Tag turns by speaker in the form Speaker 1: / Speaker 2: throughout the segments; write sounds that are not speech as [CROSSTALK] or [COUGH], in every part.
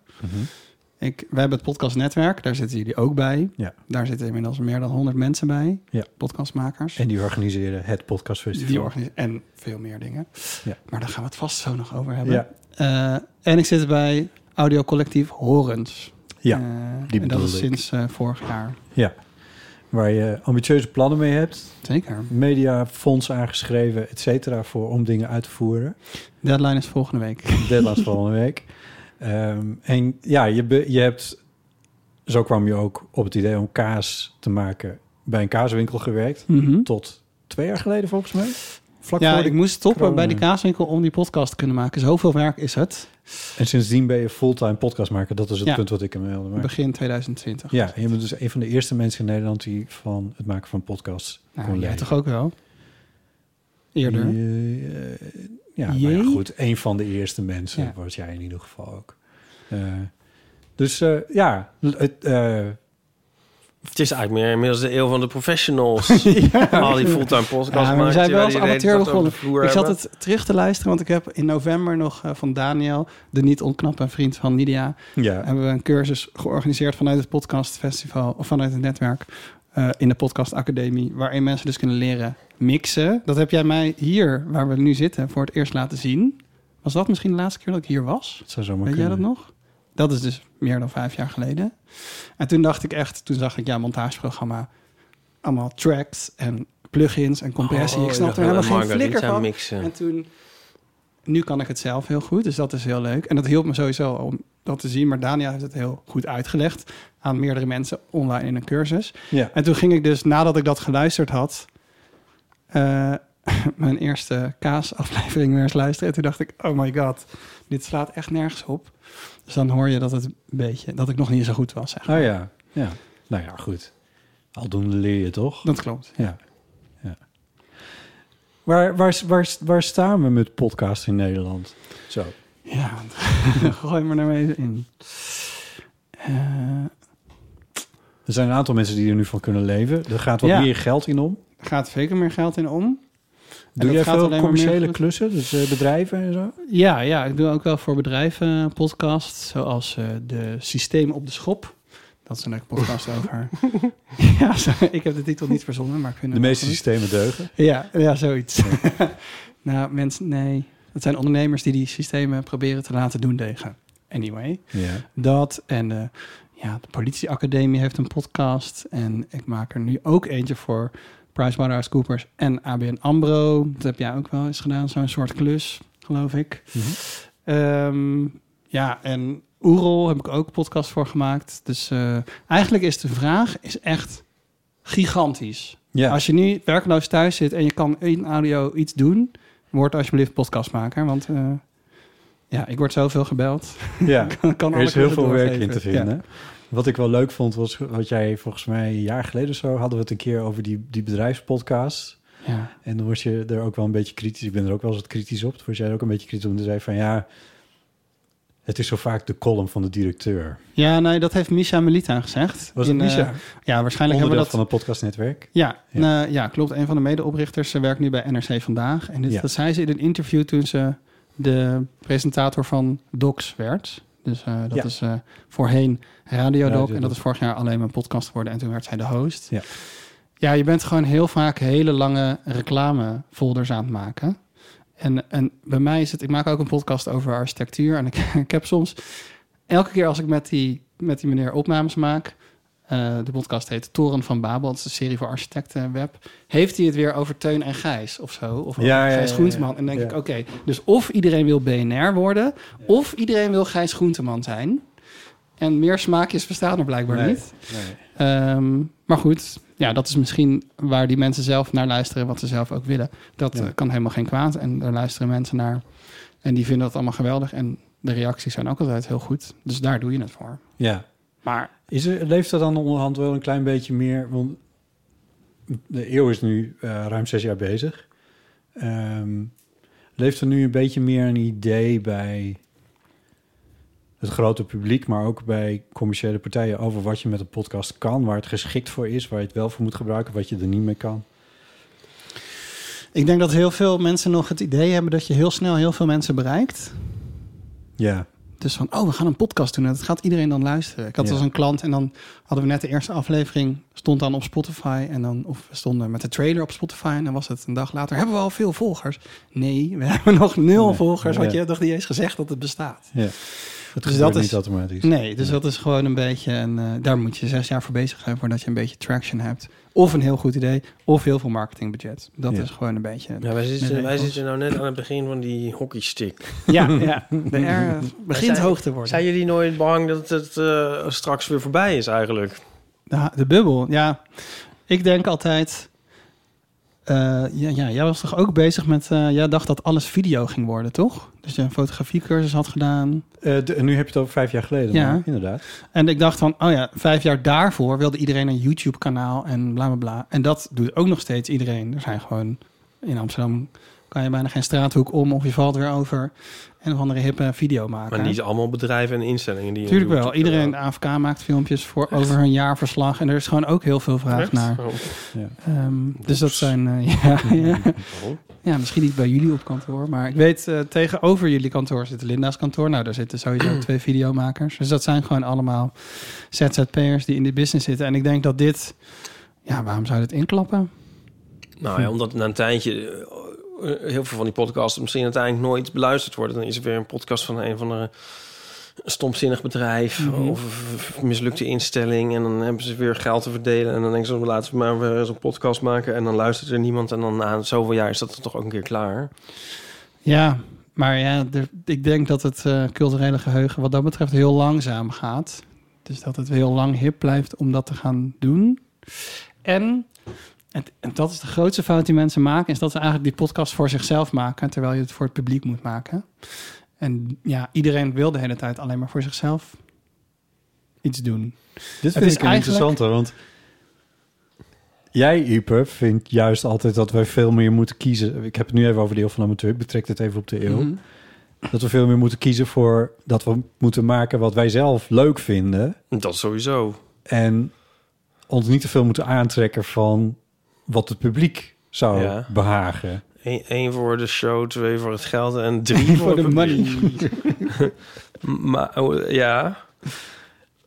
Speaker 1: Ik, we hebben het podcastnetwerk, daar zitten jullie ook bij.
Speaker 2: Ja.
Speaker 1: Daar zitten inmiddels meer dan 100 mensen bij,
Speaker 2: Ja.
Speaker 1: podcastmakers.
Speaker 2: En die organiseren het podcastfestival.
Speaker 1: Die organis- en veel meer dingen.
Speaker 2: Ja.
Speaker 1: Maar daar gaan we het vast zo nog over hebben.
Speaker 2: Ja,
Speaker 1: Eh, en ik zit bij audiocollectief Horens.
Speaker 2: ja.
Speaker 1: Eh,
Speaker 2: die
Speaker 1: en dat
Speaker 2: bedoelde
Speaker 1: is
Speaker 2: ik.
Speaker 1: sinds eh, vorig jaar.
Speaker 2: ja. Waar je ambitieuze plannen mee hebt.
Speaker 1: Zeker.
Speaker 2: Mediafonds aangeschreven, et cetera, voor, om dingen uit te voeren.
Speaker 1: Deadline is volgende week. [LAUGHS]
Speaker 2: Deadlines van een week. Ehm, en ja, je, be- je hebt... Zo kwam je ook op het idee om kaas te maken. Bij een kaaswinkel gewerkt.
Speaker 1: Mhm.
Speaker 2: Tot twee jaar geleden volgens mij. Vlak
Speaker 1: Ja,
Speaker 2: voor de eh.
Speaker 1: ik moest stoppen
Speaker 2: corona.
Speaker 1: bij de kaaswinkel om die podcast te kunnen maken. Zoveel werk is het.
Speaker 2: En sindsdien ben je fulltime podcastmaker. Dat is het
Speaker 1: Ja.
Speaker 2: punt wat ik hem wilde maken.
Speaker 1: Begin 2020.
Speaker 2: Ja, en je bent dus een van de eerste mensen in Nederland die van het maken van podcasts
Speaker 1: Nou,
Speaker 2: kon
Speaker 1: jij
Speaker 2: leven.
Speaker 1: toch ook wel? Eerder.
Speaker 2: Je- eh, ja, maar ja,
Speaker 1: Jee.
Speaker 2: goed. Een van de eerste mensen
Speaker 1: Ja.
Speaker 2: was jij in ieder geval ook. Eh, dus eh, ja, het, eh,
Speaker 3: Het is eigenlijk meer inmiddels de eeuw van de
Speaker 1: [LAUGHS]
Speaker 3: professionals. [LAUGHS] Al die fulltime podcast
Speaker 1: Ja, maar we zijn wel als amateur begonnen. Ik zat
Speaker 3: het...
Speaker 1: het terug te luisteren, want ik heb in november nog eh, van Daniel, de niet onknappe vriend van Nidia,
Speaker 2: ja,
Speaker 1: hebben we een cursus georganiseerd vanuit het podcastfestival of vanuit het netwerk eh, in de Podcast Academie, waarin mensen dus kunnen leren mixen. Dat heb jij mij hier, waar we nu zitten, voor het eerst laten zien. Was dat misschien de laatste keer dat ik hier was?
Speaker 2: het zou zomaar
Speaker 1: Weet jij
Speaker 2: kunnen.
Speaker 1: dat nog? Dat is dus meer dan vijf jaar geleden. En toen dacht ik echt, toen zag ik ja, montageprogramma, allemaal tracks en plugins en
Speaker 3: Oh,
Speaker 1: compressie. ik snap er helemaal geen flikker van. En
Speaker 3: Mixen.
Speaker 1: toen, nu kan ik het zelf heel goed, dus dat is heel leuk. En dat hielp me sowieso om dat te zien, maar Daniel heeft het heel goed uitgelegd aan meerdere mensen online in een cursus.
Speaker 2: Ja,
Speaker 1: En toen ging ik dus, nadat ik dat geluisterd had, eh, [LAUGHS] mijn eerste kaasaflevering weer eens luisteren. En toen dacht ik, oh my god, dit slaat echt nergens op. Dus dan hoor je dat het een beetje, dat ik nog niet zo goed was. Zeg.
Speaker 2: oh ja, ja. Nou ja, goed. Aldoende leer je toch?
Speaker 1: Dat klopt.
Speaker 2: Ja. ja. Waar, waar, waar, waar staan we met podcasts in Nederland? Zo.
Speaker 1: Ja, [LAUGHS] gooi me er maar even in. Eh,
Speaker 2: Er zijn een aantal mensen die er nu van kunnen leven. Er gaat wat
Speaker 1: Ja.
Speaker 2: meer geld in om.
Speaker 1: er gaat zeker meer geld in om.
Speaker 2: Doe
Speaker 1: dat
Speaker 2: jij
Speaker 1: gaat
Speaker 2: veel
Speaker 1: alleen maar meer
Speaker 2: commerciële
Speaker 1: goed.
Speaker 2: klussen, dus eh, bedrijven en zo?
Speaker 1: Ja, ja, ik doe ook wel voor bedrijven podcasts, zoals eh, de Systeem op de Schop. Dat is een leuke
Speaker 2: [LAUGHS]
Speaker 1: podcast over. [LAUGHS] ja, zo- ik heb de titel niet verzonnen, maar ik vind
Speaker 2: De
Speaker 1: het
Speaker 2: meeste
Speaker 1: wel goed.
Speaker 2: systemen deugen.
Speaker 1: Ja, ja
Speaker 2: [LAUGHS]
Speaker 1: zoiets. nou, mensen, nee. Het zijn ondernemers die die systemen proberen te laten doen tegen. Anyway,
Speaker 2: Ja.
Speaker 1: dat en eh, ja, de politieacademie heeft een podcast. En ik maak er nu ook eentje voor PricewaterhouseCoopers en ABN AMRO. Dat heb jij ook wel eens gedaan, zo'n soort klus, geloof ik. Ehm, ja, en Oerol heb ik ook een podcast voor gemaakt. Dus eh, eigenlijk is de vraag is echt gigantisch.
Speaker 2: Ja.
Speaker 1: Als je nu werkloos thuis zit en je kan in audio iets doen, word alsjeblieft podcastmaker. Want eh, ja, ik word zoveel gebeld.
Speaker 2: [LAUGHS] ja.
Speaker 1: Kan alle
Speaker 2: Er is heel
Speaker 1: kleuren
Speaker 2: veel werk in
Speaker 1: doorgeven.
Speaker 2: te
Speaker 1: Ja.
Speaker 2: vinden. Wat ik wel leuk vond, was wat jij volgens mij een jaar geleden of zo... hadden we het een keer over die, die bedrijfspodcasts.
Speaker 1: Ja.
Speaker 2: En dan word je er ook wel een beetje kritisch. Ik ben er ook wel eens wat kritisch op. Toen was jij er ook een beetje kritisch op. En toen zei je van ja, het is zo vaak de column van de directeur.
Speaker 1: ja, nee, dat heeft Misha Melita gezegd.
Speaker 2: Was het
Speaker 1: In, eh,
Speaker 2: Misha?
Speaker 1: ja, waarschijnlijk hebben we
Speaker 2: Onderdeel
Speaker 1: dat...
Speaker 2: van het podcastnetwerk.
Speaker 1: Ja,
Speaker 2: Ja.
Speaker 1: nou, ja, klopt. Een van de medeoprichters eh, werkt nu bij NRC Vandaag. En dit,
Speaker 2: Ja.
Speaker 1: dat zei ze in een interview toen ze de presentator van Docs werd. Dus eh, dat
Speaker 2: Ja.
Speaker 1: is eh, voorheen Radio Doc.
Speaker 2: Radio
Speaker 1: En
Speaker 2: Doc.
Speaker 1: dat is vorig jaar alleen mijn podcast geworden. En toen werd zij de host.
Speaker 2: Ja.
Speaker 1: ja, je bent gewoon heel vaak hele lange reclamefolders aan het maken. En, en bij mij is het... Ik maak ook een podcast over architectuur. En ik, [LAUGHS] ik heb soms... Elke keer als ik met die, met die meneer opnames maak... eh, de podcast heet Toren van Babel. Het is een serie voor architecten web. Heeft hij het weer over Teun en Gijs of zo? Of over
Speaker 2: Ja, ja, ja,
Speaker 1: Gijs
Speaker 2: ja.
Speaker 1: Groenteman. En dan denk
Speaker 2: Ja.
Speaker 1: ik, oké, dus of iedereen wil BNR worden... of iedereen wil Gijs Groenteman zijn. En meer smaakjes bestaan er blijkbaar
Speaker 2: Nee,
Speaker 1: niet.
Speaker 2: nee.
Speaker 1: Ehm, maar goed, ja, dat is misschien waar die mensen zelf naar luisteren, wat ze zelf ook willen. Dat
Speaker 2: Ja.
Speaker 1: eh, kan helemaal geen kwaad. En daar luisteren mensen naar. En die vinden dat allemaal geweldig. En de reacties zijn ook altijd heel goed. Dus daar doe je het voor.
Speaker 2: Ja.
Speaker 1: Maar
Speaker 2: Is er, leeft er dan onderhand wel een klein beetje meer? Want de eeuw is nu eh, ruim zes jaar bezig. Ehm, leeft er nu een beetje meer een idee bij het grote publiek, maar ook bij commerciële partijen over wat je met een podcast kan, waar het geschikt voor is, waar je het wel voor moet gebruiken, wat je er niet mee kan?
Speaker 1: ik denk dat heel veel mensen nog het idee hebben dat je heel snel heel veel mensen bereikt.
Speaker 2: Ja.
Speaker 1: Dus van, oh, we gaan een podcast doen. En dat gaat iedereen dan luisteren. Ik had
Speaker 2: Ja.
Speaker 1: als een klant en dan hadden we net de eerste aflevering. Stond dan op Spotify. En dan, of we stonden met de trailer op Spotify. En dan was het een dag later. Hebben we al veel volgers? Nee, we [LAUGHS] hebben nog nul
Speaker 2: Nee,
Speaker 1: volgers. Want
Speaker 2: ja.
Speaker 1: je hebt nog niet eens gezegd dat het bestaat.
Speaker 2: ja. Het
Speaker 1: Dus
Speaker 2: gebeurt
Speaker 1: dat
Speaker 2: niet
Speaker 1: is-
Speaker 2: automatisch.
Speaker 1: Nee, dus dat is gewoon een beetje... En daar moet je zes jaar voor bezig zijn voordat je een beetje traction hebt. Of een heel goed idee. Of heel veel marketingbudget. Dat
Speaker 2: Ja.
Speaker 1: is gewoon een beetje...
Speaker 3: Ja, wij
Speaker 1: Nee,
Speaker 3: zitten, wij
Speaker 1: nee,
Speaker 3: zitten nou net aan het begin van die hockeystick.
Speaker 1: Ja, ja. De R begint
Speaker 3: Zijn-
Speaker 1: hoog te worden.
Speaker 3: Zijn jullie nooit bang dat het eh, straks weer voorbij is eigenlijk?
Speaker 1: De, de bubbel, ja. Ik denk altijd... eh, ja, ja, jij was toch ook bezig met... eh, jij dacht dat alles video ging worden, toch? Dus je een fotografiecursus had gedaan.
Speaker 2: [LAUGHS] Eh, de- nu heb je het over vijf jaar geleden.
Speaker 1: Ja.
Speaker 2: maar inderdaad.
Speaker 1: En ik dacht van, oh ja, vijf jaar daarvoor wilde iedereen een YouTube-kanaal en bla bla bla. En dat doet ook nog steeds iedereen. Er zijn gewoon in Amsterdam kan je bijna geen straathoek om of je valt weer over en of andere hippe video maken.
Speaker 3: Maar niet allemaal bedrijven en instellingen die... een
Speaker 1: Tuurlijk wel.
Speaker 3: YouTube-kanaal-
Speaker 1: Iedereen de AFK maakt filmpjes voor over hun jaarverslag en er is gewoon ook heel veel vraag
Speaker 3: Echt?
Speaker 1: naar.
Speaker 3: Oh,
Speaker 1: Ehm, dus dat zijn, eh, [LAUGHS] ja, ja.
Speaker 3: waarom?
Speaker 1: ja, misschien niet bij jullie op kantoor. Maar ik weet, eh, tegenover jullie kantoor zit Linda's kantoor. Nou, daar zitten sowieso twee videomakers. Dus dat zijn gewoon allemaal ZZP'ers die in de business zitten. En ik denk dat dit, ja, waarom zou je dit inklappen?
Speaker 3: Nou ja, omdat na een tijdje eh, eh, heel veel van die podcasts misschien uiteindelijk nooit beluisterd worden. Dan is er weer een podcast van een van de stomzinnig bedrijf
Speaker 1: Mhm.
Speaker 3: of een mislukte instelling. En dan hebben ze weer geld te verdelen. En dan denken ze, laten we maar weer zo'n podcast maken. En dan luistert er niemand. En dan na zoveel jaar is dat dan toch ook een keer klaar.
Speaker 1: Ja, maar ja, er- ik denk dat het eh, culturele geheugen wat dat betreft heel langzaam gaat. Dus dat het heel lang hip blijft om dat te gaan doen. En, en, en dat is de grootste fout die mensen maken, is dat ze eigenlijk die podcast voor zichzelf maken, terwijl je het voor het publiek moet maken. En ja, iedereen wil de hele tijd alleen maar voor zichzelf iets doen.
Speaker 2: Dit
Speaker 1: Het
Speaker 2: vind
Speaker 1: is
Speaker 2: ik een
Speaker 1: eigenlijk-
Speaker 2: interessanter, want jij, Ieper, vindt juist altijd dat wij veel meer moeten kiezen. Ik heb het nu even over de eeuw van amateur, ik betrek het even op de eeuw.
Speaker 1: Mhm.
Speaker 2: Dat we veel meer moeten kiezen voor dat we moeten maken wat wij zelf leuk vinden.
Speaker 3: Dat sowieso.
Speaker 2: En ons niet te veel moeten aantrekken van wat het publiek zou
Speaker 3: Ja.
Speaker 2: behagen.
Speaker 3: Eén E-, één voor de show, twee voor het geld
Speaker 1: [LAUGHS]
Speaker 3: en drie voor,
Speaker 1: Voor de
Speaker 3: het publiek.
Speaker 1: money.
Speaker 3: M- Maar oh, ja...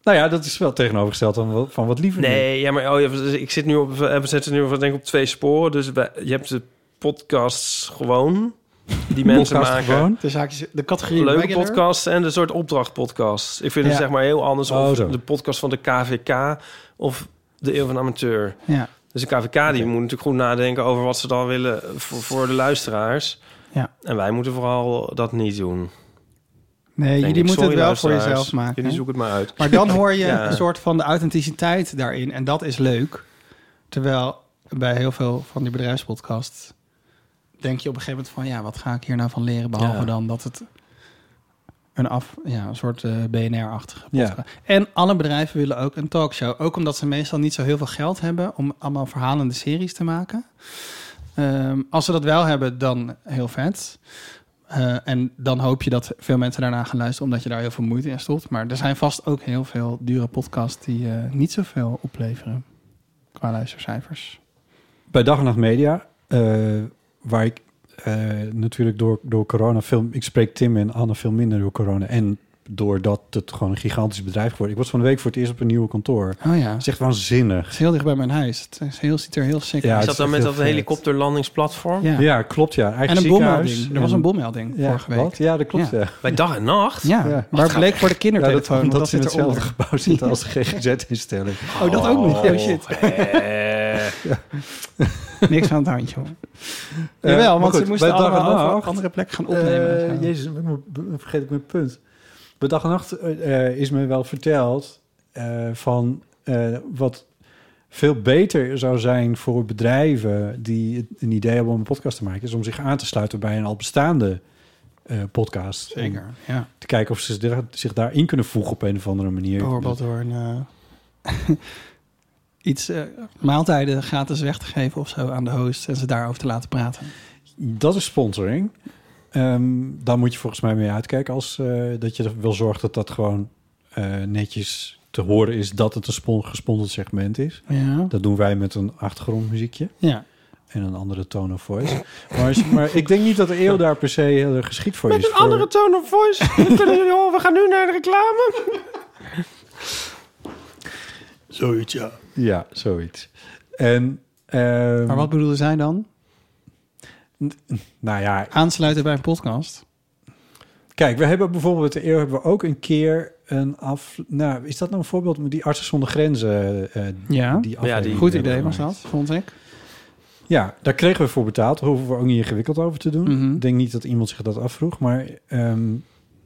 Speaker 2: Nou ja, dat is wel tegenovergesteld van, wat- van wat
Speaker 1: Hmm.
Speaker 2: liever. doen.
Speaker 3: Nee, ja, maar oh, ja, dus ik zit nu op, we zetten nu denk ik op twee sporen. Dus wij- je hebt de podcasts gewoon die mensen
Speaker 2: Podcast
Speaker 3: maken.
Speaker 2: gewoon.
Speaker 1: De, zaakjes, de categorie
Speaker 3: Leuke
Speaker 1: regular.
Speaker 3: podcasts en de soort opdrachtpodcasts. Ik vind
Speaker 1: Ja.
Speaker 3: het zeg maar heel anders
Speaker 2: Oh,
Speaker 3: of
Speaker 2: zo.
Speaker 3: de podcast van de KVK of de Eeuw van de Amateur.
Speaker 1: Ja,
Speaker 3: Dus de KVK die moet natuurlijk goed nadenken over wat ze dan willen voor, voor de luisteraars.
Speaker 1: Ja.
Speaker 3: En wij moeten vooral dat niet doen.
Speaker 1: nee,
Speaker 3: Denk
Speaker 1: jullie
Speaker 3: ik.
Speaker 1: moeten het
Speaker 3: Sorry,
Speaker 1: wel voor
Speaker 3: luisteraars.
Speaker 1: jezelf maken.
Speaker 3: Jullie zoeken het maar uit.
Speaker 1: Maar dan hoor je
Speaker 3: [LAUGHS] Ja.
Speaker 1: een soort van de authenticiteit daarin. En dat is leuk. Terwijl bij heel veel van die bedrijfspodcasts... denk je op een gegeven moment van... ja, wat ga ik hier nou van leren? Behalve
Speaker 3: Ja.
Speaker 1: dan dat het een, af, ja, een soort eh, BNR-achtige
Speaker 2: Ja.
Speaker 1: podcast... En alle bedrijven willen ook een talkshow. Ook omdat ze meestal niet zo heel veel geld hebben... om allemaal verhalende series te maken. Ehm, als ze dat wel hebben, dan heel vet. Eh, en dan hoop je dat veel mensen daarna gaan luisteren... omdat je daar heel veel moeite in stopt. Maar er zijn vast ook heel veel dure podcasts... die eh, niet zoveel opleveren qua luistercijfers.
Speaker 2: bij Dag en Nacht Media, eh, waar ik eh, natuurlijk door, door corona veel... Ik spreek Tim en Anne veel minder door corona. En doordat het gewoon een gigantisch bedrijf wordt. Ik was van de week voor het eerst op een nieuwe kantoor. Het
Speaker 1: Oh ja, het
Speaker 2: is echt waanzinnig.
Speaker 1: is heel dicht bij mijn huis. Het is heel, ziet er heel sick
Speaker 2: Ja,
Speaker 3: is
Speaker 1: uit.
Speaker 2: het
Speaker 3: dat
Speaker 2: is
Speaker 3: dan
Speaker 2: echt
Speaker 3: met
Speaker 2: heel
Speaker 3: dat
Speaker 2: vet.
Speaker 3: helikopterlandingsplatform?
Speaker 1: Ja.
Speaker 2: Ja, klopt ja. Eigen
Speaker 1: En een
Speaker 2: ziekenhuis
Speaker 1: bommelding. Er was
Speaker 2: en-
Speaker 1: een bommelding
Speaker 2: ja,
Speaker 1: vorige week.
Speaker 2: wat? Ja, dat klopt ja. ja.
Speaker 3: Bij dag en nacht?
Speaker 1: Ja,
Speaker 2: Ja.
Speaker 1: maar bleek voor de
Speaker 2: dat,
Speaker 1: kindertelefoon. want
Speaker 2: omdat
Speaker 1: dat
Speaker 2: ze in
Speaker 1: zit
Speaker 2: hetzelfde
Speaker 1: eronder.
Speaker 2: gebouw zitten als [LAUGHS] GGZ-instelling.
Speaker 1: Oh, dat ook nog. Oh shit.
Speaker 3: [LAUGHS] Eh.
Speaker 1: Niks aan het handje hoor.
Speaker 2: Eh,
Speaker 1: Jawel,
Speaker 2: maar
Speaker 1: want
Speaker 2: goed,
Speaker 1: ze moesten
Speaker 2: bij Dag en
Speaker 1: allemaal op
Speaker 2: Nacht-
Speaker 1: een andere plek gaan opnemen. en
Speaker 2: Eh,
Speaker 1: zo.
Speaker 2: jezus, ik moet- vergeet ik mijn punt. Bij dag en nacht eh, eh, is me wel verteld eh, van eh, wat veel beter zou zijn voor bedrijven die het- een idee hebben om een podcast te maken, is om zich aan te sluiten bij een al bestaande eh, podcast. Om
Speaker 1: Zeker, ja.
Speaker 2: te kijken of ze zich daar- zich daarin kunnen voegen op een of andere manier.
Speaker 1: Bijvoorbeeld door een, eh, [LAUGHS] iets eh, maaltijden gratis weg te geven of zo aan de host en ze daarover te laten praten.
Speaker 2: Dat is sponsoring. Ehm, daar moet je volgens mij mee uitkijken als eh, dat je er wel zorgt dat dat gewoon eh, netjes te horen is dat het een spon- gesponsord segment is.
Speaker 1: Ja.
Speaker 2: Dat doen wij met een achtergrondmuziekje
Speaker 1: Ja.
Speaker 2: en een andere tone of voice. Maar, als je- maar ik denk niet dat de eeuw daar per se heel erg geschikt voor is. voor-
Speaker 3: tone of voice. Kunnen jullie horen? We gaan nu naar de reclame.
Speaker 1: Zoiets, ja.
Speaker 2: Ja, zoiets. En, ehm,
Speaker 1: Maar wat bedoelde zij dan?
Speaker 2: Nou ja,
Speaker 1: Aansluiten bij een podcast?
Speaker 2: Kijk, we hebben bijvoorbeeld met de eeuw hebben we ook een keer een af. Nou, is dat nou een voorbeeld met die artsen zonder grenzen? eh,
Speaker 1: Ja.
Speaker 2: die aflevering
Speaker 3: die-
Speaker 1: Goed
Speaker 2: hebben
Speaker 1: idee was
Speaker 2: gemaakt.
Speaker 1: dat, vond ik.
Speaker 2: Ja, daar kregen we voor betaald. Daar hoeven we ook niet ingewikkeld over te doen.
Speaker 1: Mhm.
Speaker 2: Ik denk niet dat iemand zich dat afvroeg, maar. ehm,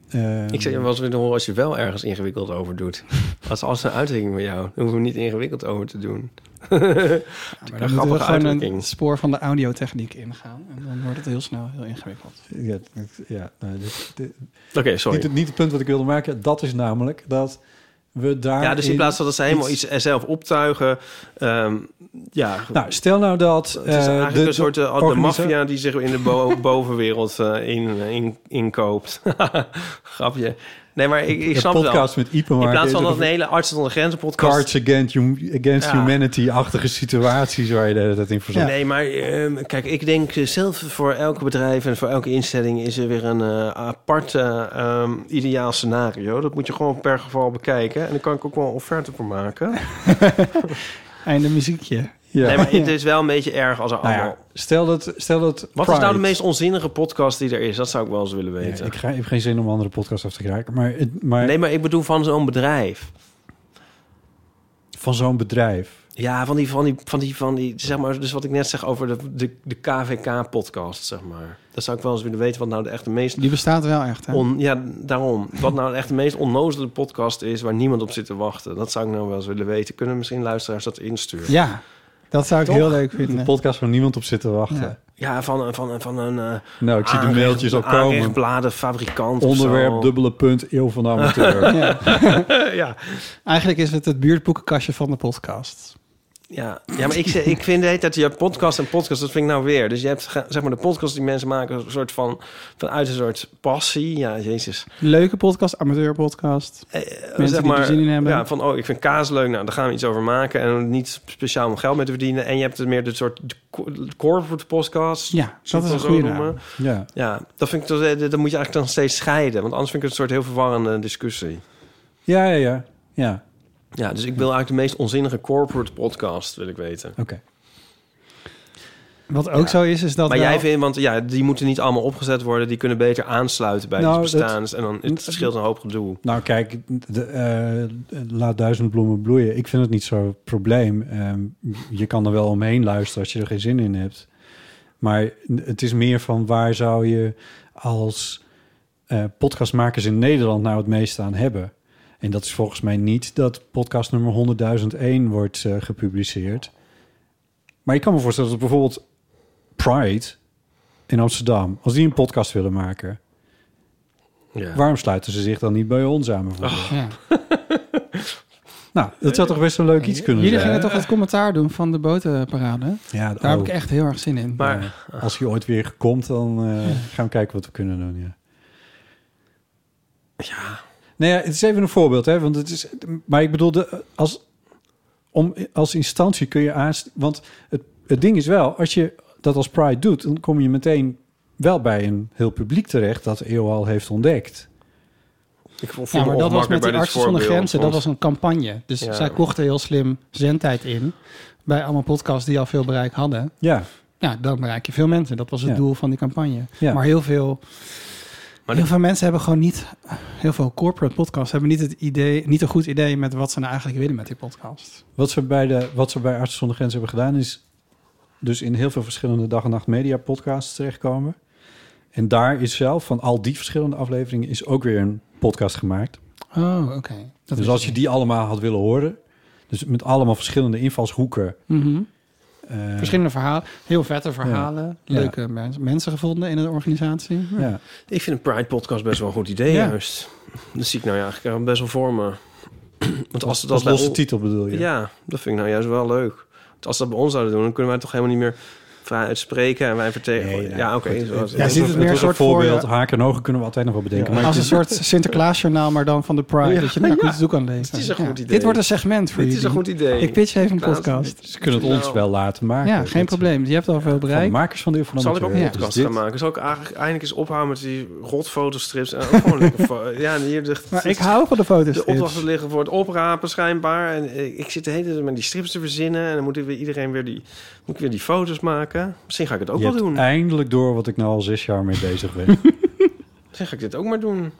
Speaker 2: ehm,
Speaker 3: Ik zeg je wel eens willen horen als je wel ergens ingewikkeld over doet. Als, als een uitdrukking bij jou. Dan hoeven we niet ingewikkeld over te doen.
Speaker 1: Maar dan moeten we
Speaker 3: grappige
Speaker 1: gewoon een
Speaker 3: uitdrukking.
Speaker 1: spoor van de audiotechniek ingaan. En dan wordt het heel snel heel ingewikkeld.
Speaker 2: Ja, het- ja nou, dit- dit-
Speaker 3: [LAUGHS] Oké,
Speaker 2: niet,
Speaker 3: sorry.
Speaker 2: het- niet het punt wat ik wilde maken. Dat is namelijk dat we daar.
Speaker 3: Ja, dus in plaats van dat ze helemaal iets er zelf optuigen. ehm, ja,
Speaker 2: Nou, stel nou dat.
Speaker 3: het is eigenlijk een soort eh, de,
Speaker 2: organisa-
Speaker 3: maffia die zich in de bo- bovenwereld eh, in, in, inkoopt. [LAUGHS] Grapje. Nee, maar ik, ik
Speaker 2: een
Speaker 3: snap het wel.
Speaker 2: podcast met Ipe
Speaker 3: In
Speaker 2: maken,
Speaker 3: plaats van
Speaker 2: is
Speaker 3: dat
Speaker 2: er
Speaker 3: een hele artsen zonder grenzen podcast.
Speaker 2: Cards Against, hum- against
Speaker 3: Ja.
Speaker 2: Humanity-achtige situaties waar je de hele tijd in verzandt.
Speaker 3: Nee, maar ehm, kijk, ik denk zelf voor elke bedrijf en voor elke instelling is er weer een eh, apart eh, ehm, ideaal scenario. Dat moet je gewoon per geval bekijken. En daar kan ik ook wel een offerte voor maken.
Speaker 1: Einde muziekje.
Speaker 2: Ja. [LAUGHS]
Speaker 3: Nee, maar het is wel een beetje erg als er
Speaker 2: Nou ja,
Speaker 3: allemaal...
Speaker 2: stel dat, stel dat
Speaker 3: Wat is
Speaker 2: Pride-
Speaker 3: nou de meest onzinnige podcast die er is? Dat zou ik wel eens willen
Speaker 2: Ja,
Speaker 3: weten.
Speaker 2: ik, ga, ik heb geen zin om andere podcasts af te kraken, maar, het- maar
Speaker 3: Nee, maar ik bedoel van zo'n bedrijf.
Speaker 2: van zo'n bedrijf.
Speaker 3: Ja, van die, van die, van die, van die, zeg maar, dus wat ik net zeg over de, de, de KVK-podcast, zeg maar. Dat zou ik wel eens willen weten, wat nou de echte meest
Speaker 1: Die bestaat wel echt, hè?
Speaker 3: On, ja, daarom. Wat nou echt de meest onnozele podcast is waar niemand op zit te wachten. Dat zou ik nou wel eens willen weten. Kunnen misschien luisteraars dat insturen? Ja,
Speaker 1: Ja, dat zou ik
Speaker 3: Toch?
Speaker 1: heel leuk
Speaker 2: Een
Speaker 1: vinden.
Speaker 2: podcast waar niemand op zit te wachten.
Speaker 1: Ja.
Speaker 3: van, een- van, een- van een... eh,
Speaker 2: Nou, ik zie de mailtjes al
Speaker 3: aanrecht-
Speaker 2: komen.
Speaker 3: aanrechtbladenfabrikant of
Speaker 2: Onderwerp
Speaker 3: zo.
Speaker 2: dubbele punt eeuw van de amateur.
Speaker 1: [LAUGHS] Ja.
Speaker 3: [LAUGHS] ja.
Speaker 1: Eigenlijk is het het buurtboekenkastje van de podcast.
Speaker 3: Ja. ja, maar ik, zeg- ik vind de hele tijd... Je hebt podcast en podcast, dat vind ik nou weer. Dus je hebt ge- zeg maar de podcast die mensen maken... Een soort van, vanuit een soort passie. Ja, jezus.
Speaker 1: Leuke podcast, amateurpodcast.
Speaker 3: Eh,
Speaker 1: die er zin in hebben.
Speaker 3: Ja, van oh, ik vind kaas leuk. Nou, daar gaan we iets over maken. En niet speciaal om geld mee te verdienen. En je hebt meer dit soort co- corporate podcasts.
Speaker 1: Ja, dat
Speaker 3: Zullen
Speaker 1: is
Speaker 3: we
Speaker 1: een
Speaker 3: zo eh?
Speaker 1: goede
Speaker 3: noemen?
Speaker 1: naam.
Speaker 2: ja.
Speaker 3: Ja, dat vind ik toch- eh, dat moet je eigenlijk dan steeds scheiden. Want anders vind ik het een soort heel verwarrende discussie.
Speaker 2: ja, ja, ja. Ja,
Speaker 3: Ja, dus ik wil eigenlijk de meest onzinnige corporate podcast, wil ik weten.
Speaker 2: oké.
Speaker 1: Wat ook zo is, is dat
Speaker 3: maar
Speaker 1: wel-
Speaker 3: jij vindt, want ja, die moeten niet allemaal opgezet worden. Die kunnen beter aansluiten bij
Speaker 2: Nou,
Speaker 3: nou,
Speaker 2: dat-
Speaker 3: bestaans. En dan het scheelt een hoop gedoe.
Speaker 2: Nou, kijk, de, eh, laat duizend bloemen bloeien. Ik vind het niet zo'n probleem. Ehm, je kan er wel omheen luisteren als je er geen zin in hebt. Maar het is meer van waar zou je als eh, podcastmakers in Nederland nou het meeste aan hebben? En dat is volgens mij niet dat podcast nummer 100.001 wordt eh, gepubliceerd. Maar ik kan me voorstellen dat bijvoorbeeld Pride in Amsterdam, als die een podcast willen maken,
Speaker 3: Ja.
Speaker 2: waarom sluiten ze zich dan niet bij ons aan bijvoorbeeld?
Speaker 1: Ja.
Speaker 2: Nou, dat zou toch best een leuk iets kunnen
Speaker 1: Jullie
Speaker 2: zijn?
Speaker 1: gingen toch het commentaar doen van de botenparade?
Speaker 2: Ja,
Speaker 1: Daar
Speaker 2: oh,
Speaker 1: heb ik echt heel erg zin in.
Speaker 3: Maar
Speaker 2: ja. als hij ooit weer komt, dan eh, gaan we kijken wat we kunnen doen. Ja. ja. Nou ja, het is even een voorbeeld, hè? Want het is, maar ik bedoel, de- als, om, als instantie kun je aanst. Want het, het ding is wel, als je dat als Pride doet, dan kom je meteen wel bij een heel publiek terecht dat EO al heeft ontdekt.
Speaker 3: ik voel
Speaker 1: ja,
Speaker 3: me
Speaker 1: maar dat was met
Speaker 3: ongemakkelijk
Speaker 1: die
Speaker 3: bij dit
Speaker 1: artsen zonder
Speaker 3: voorbeeld,
Speaker 1: grenzen. Dat
Speaker 3: want-
Speaker 1: was een campagne. Dus
Speaker 3: Ja.
Speaker 1: zij kochten heel slim zendtijd in. Bij allemaal podcasts die al veel bereik hadden.
Speaker 2: Ja,
Speaker 1: Ja, dan bereik je veel mensen. Dat was het
Speaker 2: Ja.
Speaker 1: doel van die campagne.
Speaker 2: Ja.
Speaker 1: Maar heel veel...
Speaker 3: Maar
Speaker 1: heel veel mensen hebben gewoon niet... Heel veel corporate podcasts hebben niet, het idee, niet een goed idee... met wat ze nou eigenlijk willen met die podcast.
Speaker 2: Wat ze bij, de, wat ze bij Artsen zonder Grenzen hebben gedaan is dus in heel veel verschillende dag en nacht media podcasts terechtkomen. En daar is zelf van al die verschillende afleveringen is ook weer een podcast gemaakt.
Speaker 1: Oh, oké. Dat
Speaker 2: dus
Speaker 1: is-
Speaker 2: als je die allemaal had willen horen, dus met allemaal verschillende invalshoeken.
Speaker 1: Mhm.
Speaker 2: eh,
Speaker 1: Verschillende verhalen, heel vette verhalen,
Speaker 2: Ja.
Speaker 1: leuke mens- mensen gevonden in de organisatie. Ja.
Speaker 2: ja.
Speaker 3: Ik vind een Pride podcast best wel een goed idee
Speaker 1: Ja.
Speaker 3: juist. Dat zie ik nou eigenlijk eh, best wel voor me. Want als het
Speaker 2: Als
Speaker 3: bij
Speaker 2: losse
Speaker 3: on-
Speaker 2: titel bedoel je?
Speaker 3: Ja, dat vind ik nou juist wel leuk. Want als ze dat bij ons zouden doen, dan kunnen wij toch helemaal niet meer vrij uitspreken en wij vertegenwoordigen.
Speaker 2: Nee,
Speaker 3: ja, oké.
Speaker 2: goed.
Speaker 3: zo-
Speaker 2: Het-
Speaker 1: Ja,
Speaker 2: het
Speaker 1: ziet
Speaker 2: was-
Speaker 1: het meer
Speaker 2: was
Speaker 1: een soort
Speaker 2: voorbeeld.
Speaker 1: voor
Speaker 2: Haken en ogen kunnen we altijd nog wel bedenken.
Speaker 1: Ja,
Speaker 2: Maar
Speaker 1: als een [LAUGHS] soort Sinterklaasjournaal, maar dan van de Pride.
Speaker 3: Ja,
Speaker 1: dat je nou
Speaker 3: ja.
Speaker 1: goed toe kan lezen.
Speaker 3: Het is een goed idee.
Speaker 1: Dit wordt een segment voor
Speaker 3: Dit is een
Speaker 1: jullie.
Speaker 3: goed idee.
Speaker 1: Ik pitch even een
Speaker 3: Klaas,
Speaker 1: podcast.
Speaker 2: ze kunnen het ons
Speaker 3: Nou,
Speaker 2: wel laten maken.
Speaker 1: Ja, geen
Speaker 2: Dat-
Speaker 1: probleem. Je hebt al veel
Speaker 2: Van de
Speaker 1: bereikt.
Speaker 2: makers van de Eeuw van de
Speaker 3: Zal ik ook een
Speaker 2: Amateur.
Speaker 1: Ja.
Speaker 3: podcast
Speaker 2: Dus
Speaker 3: gaan
Speaker 2: dit-
Speaker 3: maken? Zal ik eigenlijk eindelijk eens ophouden met die rotfotostrips? En ook [LAUGHS] gewoon lekker fo- ja, en hier ligt
Speaker 1: Maar ik hou van de foto's.
Speaker 3: de opdrachten liggen voor het oprapen schijnbaar. En eh, ik zit de hele tijd met die strips te verzinnen. En dan moet ik weer iedereen weer die, moet ik weer die foto's maken. Misschien ga ik het ook
Speaker 2: je
Speaker 3: wel
Speaker 2: hebt
Speaker 3: doen.
Speaker 2: eindelijk door wat ik nou al zes jaar mee bezig
Speaker 3: [LAUGHS]
Speaker 2: ben.
Speaker 3: Misschien ga ik dit ook maar doen.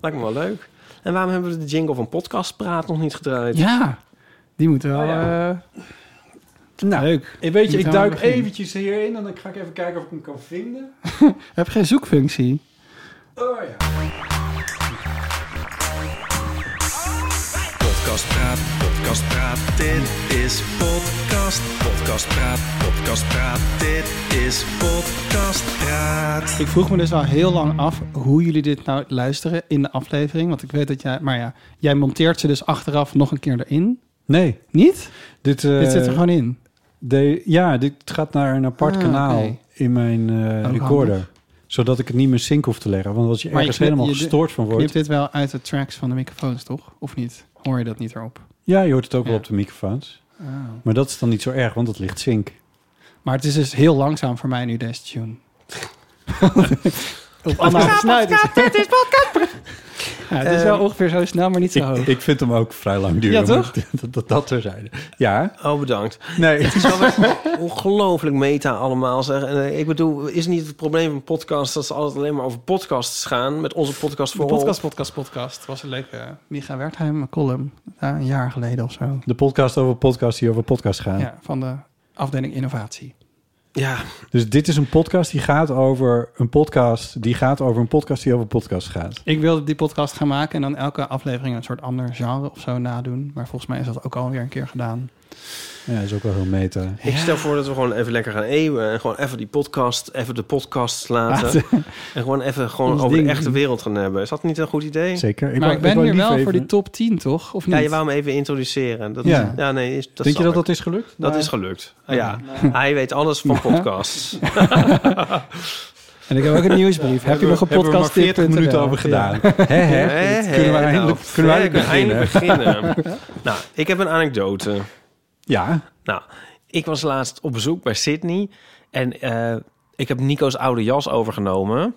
Speaker 3: Lijkt me wel leuk. En waarom hebben we de jingle van Podcast Praat nog niet gedraaid?
Speaker 1: Ja, die moeten wel...
Speaker 3: Oh ja.
Speaker 1: eh, Leuk.
Speaker 2: En weet
Speaker 1: je, Nou, ik duik
Speaker 2: eventjes hierin en dan ga ik even kijken of ik hem kan vinden.
Speaker 1: Heb geen zoekfunctie.
Speaker 2: Oh ja.
Speaker 4: Podcast Praat, Podcast Praat, dit is podcast. Podcast Praat, Podcast Praat, dit is podcast Praat.
Speaker 1: Ik vroeg me dus al heel lang af hoe jullie dit nou luisteren in de aflevering. Want ik weet dat jij... Maar ja, jij monteert ze dus achteraf nog een keer erin.
Speaker 2: Nee,
Speaker 1: Niet?
Speaker 2: dit, eh,
Speaker 1: dit zit er gewoon in.
Speaker 2: de, ja, dit gaat naar een apart
Speaker 1: Ah,
Speaker 2: kanaal
Speaker 1: oké.
Speaker 2: in mijn eh,
Speaker 1: Ook
Speaker 2: recorder.
Speaker 1: handig.
Speaker 2: Zodat ik het niet meer sync hoef te leggen. Want als je
Speaker 1: Maar je
Speaker 2: ergens
Speaker 1: knip-
Speaker 2: helemaal
Speaker 1: je-
Speaker 2: gestoord van
Speaker 1: Knip
Speaker 2: wordt...
Speaker 1: dit wel uit de tracks van de microfoons, toch? Of niet? Hoor je dat niet erop?
Speaker 2: Ja, je hoort het ook wel
Speaker 1: Ja.
Speaker 2: op de microfoons.
Speaker 1: Oh.
Speaker 2: Maar dat is dan niet zo erg, want het ligt sync.
Speaker 1: Maar het is dus heel langzaam voor mij nu deze [LAUGHS] tune. Op Anna gesnuit. is- [LAUGHS] Ehm, Ja, het is wel ongeveer zo snel, maar niet zo hoog.
Speaker 2: Ik, ik vind hem ook vrij lang duren.
Speaker 1: Ja, toch?
Speaker 2: maar [LAUGHS] Dat, dat, dat terzijde. Ja,
Speaker 3: Oh, bedankt.
Speaker 2: nee.
Speaker 3: Het is wel weer [LAUGHS] ongelooflijk meta allemaal. Zeg. En, eh, ik bedoel, is niet het probleem van podcasts dat ze altijd alleen maar over podcasts gaan? Met onze podcast
Speaker 1: De
Speaker 3: voor
Speaker 1: podcast, podcast, podcast. was een leuke eh, Micha Wertheim column. ja, een jaar geleden of zo.
Speaker 2: De podcast over podcast die over podcast gaan.
Speaker 1: Ja, van de afdeling innovatie.
Speaker 3: Ja,
Speaker 2: Dus dit is een podcast die gaat over een podcast die gaat over een podcast die over podcast gaat.
Speaker 1: Ik wilde die podcast gaan maken en dan elke aflevering een soort ander genre of zo nadoen. Maar volgens mij is dat ook alweer een keer gedaan.
Speaker 2: Ja, dat is ook wel heel meta.
Speaker 3: ik stel voor dat we gewoon even lekker gaan eeuwen. En gewoon even die podcast, even de podcast laten. en gewoon even gewoon
Speaker 1: Ons
Speaker 3: over de
Speaker 1: ding
Speaker 3: echte
Speaker 1: doen. wereld
Speaker 3: wereld gaan hebben. Is dat niet een goed idee?
Speaker 2: Zeker.
Speaker 1: maar
Speaker 2: wou-
Speaker 1: ik ben
Speaker 2: wou
Speaker 1: hier
Speaker 2: liever
Speaker 1: wel voor
Speaker 2: even-
Speaker 1: die top 10, toch? Of niet?
Speaker 3: Ja, je wou me even introduceren. Dat,
Speaker 2: Ja.
Speaker 3: ja. nee, is, dat
Speaker 2: Denk je
Speaker 3: snap
Speaker 2: dat
Speaker 3: ik.
Speaker 2: dat is gelukt? Nou,
Speaker 3: Dat
Speaker 2: Maar-
Speaker 3: is gelukt. ja, hij weet alles van
Speaker 2: [LAUGHS]
Speaker 3: podcasts.
Speaker 1: En ik heb ook een nieuwsbrief. heb je nog een
Speaker 2: Hebben we maar
Speaker 1: podcast
Speaker 2: 40 minuten over gedaan. [LAUGHS] Hè, hè?
Speaker 3: Hè,
Speaker 2: Kunnen we
Speaker 3: hè,
Speaker 2: eindelijk,
Speaker 3: nou,
Speaker 2: kunnen we
Speaker 3: ja,
Speaker 2: eindelijk
Speaker 3: kunnen
Speaker 2: beginnen?
Speaker 3: we eindelijk
Speaker 2: [LAUGHS]
Speaker 3: beginnen. nou, ik heb een anekdote.
Speaker 2: Ja.
Speaker 3: Nou, ik was laatst op bezoek bij Sydney en eh, ik heb Nico's oude jas overgenomen.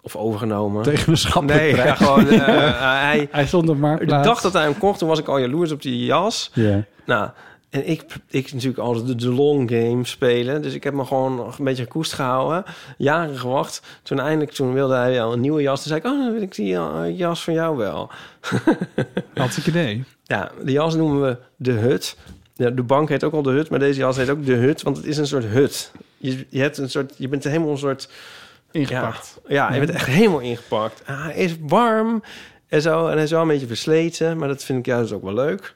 Speaker 3: Of overgenomen.
Speaker 2: Tegen een schappelijk
Speaker 3: nee, ja,
Speaker 2: prijs.
Speaker 3: gewoon. eh, eh, hij,
Speaker 1: Hij stond op
Speaker 3: ik
Speaker 1: Marktplaats.
Speaker 3: dacht dat hij hem kocht, toen was ik al jaloers op die jas.
Speaker 2: Ja.
Speaker 3: Nou, en ik, ik natuurlijk altijd de, de long game spelen. Dus ik heb me gewoon nog een beetje gekoest gehouden. Jaren gewacht. Toen eindelijk, toen wilde hij al een nieuwe jas. Toen zei ik, oh, dan wil ik die eh, jas van jou wel.
Speaker 1: Had ik idee.
Speaker 3: Ja, de jas noemen we de hut. Ja, de bank heet ook al de hut, maar deze jas heet ook de hut. Want het is een soort hut. Je, je, hebt een soort, je bent helemaal een soort...
Speaker 1: Ingepakt.
Speaker 3: Ja, ja, je bent echt helemaal ingepakt. Ah, hij is warm en zo. En hij is wel een beetje versleten. Maar dat vind ik juist ook wel leuk.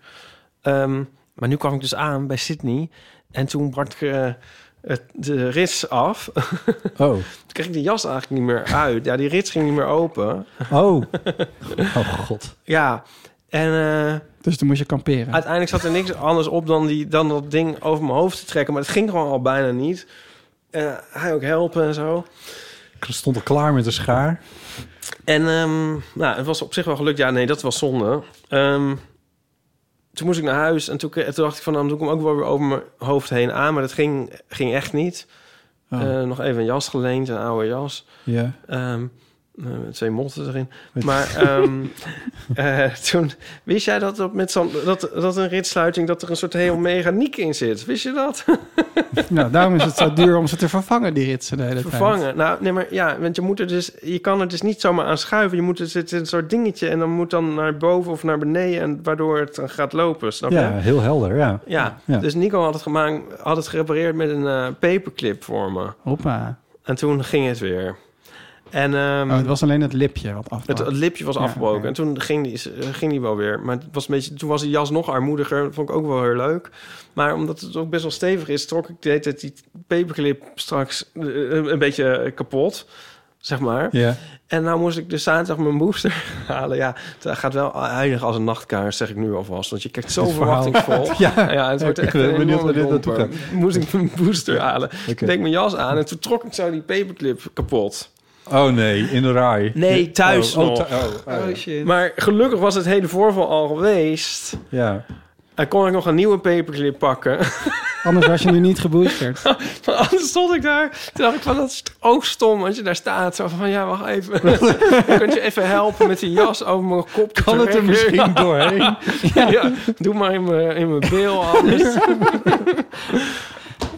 Speaker 3: Ehm, maar nu kwam ik dus aan bij Sydney. En toen brak eh, het, de rits af. toen [LAUGHS]
Speaker 2: Oh.
Speaker 3: kreeg ik de jas eigenlijk niet meer uit. Ja, die rits ging niet meer open.
Speaker 2: Oh. [LAUGHS] Oh god.
Speaker 3: Ja, en... eh,
Speaker 1: Dus toen moest je kamperen.
Speaker 3: Uiteindelijk zat er niks anders op dan, die, dan dat ding over mijn hoofd te trekken. Maar het ging gewoon al bijna niet. Eh, hij ook helpen en zo.
Speaker 2: Ik stond al klaar met de schaar.
Speaker 3: En ehm, nou, het was op zich wel gelukt. Ja, nee, dat was zonde. Ehm, toen moest ik naar huis en toen, en toen dacht ik van... nou, dan doe ik hem ook wel weer over mijn hoofd heen aan. Maar dat ging, ging echt niet.
Speaker 2: Oh.
Speaker 3: Eh, nog even een jas geleend, een oude jas.
Speaker 2: Ja.
Speaker 3: Ehm, eh, met twee motten erin. Maar
Speaker 2: [LAUGHS]
Speaker 3: ehm, eh, toen wist jij dat, dat, met zo'n- dat, dat een ritsluiting... dat er een soort heel mechaniek in zit. Wist je dat? [LAUGHS]
Speaker 1: [LAUGHS] Nou, daarom is het zo duur om ze te vervangen, die ritsen de hele tijd.
Speaker 3: vervangen. Nou, nee, maar ja, want je moet er dus, je kan er dus niet zomaar aan schuiven. Je moet er zit een soort dingetje en dan moet dan naar boven of naar beneden en waardoor het dan gaat lopen. Snap
Speaker 2: Ja,
Speaker 3: je?
Speaker 2: heel helder. Ja.
Speaker 3: Ja.
Speaker 2: Ja.
Speaker 3: Dus Nico had het gemaakt, had het gerepareerd met een eh, paperclip voor me.
Speaker 1: Hoppa.
Speaker 3: En toen ging het weer. En, ehm,
Speaker 1: Oh, het was alleen het lipje wat afbrak.
Speaker 3: het, het lipje was
Speaker 1: Ja,
Speaker 3: afgebroken.
Speaker 1: oké.
Speaker 3: En toen ging die, eh, ging die wel weer. Maar het was een beetje, toen was die jas nog armoediger. Dat vond ik ook wel heel leuk. Maar omdat het ook best wel stevig is, trok ik de hele tijd die paperclip straks eh, een beetje kapot. Zeg maar.
Speaker 2: Ja.
Speaker 3: En nou moest ik dus zaterdag mijn booster [LAUGHS] halen. Ja, het gaat wel eindigen als een nachtkaars, zeg ik nu alvast. Want je kijkt zo
Speaker 2: Het verhaal.
Speaker 3: verwachtingsvol.
Speaker 2: Ja.
Speaker 3: het wordt
Speaker 2: Ik
Speaker 3: echt
Speaker 2: ben
Speaker 3: een
Speaker 2: benieuwd
Speaker 3: enorme
Speaker 2: waar dit naartoe
Speaker 3: domper. Moest ik mijn booster halen.
Speaker 2: Oké.
Speaker 3: Ik deed mijn jas aan en toen trok ik zo die paperclip kapot.
Speaker 2: Oh nee, in de raai.
Speaker 3: Nee, thuis
Speaker 2: Oh, oh,
Speaker 3: nog.
Speaker 2: thu- oh, oh, ja.
Speaker 3: Maar gelukkig was het hele voorval al geweest.
Speaker 2: ja.
Speaker 3: En kon ik nog een nieuwe paperclip pakken.
Speaker 1: [LAUGHS]
Speaker 3: [LAUGHS]
Speaker 1: Anders was je nu niet
Speaker 2: [LAUGHS]
Speaker 1: geboosterd.
Speaker 3: Maar anders stond ik daar. Toen dacht ik van, dat is toch ook stom als je daar staat. Zo van, ja, wacht
Speaker 2: [LAUGHS]
Speaker 3: even. Kunt je even helpen met die jas over mijn kop? te
Speaker 2: Kan het er
Speaker 3: trekken?
Speaker 2: misschien doorheen?
Speaker 3: [LAUGHS] Ja. doe maar in mijn, in mijn bil
Speaker 2: [LAUGHS]
Speaker 3: anders.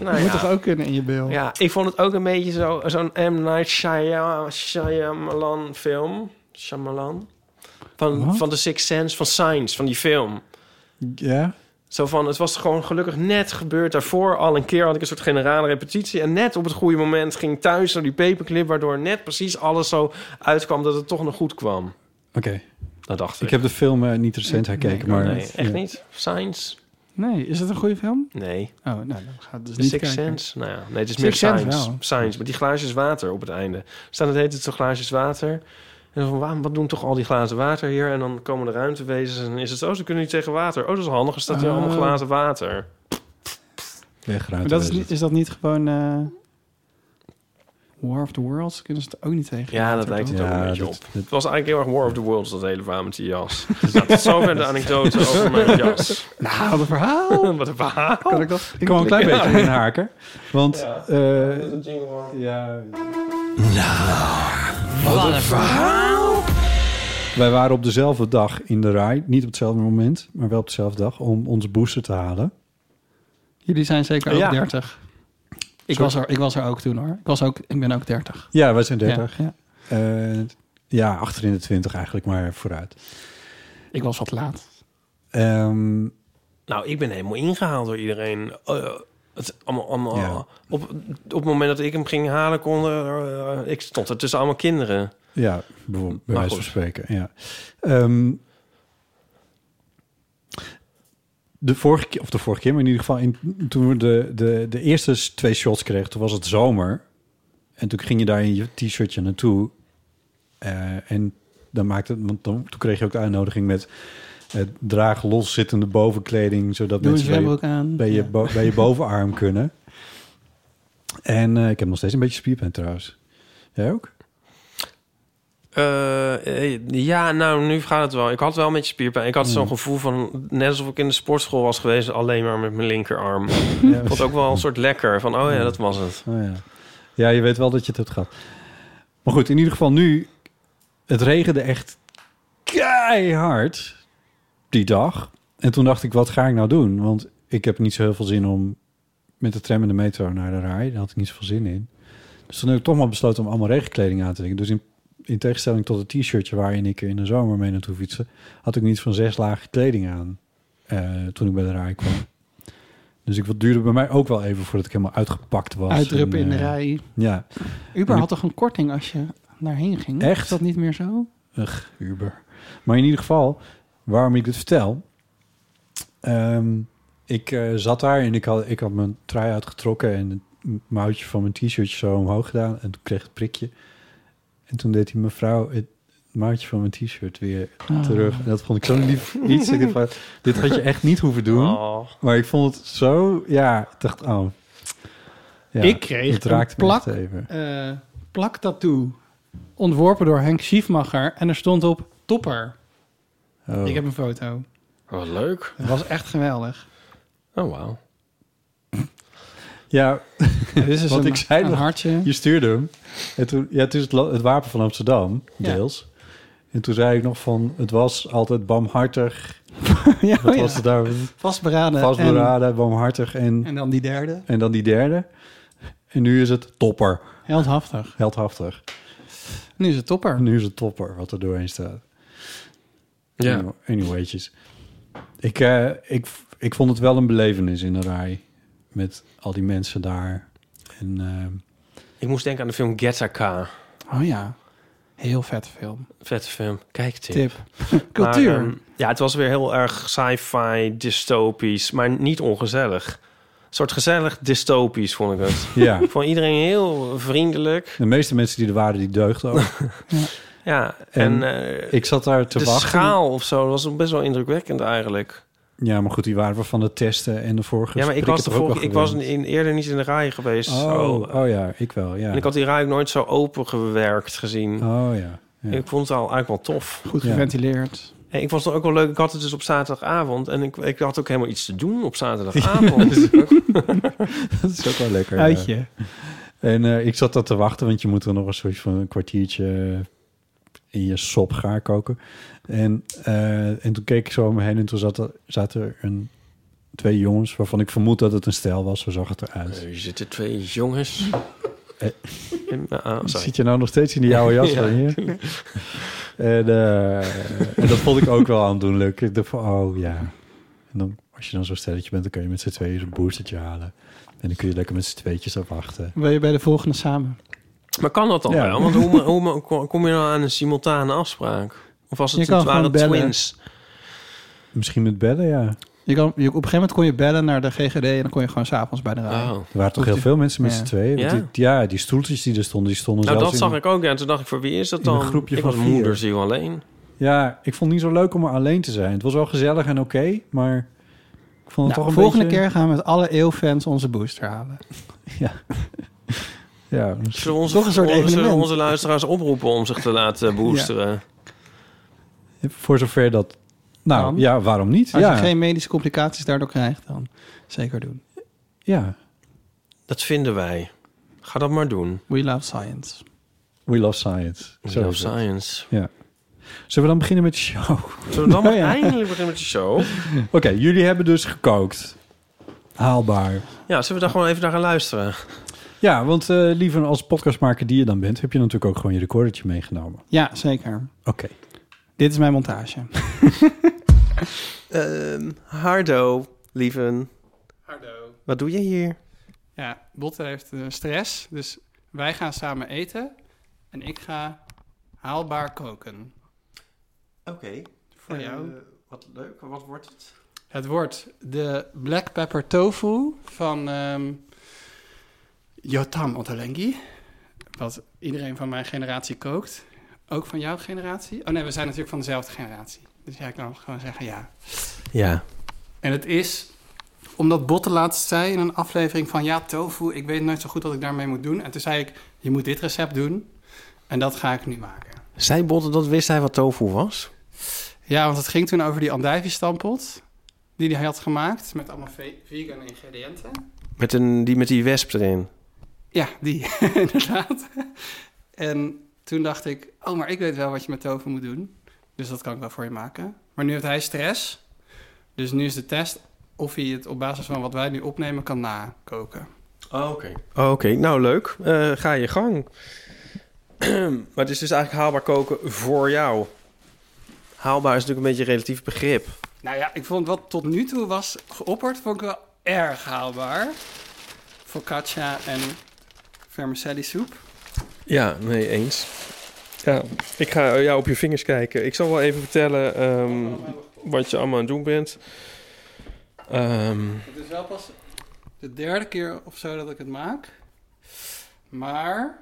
Speaker 3: nou
Speaker 1: Je moet
Speaker 3: ja.
Speaker 1: toch ook kunnen in je beeld?
Speaker 3: ja, ik vond het ook een beetje zo- zo'n M. Night Shyam- Shyamalan film. Shyamalan. Van,
Speaker 2: Wat?
Speaker 3: van The Sixth Sense, van Science, van die film.
Speaker 2: Ja.
Speaker 3: Zo van, het was gewoon gelukkig net gebeurd. Daarvoor al een keer had ik een soort generale repetitie. En net op het goede moment ging thuis naar die paperclip... waardoor net precies alles zo uitkwam dat het toch nog goed kwam.
Speaker 2: Oké.
Speaker 3: Dat dacht ik.
Speaker 2: Ik heb de film eh, niet recent herkeken, maar...
Speaker 3: Nee, echt
Speaker 2: Ja.
Speaker 3: niet. Science?
Speaker 1: Nee, is het een goede film?
Speaker 3: Nee.
Speaker 1: Oh, nou, dan gaat het dus
Speaker 3: The
Speaker 1: niet
Speaker 3: Sixth
Speaker 1: kijken.
Speaker 3: Sense? Nou ja, nee, het is
Speaker 1: Sixth
Speaker 3: meer
Speaker 1: Sense
Speaker 3: science.
Speaker 1: wel.
Speaker 3: Science, met die glaasjes water op het einde. Staan het heet het zo glaasjes water. En dan van, waarom, wat doen toch al die glazen water hier? En dan komen de ruimtewezens en dan is het zo, ze kunnen niet tegen water. Oh, dat is handig, er staat hier allemaal
Speaker 1: Oh.
Speaker 3: glazen water.
Speaker 2: Weg,
Speaker 1: Maar
Speaker 2: ruimte,
Speaker 1: dat is,
Speaker 2: wezen.
Speaker 1: niet, is dat niet gewoon... eh, War of the Worlds? Kunnen ze het ook niet tegen?
Speaker 3: Ja, dat lijkt het ook een
Speaker 2: Ja,
Speaker 3: beetje
Speaker 2: dit-
Speaker 3: op.
Speaker 2: dit-
Speaker 3: Het was eigenlijk heel erg War of the Worlds, dat hele verhaal met die jas. Dus dat is zover [LAUGHS] de anekdote over mijn jas.
Speaker 1: Nou, wat een verhaal.
Speaker 3: Wat een verhaal.
Speaker 1: Kan ik dat?
Speaker 2: Ik kan wel een klein beetje inhaken. Want...
Speaker 3: Ja.
Speaker 2: eh,
Speaker 3: Jingle.
Speaker 2: Ja. Nou, wat een verhaal! Wij waren op dezelfde dag in de rij. Niet op hetzelfde moment, maar wel op dezelfde dag. Om onze booster te halen.
Speaker 1: Jullie zijn zeker ook
Speaker 3: Ja.
Speaker 1: 30. Ik
Speaker 2: Sorry?
Speaker 1: was, er, ik was er ook toen hoor. Ik, was ook, ik ben ook 30.
Speaker 2: Ja, wij zijn 30.
Speaker 1: Ja, ja.
Speaker 2: Ja, ja achter in de 20 eigenlijk, maar vooruit.
Speaker 1: Ik was wat laat.
Speaker 2: Ehm,
Speaker 3: Nou, ik ben helemaal ingehaald door iedereen. Eh, het, allemaal, allemaal,
Speaker 2: Ja.
Speaker 3: op, op het moment dat ik hem ging halen, konden er, eh, ik stond er tussen allemaal kinderen.
Speaker 2: ja, bijvoorbeeld, bij
Speaker 3: Maar
Speaker 2: wijze van
Speaker 3: goed.
Speaker 2: spreken. Ja. Ehm, de vorige keer, of de vorige keer, maar in ieder geval... In, toen we de, de, de eerste twee shots kregen, toen was het zomer. En toen ging je daar in je t-shirtje naartoe. Eh, en dan maakte het, want dan, toen kreeg je ook de uitnodiging met eh, draag loszittende bovenkleding, zodat
Speaker 1: Doe een
Speaker 2: mensen bij je,
Speaker 1: zwembroek aan.
Speaker 2: bij, je
Speaker 1: Ja.
Speaker 2: bo- bij je bovenarm kunnen. En eh, ik heb nog steeds een beetje spierpijn trouwens.
Speaker 1: [CLEARS THROAT]
Speaker 2: Jij ook?
Speaker 3: Eh, eh, ja, nou, nu gaat het wel. Ik had wel een beetje spierpijn. Ik had zo'n gevoel van, net alsof ik in de sportschool was geweest, alleen maar met mijn linkerarm.
Speaker 2: Ja,
Speaker 3: Ik vond het ook wel een soort lekker, van oh ja, dat was het.
Speaker 2: Oh ja. ja, je weet wel dat je het hebt gehad. Maar goed, in ieder geval nu... Het regende echt keihard die dag. En toen dacht ik, wat ga ik nou doen? Want ik heb niet zo heel veel zin om met de tram en de metro naar de rij. Daar had ik niet zoveel zin in. Dus toen heb ik toch maar besloten om allemaal regenkleding aan te trekken. Dus in, in tegenstelling tot het t-shirtje waarin ik in de zomer mee naartoe fietste... had ik niet van zes lagen kleding aan eh, toen ik bij de rij kwam. Dus ik, het duurde bij mij ook wel even voordat ik helemaal uitgepakt was.
Speaker 1: Uitdruppen
Speaker 2: En,
Speaker 1: in de
Speaker 2: eh,
Speaker 1: rij.
Speaker 2: Ja,
Speaker 1: Uber had toch een korting als je daarheen ging?
Speaker 2: Echt?
Speaker 1: Is dat niet meer zo?
Speaker 2: Uber. Maar in ieder geval, waarom ik dit vertel. Ehm, ik eh, zat daar en ik had, ik had mijn trui uitgetrokken en het mouwtje van mijn t-shirtje zo omhoog gedaan. En toen kreeg ik het prikje. En toen deed die mevrouw het mouwtje van mijn t-shirt weer
Speaker 1: Ah.
Speaker 2: terug. En dat vond ik zo'n lief iets. Ik dacht van, dit had je echt niet hoeven doen.
Speaker 3: Oh.
Speaker 2: Maar ik vond het zo, ja, ik dacht, oh. Ja,
Speaker 1: ik kreeg
Speaker 2: het raakte
Speaker 1: een
Speaker 2: me
Speaker 1: plak,
Speaker 2: echt even.
Speaker 1: eh plak tattoo. Ontworpen door Henk Schiefmacher. En er stond op topper.
Speaker 2: Oh.
Speaker 1: Ik heb een foto.
Speaker 3: Wat leuk.
Speaker 1: Het was echt
Speaker 2: [LAUGHS]
Speaker 1: geweldig.
Speaker 3: Oh, wauw.
Speaker 2: Ja,
Speaker 1: Dit is dus
Speaker 2: Want
Speaker 1: een,
Speaker 2: ik zei
Speaker 1: een
Speaker 2: dat-
Speaker 1: hartje.
Speaker 2: Je stuurde hem. En toen, ja, het is het, la- het wapen van Amsterdam,
Speaker 1: Ja.
Speaker 2: deels. En toen zei ik nog van, het was
Speaker 1: [LAUGHS]
Speaker 2: altijd barmhartig.
Speaker 1: [LAUGHS] ja,
Speaker 2: Wat
Speaker 1: oh ja.
Speaker 2: was het daar?
Speaker 1: Vastberaden. en-
Speaker 2: Vastberaden, barmhartig en,
Speaker 1: En, dan die derde.
Speaker 2: en dan die derde. En nu is het topper,
Speaker 1: Heldhaftig.
Speaker 2: heldhaftig.
Speaker 1: Nu is het topper.
Speaker 2: En nu is het topper, wat er doorheen staat. Anyway- Anyway'tjes. Ik, eh, ik, ik vond het wel een belevenis in de rij. Met al die mensen daar. En ehm,
Speaker 3: Ik moest denken aan de film Gattaca.
Speaker 1: Oh ja, heel vette film.
Speaker 3: Vette film. Kijk, tip.
Speaker 1: Tip. [LAUGHS]
Speaker 3: Maar,
Speaker 1: Cultuur.
Speaker 3: ehm, ja, het was weer heel erg sci-fi, dystopisch, maar niet ongezellig. Een soort gezellig dystopisch vond
Speaker 2: [LAUGHS]
Speaker 3: ik het.
Speaker 2: Ja.
Speaker 3: Ik vond iedereen heel vriendelijk.
Speaker 2: De meeste mensen die er waren, die deugden ook.
Speaker 3: Ja, en,
Speaker 2: En
Speaker 3: eh,
Speaker 2: ik zat daar te
Speaker 3: de
Speaker 2: wachten.
Speaker 3: schaal of zo was best wel indrukwekkend eigenlijk.
Speaker 2: Ja, maar goed, die waren we van het testen en de vorige
Speaker 3: Ja, maar ik was, de
Speaker 2: toch ook
Speaker 3: vorige,
Speaker 2: wel
Speaker 3: ik was
Speaker 2: gewend.
Speaker 3: in, eerder niet in de rij geweest. zo.
Speaker 2: Oh, oh ja, ik wel, ja.
Speaker 3: En ik had die rij ook nooit zo open gewerkt gezien.
Speaker 2: Oh ja. [LAUGHS] ja.
Speaker 3: Ik vond het al eigenlijk wel tof.
Speaker 1: Goed geventileerd.
Speaker 3: En ik vond het ook wel leuk. Ik had het dus op zaterdagavond. En ik, ik had ook helemaal iets te doen op
Speaker 2: [LAUGHS]
Speaker 3: zaterdagavond.
Speaker 2: Dat is ook wel lekker. ja.
Speaker 1: Uitje.
Speaker 2: En eh, ik zat dat te wachten, want je moet er nog een soort van een kwartiertje eh, in je sop gaar koken. En, eh, en toen keek ik zo om me heen en toen zat er, zaten er een, twee jongens waarvan ik vermoed dat het een stijl was. Zo zag het eruit.
Speaker 3: Er zitten twee jongens. Eh, In- ah, sorry.
Speaker 2: Zit je nou nog steeds in die
Speaker 3: [LAUGHS]
Speaker 2: oude jas
Speaker 3: Ja.
Speaker 2: van hier? En, eh, en dat vond ik ook wel aandoenlijk. Ik dacht van, oh ja. En dan, als je dan zo'n stelletje bent, dan kan je met z'n tweeën een boostertje halen. En dan kun je lekker met z'n tweetjes op wachten.
Speaker 1: Ben je bij de volgende samen?
Speaker 3: Maar kan dat dan
Speaker 2: Ja.
Speaker 3: wel? Want hoe, hoe kom- kom je dan aan een simultane afspraak? Of was
Speaker 1: Je
Speaker 3: het
Speaker 1: kan
Speaker 3: het waren
Speaker 1: gewoon bellen.
Speaker 3: twins?
Speaker 2: Misschien met bellen, ja.
Speaker 1: Je kan, je, op een gegeven moment kon je bellen naar de GGD en dan kon je gewoon s'avonds bij de rij.
Speaker 3: Oh.
Speaker 2: Er waren toch heel veel mensen met
Speaker 1: Ja.
Speaker 2: z'n tweeën.
Speaker 3: Ja.
Speaker 2: Ja. Die, ja, die stoeltjes die er stonden, die stonden
Speaker 3: Nou,
Speaker 2: zelfs
Speaker 3: dat zag
Speaker 2: in-
Speaker 3: ik ook. Ja. En toen dacht ik, voor wie is dat
Speaker 2: in een
Speaker 3: dan?
Speaker 2: groepje
Speaker 3: ik
Speaker 2: van
Speaker 3: was
Speaker 2: vier.
Speaker 3: moederziel alleen.
Speaker 2: Ja, ik vond het niet zo leuk om er alleen te zijn. Het was wel gezellig en oké, maar ik vond
Speaker 1: Nou,
Speaker 2: het toch een
Speaker 1: volgende
Speaker 2: beetje...
Speaker 1: keer gaan we met alle eeuwfans onze booster halen.
Speaker 2: Ja,
Speaker 3: Zullen we onze,
Speaker 1: Toch een soort
Speaker 3: onze,
Speaker 1: evenement.
Speaker 3: onze luisteraars oproepen om zich te
Speaker 2: [LAUGHS]
Speaker 3: laten boosteren?
Speaker 2: voor zover dat... Nou,
Speaker 1: Kan.
Speaker 2: ja, waarom niet?
Speaker 1: Als
Speaker 2: Ja,
Speaker 1: je geen medische complicaties daardoor krijgt, dan zeker doen.
Speaker 2: ja,
Speaker 3: Dat vinden wij. Ga dat maar doen.
Speaker 1: We love science.
Speaker 2: we love science.
Speaker 3: We
Speaker 2: Zo
Speaker 3: love
Speaker 2: is het.
Speaker 3: science.
Speaker 2: Ja. Zullen we dan beginnen met de show? [LAUGHS]
Speaker 3: Zullen we dan maar
Speaker 2: Ja.
Speaker 3: eindelijk beginnen met de show?
Speaker 2: Oké, jullie hebben dus gekookt. Haalbaar.
Speaker 3: Ja, zullen we daar gewoon even naar gaan luisteren?
Speaker 2: Ja, want eh liever als podcastmaker die je dan bent... heb je natuurlijk ook gewoon je recordertje meegenomen.
Speaker 1: Ja, zeker.
Speaker 2: Oké.
Speaker 1: Dit is mijn montage.
Speaker 3: hardo, lieven. Hardo. Wat doe je hier?
Speaker 1: Ja, Botte heeft eh, stress, dus wij gaan samen eten. En ik ga haalbaar koken.
Speaker 3: Oké.
Speaker 1: Voor jou.
Speaker 3: Eh, wat leuk. Wat wordt het?
Speaker 1: Het wordt de black pepper tofu van ehm, Yotam Ottolenghi. Wat iedereen van mijn generatie kookt. Ook van jouw generatie. Oh nee, we zijn natuurlijk van dezelfde generatie. Dus jij kan gewoon zeggen ja.
Speaker 3: Ja.
Speaker 1: En het is, omdat Botte laatst zei in een aflevering van... ja, tofu, ik weet nooit zo goed wat ik daarmee moet doen. En toen zei ik, je moet dit recept doen. En dat ga ik nu maken.
Speaker 3: Zij Botte dat wist hij wat tofu was?
Speaker 1: Ja, want het ging toen over die andijvie-stampot... die hij had gemaakt met allemaal ve- vegan ingrediënten.
Speaker 3: Met een, die met die wesp erin.
Speaker 1: Ja, die, [LAUGHS] inderdaad. en toen dacht ik, oh, maar ik weet wel wat je met tofu moet doen. Dus dat kan ik wel voor je maken. Maar nu heeft hij stress. Dus nu is de test of hij het op basis van wat wij nu opnemen kan nakoken.
Speaker 3: Oh, oké. Oh, oké. Nou, leuk. Eh, ga je gang. [CLEARS THROAT] maar het is dus eigenlijk haalbaar koken voor jou. Haalbaar is natuurlijk een beetje een relatief begrip.
Speaker 1: Nou ja, ik vond wat tot nu toe was geopperd, vond ik wel erg haalbaar. Focaccia en vermicelli soep.
Speaker 3: Ja, nee, eens. Ja, ik ga jou op je vingers kijken. Ik zal wel even vertellen ehm, wat je allemaal aan het doen bent. Ehm,
Speaker 1: Het is wel pas de derde keer of zo dat ik het maak. Maar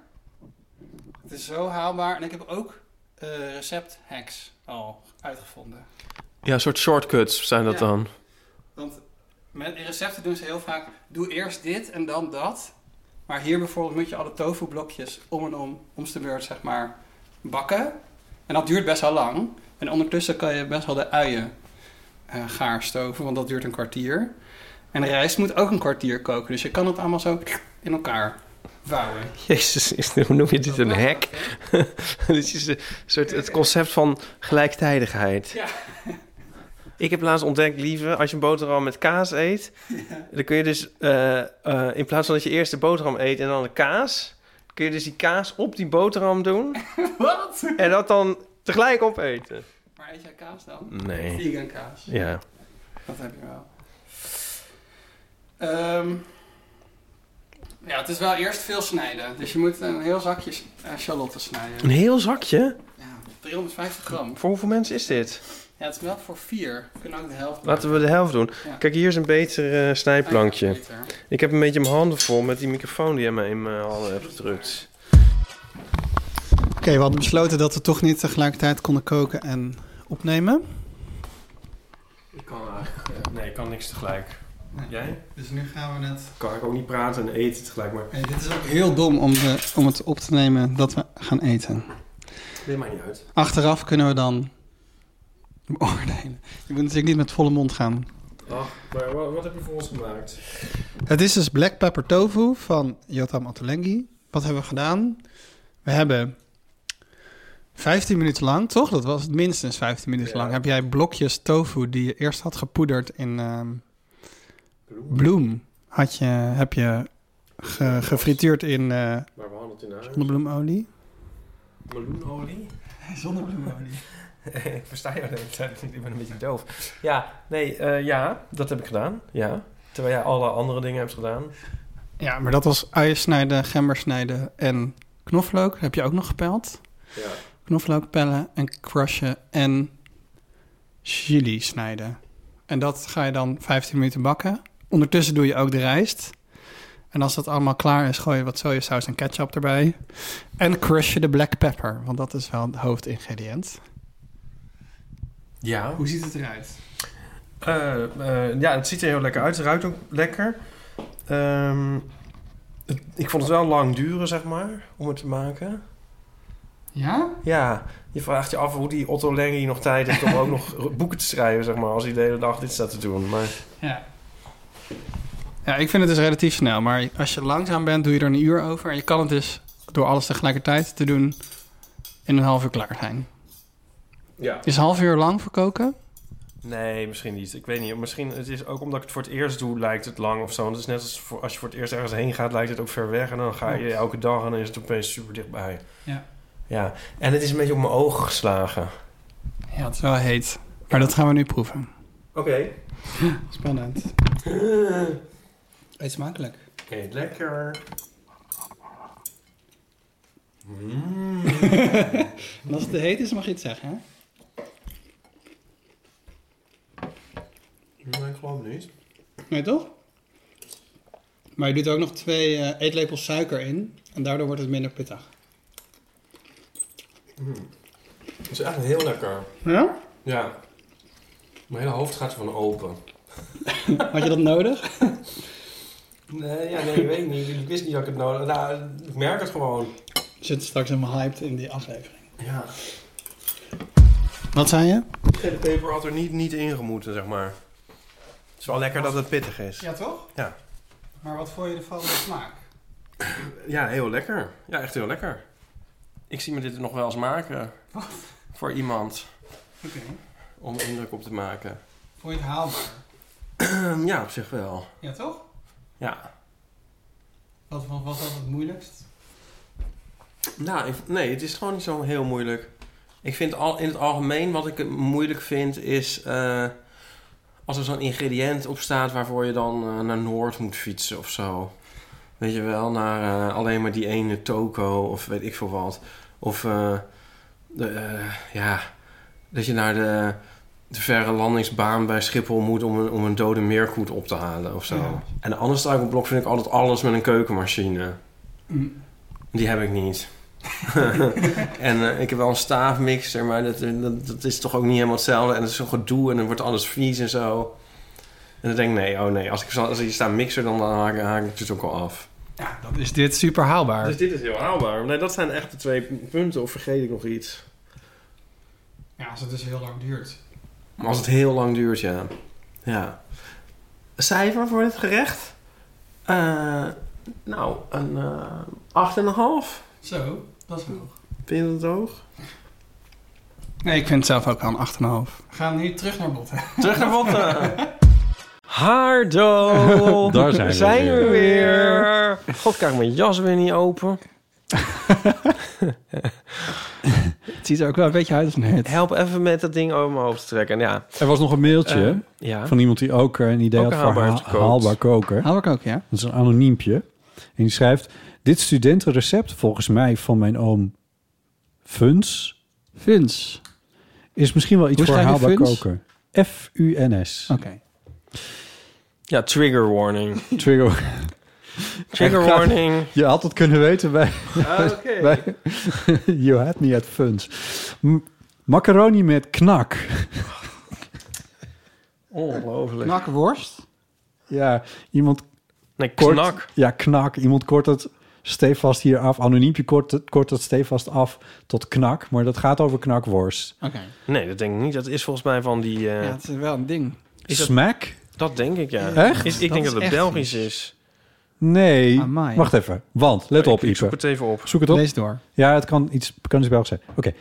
Speaker 1: het is zo haalbaar. En ik heb ook eh recept hacks al uitgevonden.
Speaker 3: ja, een soort shortcuts zijn dat
Speaker 1: Ja.
Speaker 3: dan.
Speaker 1: Want met in recepten doen ze heel vaak: doe eerst dit en dan dat. Maar hier bijvoorbeeld moet je alle tofu blokjes om en om, omste beurt zeg maar, bakken. En dat duurt best wel lang. En ondertussen kan je best wel de uien eh, gaar stoven, want dat duurt een kwartier. En rijst moet ook een kwartier koken, dus je kan het allemaal zo in elkaar vouwen.
Speaker 3: Jezus, is dit- hoe noem je dit een [LAUGHS] hack? dit is een soort het concept van gelijktijdigheid.
Speaker 1: Ja.
Speaker 3: Ik heb laatst ontdekt, lieve, als je een boterham met kaas eet, dan kun je dus eh, eh, in plaats van dat je eerst de boterham eet en dan de kaas, kun je dus die kaas op die boterham doen
Speaker 1: [LAUGHS] Wat?
Speaker 3: en dat dan tegelijk opeten.
Speaker 1: Maar eet jij kaas dan?
Speaker 3: Nee.
Speaker 1: Vegan kaas.
Speaker 3: Ja.
Speaker 1: Dat heb je wel. Ehm,
Speaker 5: Ja, het is wel eerst veel snijden. Dus je moet een heel zakje eh, Charlotte snijden.
Speaker 3: Een heel zakje?
Speaker 5: 350 gram.
Speaker 3: Voor hoeveel mensen is dit?
Speaker 5: Ja, het is wel voor vier. We kunnen ook de helft
Speaker 3: Laten we de helft doen.
Speaker 5: Ja.
Speaker 3: Kijk, hier is een beter eh, snijplankje.
Speaker 5: Ah, ja, beter.
Speaker 3: Ik heb een beetje mijn handen vol met die microfoon die jij me in mijn handen hebt gedrukt.
Speaker 1: Oké, we hadden besloten dat we toch niet tegelijkertijd konden koken en opnemen.
Speaker 3: Ik kan eigenlijk... nee, ik kan niks tegelijk. Jij?
Speaker 1: Dus nu gaan we net...
Speaker 3: Kan ik ook niet praten en eten tegelijk, maar...
Speaker 1: Nee, dit is ook Heel dom om, de- om het op te nemen dat we gaan eten.
Speaker 3: Nee, maakt niet uit.
Speaker 1: Achteraf kunnen we dan [LAUGHS] beoordelen. Je moet natuurlijk niet met volle mond gaan.
Speaker 3: Ach, maar wat, wat heb je voor ons gemaakt?
Speaker 1: Het is dus black pepper tofu van Yotam Ottolenghi. Wat hebben we gedaan? We hebben 15 minuten lang, toch? Dat was het minstens 15 minuten lang. Heb jij blokjes tofu die je eerst had gepoederd in ehm, bloem. Had je, heb je ge- gefrituurd in eh
Speaker 3: Maar we hadden het in huis.
Speaker 1: zonnebloemolie.
Speaker 3: [LAUGHS] Meloenolie?
Speaker 1: Zonnebloemolie.
Speaker 3: [LAUGHS] ik versta jou de hele tijd niet, ik ben een beetje doof. Ja, nee, eh, ja, dat heb ik gedaan, ja. Terwijl jij alle andere dingen hebt gedaan.
Speaker 1: Ja, maar dat was uien snijden, gember snijden en knoflook. Heb je ook nog gepeld?
Speaker 3: Ja.
Speaker 1: Knoflook pellen en crushen en chili snijden. En dat ga je dan 15 minuten bakken. Ondertussen doe je ook de rijst. En als dat allemaal klaar is, gooi je wat sojasaus en ketchup erbij. En crush je de black pepper, want dat is wel het hoofdingrediënt.
Speaker 3: Ja.
Speaker 1: Hoe ziet het eruit?
Speaker 3: Eh, ja, het ziet er heel lekker uit. Het ruikt ook lekker. Ehm, het- ik vond het wel lang duren, zeg maar, om het te maken.
Speaker 1: Ja?
Speaker 3: Ja, je vraagt je af hoe die Otto Lengi nog tijd heeft om ook nog [LAUGHS] boeken te schrijven, zeg maar, als hij de hele dag dit staat te doen. Maar
Speaker 1: Ja. Ja, ik vind het dus relatief snel. Maar als je langzaam bent, doe je er een uur over. En je kan het dus door alles tegelijkertijd te doen in een half uur klaar zijn.
Speaker 3: ja.
Speaker 1: Is een half uur lang voor koken?
Speaker 3: Nee, misschien niet. Ik weet niet. Misschien het is ook omdat ik het voor het eerst doe, lijkt het lang of zo. Want het is net als voor, als je voor het eerst ergens heen gaat, lijkt het ook ver weg. En dan ga je
Speaker 1: Klopt.
Speaker 3: elke dag en dan is het opeens super dichtbij.
Speaker 1: Ja.
Speaker 3: Ja. En het is een beetje op mijn ogen geslagen.
Speaker 1: Ja, het is wel heet. Maar dat gaan we nu proeven.
Speaker 3: Oké.
Speaker 1: Spannend. [LAUGHS] Eet smakelijk.
Speaker 3: Eet lekker.
Speaker 1: En als het te heet is, mag je het zeggen. Hè?
Speaker 3: Nee, ik geloof niet.
Speaker 1: Nee, toch? Maar je doet er ook nog twee eh, eetlepels suiker in. En daardoor wordt het minder pittig.
Speaker 3: Het is echt heel lekker.
Speaker 1: Ja?
Speaker 3: Ja. Mijn hele hoofd gaat ervan open.
Speaker 1: Had je dat nodig?
Speaker 3: Nee, ja, nee, ik weet niet. Ik wist niet dat ik het nodig had. Nou, ik merk het gewoon.
Speaker 1: Ik zit straks helemaal hyped in die aflevering.
Speaker 3: Ja.
Speaker 1: Wat zei je?
Speaker 3: De peper had er niet, niet in gemoeten, zeg maar. Het is wel lekker dat het pittig is.
Speaker 1: Ja, toch?
Speaker 3: Ja.
Speaker 1: Maar wat vond je ervan de smaak?
Speaker 3: Ja, heel lekker. Ja, echt heel lekker. Ik zie me dit nog wel eens maken. Voor iemand.
Speaker 1: Oké.
Speaker 3: Om indruk op te maken.
Speaker 1: Vond je het haalbaar?
Speaker 3: Ehm, ja, op zich wel.
Speaker 1: Ja, toch?
Speaker 3: Ja.
Speaker 1: Wat was dat het moeilijkst?
Speaker 3: Nou, ik- nee, het is gewoon niet zo heel moeilijk. Ik vind al, in het algemeen wat ik het moeilijk vind is... eh, als er zo'n ingrediënt op staat waarvoor je dan eh, naar Noord moet fietsen of zo. Weet je wel, naar eh, alleen maar die ene toko of weet ik veel wat. Of eh, de, eh, ja, dat je naar de, de verre landingsbaan bij Schiphol moet om een, om een dode meerkoet op te halen of zo.
Speaker 1: Ja.
Speaker 3: En de andere struikelblok vind ik altijd alles met een keukenmachine.
Speaker 1: Mm.
Speaker 3: Die heb ik niet. [LAUGHS] en eh, ik heb wel een staafmixer, maar dat, eh, dat, dat is toch ook niet helemaal hetzelfde. En dat is zo'n gedoe en dan wordt alles vies en zo. En dan denk ik, nee, oh nee, als ik, zo- als ik sta mixer, dan haak, haak ik het ook al af.
Speaker 1: Dan is dit super haalbaar.
Speaker 3: Dus dit is heel haalbaar. Nee, dat zijn echt de twee punten, of vergeet ik nog iets?
Speaker 1: Ja, als het dus heel lang duurt.
Speaker 3: Maar als het heel lang duurt, ja. Ja. Cijfer voor dit gerecht? Eh, nou, een eh, 8,5.
Speaker 1: Zo, dat is hoog.
Speaker 3: Vind je dat hoog?
Speaker 1: Nee, ik vind het zelf ook aan 8,5. We gaan nu terug naar botten.
Speaker 3: Terug naar botten. [LAUGHS] Hardo!
Speaker 2: Daar zijn we
Speaker 3: we weer. God, kijk, mijn jas weer niet open.
Speaker 1: Het ziet er ook wel een beetje uit als een hit.
Speaker 3: Help even met dat ding over mijn hoofd te trekken. Ja.
Speaker 2: Er was nog een mailtje
Speaker 3: Eh, ja.
Speaker 2: van iemand die ook eh, een idee
Speaker 3: Ook
Speaker 2: had voor
Speaker 3: haalbaar
Speaker 2: haal-
Speaker 3: gekookt.
Speaker 2: haalbaar koken.
Speaker 1: Hou Oh, ik ook, ja?
Speaker 2: Dat is een anoniempje. En die schrijft... Dit studentenrecept, volgens mij van mijn oom Funs...
Speaker 1: Funs.
Speaker 2: Is misschien wel iets
Speaker 1: Hoe
Speaker 2: voor
Speaker 1: schrijf je
Speaker 2: haalbaar
Speaker 1: Funs?
Speaker 2: koken. F-U-N-S.
Speaker 3: Oh.
Speaker 1: Oké.
Speaker 3: Ja, trigger warning.
Speaker 2: Trigger,
Speaker 3: Trigger warning.
Speaker 2: Je had het kunnen weten bij...
Speaker 3: Ah, oké.
Speaker 2: [LAUGHS] bij you had me at Funs. M- macaroni met knak.
Speaker 3: Ongelooflijk.
Speaker 1: Knakworst?
Speaker 2: Ja, iemand...
Speaker 3: Nee,
Speaker 2: kort-
Speaker 3: knak.
Speaker 2: Ja, knak. Iemand kort het stevast hier af. Anoniempje kort, het- kort het stevast af tot knak. Maar dat gaat over knakworst.
Speaker 1: Oké.
Speaker 3: Nee, dat denk ik niet. Dat is volgens mij van die... eh,
Speaker 1: Ja, het is wel een ding.
Speaker 3: is dat-
Speaker 2: Smack?
Speaker 3: Dat denk ik, ja.
Speaker 2: Echt?
Speaker 3: Is, ik
Speaker 2: Dat
Speaker 3: denk
Speaker 2: is
Speaker 3: dat het
Speaker 2: echt
Speaker 3: Belgisch is.
Speaker 2: Nee.
Speaker 1: Amai.
Speaker 2: Wacht even. Want, let op, Ipe.
Speaker 3: Zoek het even op.
Speaker 2: Zoek het op.
Speaker 1: Lees door.
Speaker 2: Ja, het kan iets, kan iets Belgisch zijn. Oké.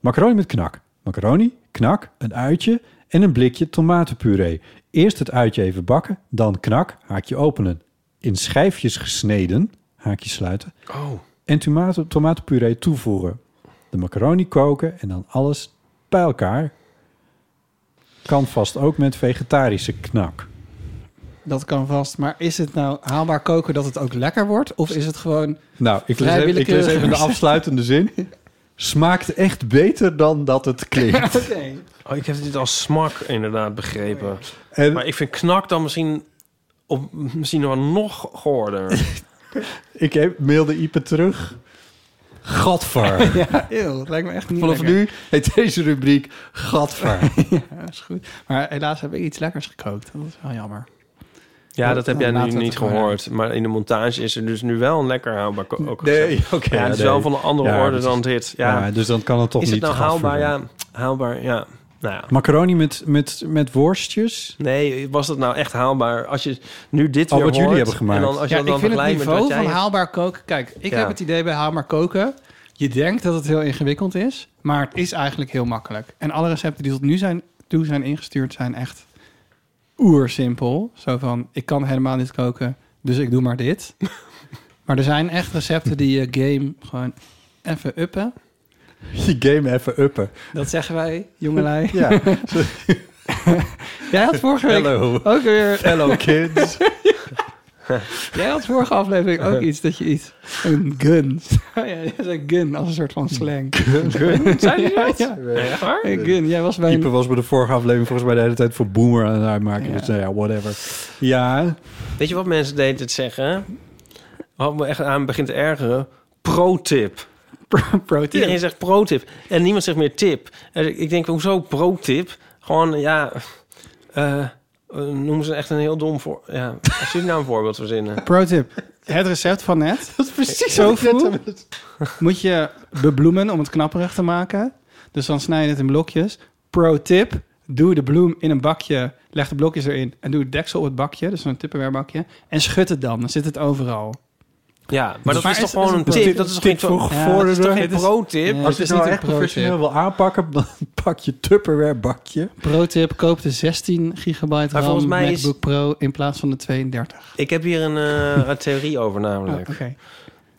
Speaker 2: Macaroni met knak. Macaroni, knak, een uitje en een blikje tomatenpuree. Eerst het uitje even bakken, dan knak, haakje openen. In schijfjes gesneden, haakje sluiten.
Speaker 3: Oh.
Speaker 2: En tomaten, tomatenpuree toevoegen. De macaroni koken en dan alles bij elkaar. Kan vast ook met vegetarische knak.
Speaker 1: Dat kan vast. Maar is het nou haalbaar koken dat het ook lekker wordt? Of is het [LAUGHS] gewoon...
Speaker 2: Nou, ik lees,
Speaker 1: Vrij
Speaker 2: even, ik lees
Speaker 1: willekeurig.
Speaker 2: even de afsluitende
Speaker 1: [LAUGHS]
Speaker 2: zin. Smaakt echt beter dan dat het klinkt.
Speaker 3: Oh, ik heb dit als smak inderdaad begrepen.
Speaker 2: En-
Speaker 3: maar ik vind knak dan misschien, op, misschien wel nog gehoorder.
Speaker 2: Ik heb, mailde Ipe terug.
Speaker 3: [LAUGHS]
Speaker 2: Gadver.
Speaker 1: Ja, eeuw, dat lijkt me echt niet
Speaker 2: Vanaf
Speaker 1: lekker.
Speaker 2: nu heet deze rubriek Gadver.
Speaker 1: [LAUGHS] Ja, is goed. Maar helaas heb ik iets lekkers gekookt. Dat is wel jammer.
Speaker 3: [LAUGHS] ja, dat heb jij
Speaker 1: Nou,
Speaker 3: nu
Speaker 1: laten we
Speaker 3: niet
Speaker 1: het gewoon
Speaker 3: gehoord. Maar in de montage is er dus nu wel een lekker haalbaar ko- ook
Speaker 2: Nee,
Speaker 3: recept.
Speaker 2: oké.
Speaker 3: Ja, het is wel van een andere
Speaker 2: Ja,
Speaker 3: orde
Speaker 2: dat
Speaker 3: dan
Speaker 2: is-
Speaker 3: dit. [LAUGHS] Ja.
Speaker 2: Ja, dus dan kan het toch
Speaker 3: is het
Speaker 2: niet
Speaker 3: nou haalbaar?
Speaker 2: gadver
Speaker 3: Ja, haalbaar, ja. Nou ja.
Speaker 2: Macaroni met, met, met worstjes?
Speaker 3: Nee, was dat nou echt haalbaar? Als je nu dit
Speaker 2: Oh,
Speaker 3: weer
Speaker 2: wat jullie
Speaker 3: hoort,
Speaker 2: hebben gemaakt.
Speaker 3: En dan als
Speaker 1: Ja,
Speaker 3: je dat dan
Speaker 1: ik vind het
Speaker 3: vergelijkt met
Speaker 1: niveau
Speaker 3: wat jij
Speaker 1: van
Speaker 3: hebt-
Speaker 1: haalbaar koken... Kijk, ik
Speaker 3: Ja.
Speaker 1: heb het idee bij haalbaar koken... Je denkt dat het heel ingewikkeld is, maar het is eigenlijk heel makkelijk. En alle recepten die tot nu zijn, toe zijn ingestuurd zijn echt oersimpel. Zo van, ik kan helemaal niet koken, dus ik doe maar
Speaker 3: [LAUGHS]
Speaker 1: dit. maar er zijn echt recepten die je game gewoon even uppen.
Speaker 2: Je game even uppen.
Speaker 1: Dat zeggen wij,
Speaker 3: [LAUGHS]
Speaker 1: jongelui.
Speaker 2: Ja. [LAUGHS]
Speaker 1: Jij had vorige week
Speaker 2: Hello.
Speaker 1: ook weer...
Speaker 2: Hello [LAUGHS] kids.
Speaker 1: Jij had vorige aflevering ook iets dat je iets... Een gun. [LAUGHS] ja, jij zei gun als een soort
Speaker 3: [LAUGHS]
Speaker 1: van slang.
Speaker 3: Zei je dat?
Speaker 1: Ja.
Speaker 3: Echt waar?
Speaker 1: Hey, gun, jij was bij...
Speaker 2: Ipe was bij de vorige aflevering volgens mij de hele tijd voor boomer aan het uitmaken.
Speaker 1: Ja.
Speaker 2: Dus nou ja, whatever. Ja.
Speaker 3: Weet je wat mensen deden het zeggen? Wat me echt aan begint te ergeren. Pro-tip.
Speaker 1: Pro- Pro tip.
Speaker 3: Iedereen zegt pro-tip. En niemand zegt meer tip. En ik denk, hoezo pro-tip? Gewoon, ja... eh, eh, noemen ze echt een heel dom voor... Ja, als jullie nou een voorbeeld verzinnen.
Speaker 1: Pro tip. Het recept van [LAUGHS] net.
Speaker 2: Dat is precies
Speaker 1: Zo moet je bebloemen om het knapperig te maken. Dus dan snij je het in blokjes. Pro tip. Doe de bloem in een bakje. Leg de blokjes erin. En doe het deksel op het bakje. Dus zo'n Tupperware bakje. En schud het dan. Dan zit het overal.
Speaker 3: Ja, maar dat
Speaker 1: Maar
Speaker 3: is
Speaker 1: is-
Speaker 3: toch gewoon
Speaker 1: is
Speaker 3: een
Speaker 1: het
Speaker 3: tip?
Speaker 1: pro-tip?
Speaker 3: Dat is toch
Speaker 2: Tip
Speaker 3: geen pro-
Speaker 2: vroeg
Speaker 1: Ja,
Speaker 3: dat is toch
Speaker 2: vorderen.
Speaker 3: geen
Speaker 1: het is-
Speaker 3: pro-tip?
Speaker 1: Ja,
Speaker 2: Als je
Speaker 1: het is
Speaker 2: het nou
Speaker 1: niet
Speaker 2: echt
Speaker 1: een pro-tip.
Speaker 2: professioneel wil aanpakken, [LAUGHS] dan pak je Tupperware bakje.
Speaker 1: Pro tip. Koop de 16 gigabyte
Speaker 3: Maar volgens
Speaker 1: RAM
Speaker 3: mij is-
Speaker 1: MacBook Pro in plaats van de 32.
Speaker 3: Ik heb hier een, eh, een theorie over
Speaker 1: Oh,
Speaker 3: namelijk.
Speaker 1: Oké.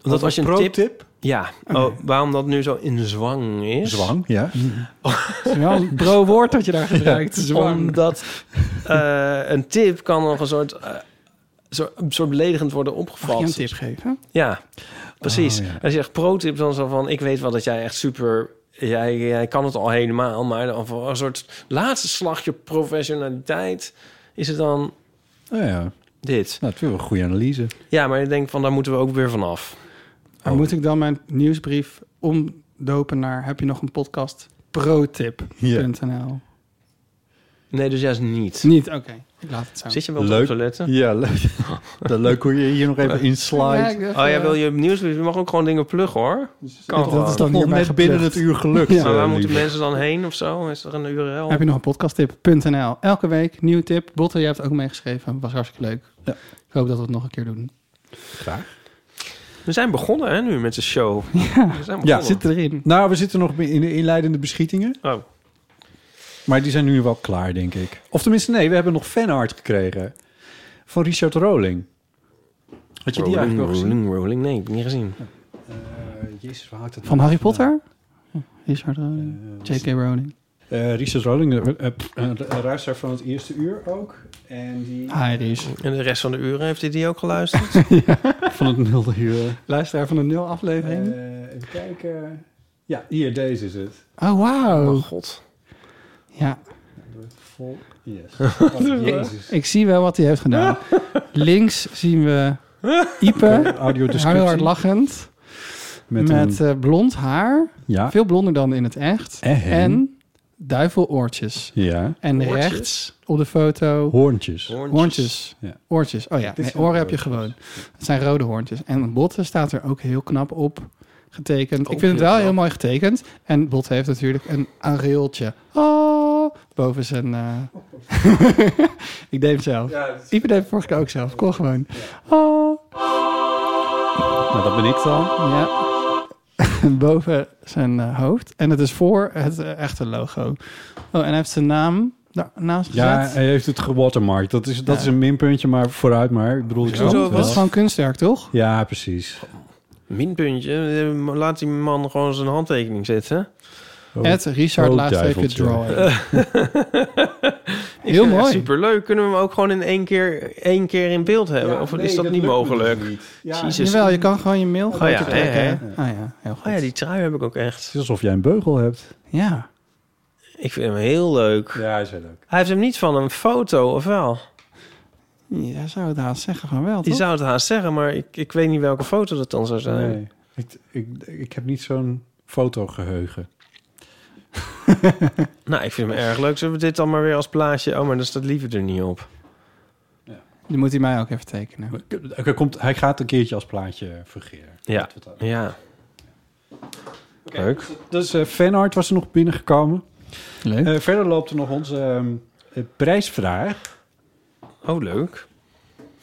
Speaker 3: Omdat als je een tip...
Speaker 2: Pro-tip.
Speaker 3: Ja, oh, waarom dat nu zo in zwang is?
Speaker 2: Zwang, ja.
Speaker 3: Mm.
Speaker 1: Het is wel een pro woord dat je daar [LAUGHS] gebruikt. Zwang.
Speaker 3: Omdat eh, een tip kan nog een soort, eh, zo, een soort beledigend worden
Speaker 1: Mag je een
Speaker 3: opgevat.
Speaker 1: tip geven?
Speaker 3: Ja, precies.
Speaker 2: Oh, ja.
Speaker 3: Als je zegt pro-tip, dan zo van... ik weet wel dat jij echt super... Jij, jij kan het al helemaal, maar dan voor een soort laatste slagje professionaliteit... is het dan
Speaker 2: Nou ja, nou,
Speaker 3: dit.
Speaker 2: het is wel een goede analyse.
Speaker 3: Ja, maar ik denk van daar moeten we ook weer vanaf.
Speaker 1: Maar moet ik dan mijn nieuwsbrief omdopen naar... heb je nog een podcast? protip.nl
Speaker 3: Nee, dus juist niet.
Speaker 1: Niet, oké. Ik laat het zo.
Speaker 3: Zit je wel
Speaker 2: Leuk.
Speaker 3: op te letten?
Speaker 2: Ja, leuk. [LAUGHS] Dat leuk hoe je hier nog even in
Speaker 1: Ja,
Speaker 2: slide.
Speaker 1: ik dacht,
Speaker 3: Oh, jij
Speaker 1: eh,
Speaker 3: wil je nieuwsbrief... je mag ook gewoon dingen pluggen, hoor. Kan
Speaker 1: dat is
Speaker 3: gewoon.
Speaker 1: dan
Speaker 2: Nog
Speaker 1: hierbij
Speaker 2: net
Speaker 1: geplukt.
Speaker 2: binnen het uur gelukt.
Speaker 1: Ja.
Speaker 2: eh,
Speaker 3: Maar waar moeten
Speaker 2: lieve.
Speaker 3: mensen dan heen of zo? Is er een URL?
Speaker 1: Heb je nog een podcasttip.nl. Elke week, nieuwe tip. Botte, jij hebt ook meegeschreven. Was hartstikke leuk.
Speaker 2: Ja.
Speaker 1: Ik hoop dat we het nog een keer doen.
Speaker 3: We zijn begonnen, hè, nu met de show. We zijn
Speaker 2: Ja,
Speaker 3: begonnen.
Speaker 1: Zit erin.
Speaker 2: Nou, we zitten nog in de inleidende beschietingen.
Speaker 3: Oh.
Speaker 2: Maar die zijn nu wel klaar, denk ik. Of tenminste, nee, we hebben nog fanart gekregen. Van Richard Rowling. Had je die
Speaker 3: rolling,
Speaker 2: eigenlijk wel gezien?
Speaker 3: rolling, rolling. Nee, ik heb het niet gezien.
Speaker 2: Eh, Jezus, waar houdt het
Speaker 1: Van
Speaker 2: nou
Speaker 1: Harry
Speaker 2: vandaan?
Speaker 1: Potter? Ja, Richard Rowling. J.K. Rowling.
Speaker 2: Eh Richard Rolling, de eh, pff, een luisteraar van het eerste uur ook. En die...
Speaker 1: Hi, Ries. [LAUGHS]
Speaker 3: En de rest van de uren heeft hij die ook geluisterd?
Speaker 1: Van het nulde uur. Luisteraar van de nul aflevering.
Speaker 2: Eh, even kijken. Ja, hier, deze is het.
Speaker 1: oh, wauw.
Speaker 3: Oh, god.
Speaker 1: Ja.
Speaker 2: Vol. [LAUGHS] Yes.
Speaker 1: Ik, ik zie wel wat hij heeft gedaan. Links zien we Ipe,
Speaker 2: Oké, audiodescriptie.
Speaker 1: heel hard lachend.
Speaker 2: Met
Speaker 1: Met, eh, blond haar.
Speaker 2: Ja.
Speaker 1: Veel blonder dan in het echt.
Speaker 2: En?
Speaker 1: en duiveloortjes.
Speaker 2: Ja.
Speaker 1: En
Speaker 3: Oortjes?
Speaker 1: rechts op de foto...
Speaker 2: Hoorntjes.
Speaker 3: Hoorntjes.
Speaker 1: Hoortjes.
Speaker 2: Ja.
Speaker 1: Oortjes. Oh ja,
Speaker 2: is
Speaker 1: nee,
Speaker 2: geen
Speaker 1: oren heb je
Speaker 2: oortjes.
Speaker 1: gewoon. Het zijn rode hoortjes. En botten staat er ook heel knap op getekend.
Speaker 3: Ook
Speaker 1: Ik vind het
Speaker 3: heel
Speaker 1: wel
Speaker 3: knap.
Speaker 1: heel mooi getekend. En Bot heeft natuurlijk een areoltje. Oh, boven zijn... eh, [LAUGHS] ik deed hem zelf. Ipe deed hem vorige keer ook zelf. Kom gewoon. Oh,
Speaker 2: Nou, dat ben ik dan.
Speaker 1: ja. [LAUGHS] boven zijn eh, hoofd. En het is voor het eh, echte logo. Oh, en hij heeft zijn naam daarnaast gezet.
Speaker 2: Ja, hij heeft het gewatermarkt. Dat is, dat
Speaker 1: Ja.
Speaker 2: is een minpuntje, maar vooruit maar. Ik bedoel, ik snap
Speaker 3: Hoezo,
Speaker 2: het wel.
Speaker 1: dat is gewoon kunstwerk, toch?
Speaker 2: Ja, precies.
Speaker 3: Minpuntje. Eh, Laat die man gewoon zijn handtekening zetten.
Speaker 2: Oh.
Speaker 1: Het Richard
Speaker 2: Oh,
Speaker 1: Laagstreepje
Speaker 2: duiveltje. [LAUGHS]
Speaker 1: Drawing. Heel mooi.
Speaker 3: Superleuk. Kunnen we hem ook gewoon in één keer, één keer in beeld hebben? Eh, of is dat niet mogelijk?
Speaker 2: dus Ja,
Speaker 3: Jezus. Oh
Speaker 1: Jawel, je kan gewoon je mail groter
Speaker 3: ja,
Speaker 1: trekken.
Speaker 3: hè,
Speaker 1: Ah ja, heel goed.
Speaker 3: Oh ja, die trui heb ik ook echt.
Speaker 2: Het is alsof jij een beugel hebt.
Speaker 1: Ja.
Speaker 3: Ik vind hem heel leuk.
Speaker 2: Ja, is wel leuk.
Speaker 3: Hij heeft hem niet van een foto, of wel?
Speaker 1: Ja, zou het haast zeggen van wel,
Speaker 3: Je
Speaker 1: toch?
Speaker 3: zou het haast zeggen, maar ik, ik weet niet welke foto dat dan zou zijn.
Speaker 2: Nee. Ik, ik, ik heb niet zo'n fotogeheugen.
Speaker 3: Nou, ik vind hem erg leuk. Zullen we dit dan maar weer als plaatje... Oh, maar dan staat liever er niet op.
Speaker 1: Die moet hij mij ook even tekenen.
Speaker 2: Hij, komt, hij gaat een keertje als plaatje fungeren.
Speaker 3: Ja. Ja. Leuk.
Speaker 2: Dus eh, fanart was er nog binnengekomen.
Speaker 1: Leuk.
Speaker 2: Eh, verder loopt er nog onze ehm, eh, prijsvraag
Speaker 3: Oh, leuk.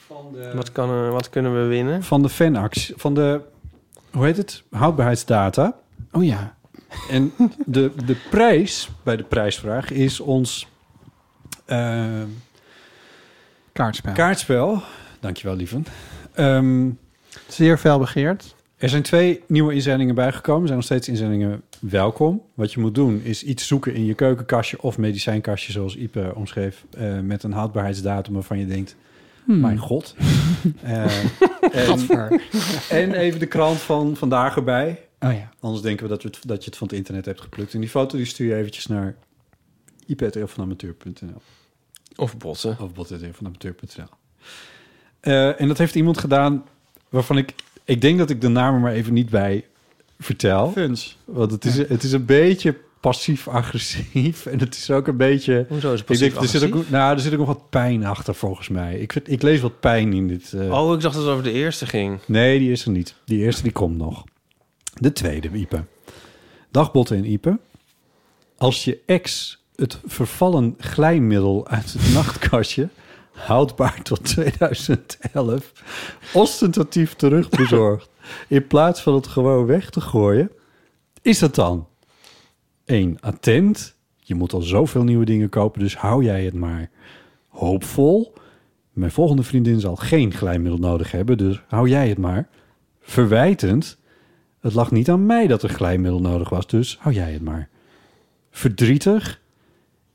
Speaker 2: van de,
Speaker 3: Wat, kan, eh, wat kunnen we winnen?
Speaker 2: van de fanactie. Van de, hoe heet het? Houdbaarheidsdata.
Speaker 1: oh ja.
Speaker 2: En de, de prijs bij de prijsvraag is ons eh,
Speaker 1: Kaartspel.
Speaker 2: kaartspel. Dankjewel, lieven. Ehm,
Speaker 1: Zeer fel begeerd.
Speaker 2: er zijn twee nieuwe inzendingen bijgekomen. Er zijn nog steeds inzendingen welkom. Wat je moet doen is iets zoeken in je keukenkastje of medicijnkastje, zoals Ipe omschreef, eh, met een houdbaarheidsdatum waarvan je denkt,
Speaker 3: Hmm.
Speaker 2: mijn
Speaker 3: [LAUGHS]
Speaker 2: god. Eh, en,
Speaker 1: Gadver.
Speaker 2: en even de krant van vandaag erbij.
Speaker 1: Oh ja.
Speaker 2: Anders denken we dat, we het, dat je het van het internet hebt geplukt. En die foto die stuur je eventjes naar ipad.amateur.nl
Speaker 3: Of botten.
Speaker 2: of bot.amateur.nl. Eh en dat heeft iemand gedaan waarvan ik... Ik denk dat ik de naam er maar even niet bij vertel.
Speaker 1: Funs.
Speaker 2: Want het is, het is een beetje passief-agressief. En het is ook een beetje...
Speaker 3: Hoezo is het
Speaker 2: Ik denk, er,
Speaker 3: passief-agressief?
Speaker 2: zit ook, nou, er zit ook nog wat pijn achter, volgens mij. Ik, vind- ik lees wat pijn in dit... eh,
Speaker 3: Oh, ik dacht dat het over de eerste ging.
Speaker 2: Nee, die is er niet. Die eerste die komt nog. De tweede, Ipe. Dag Botte en Ipe. Als je ex het vervallen glijmiddel uit het nachtkastje... houdbaar tot 2011... ostentatief terugbezorgt... in plaats van het gewoon weg te gooien... is dat dan? 1. Attent. Je moet al zoveel nieuwe dingen kopen, dus hou jij het maar. Hoopvol. Mijn volgende vriendin zal geen glijmiddel nodig hebben, dus hou jij het maar. Verwijtend. Het lag niet aan mij dat er glijmiddel nodig was, dus hou jij het maar. Verdrietig.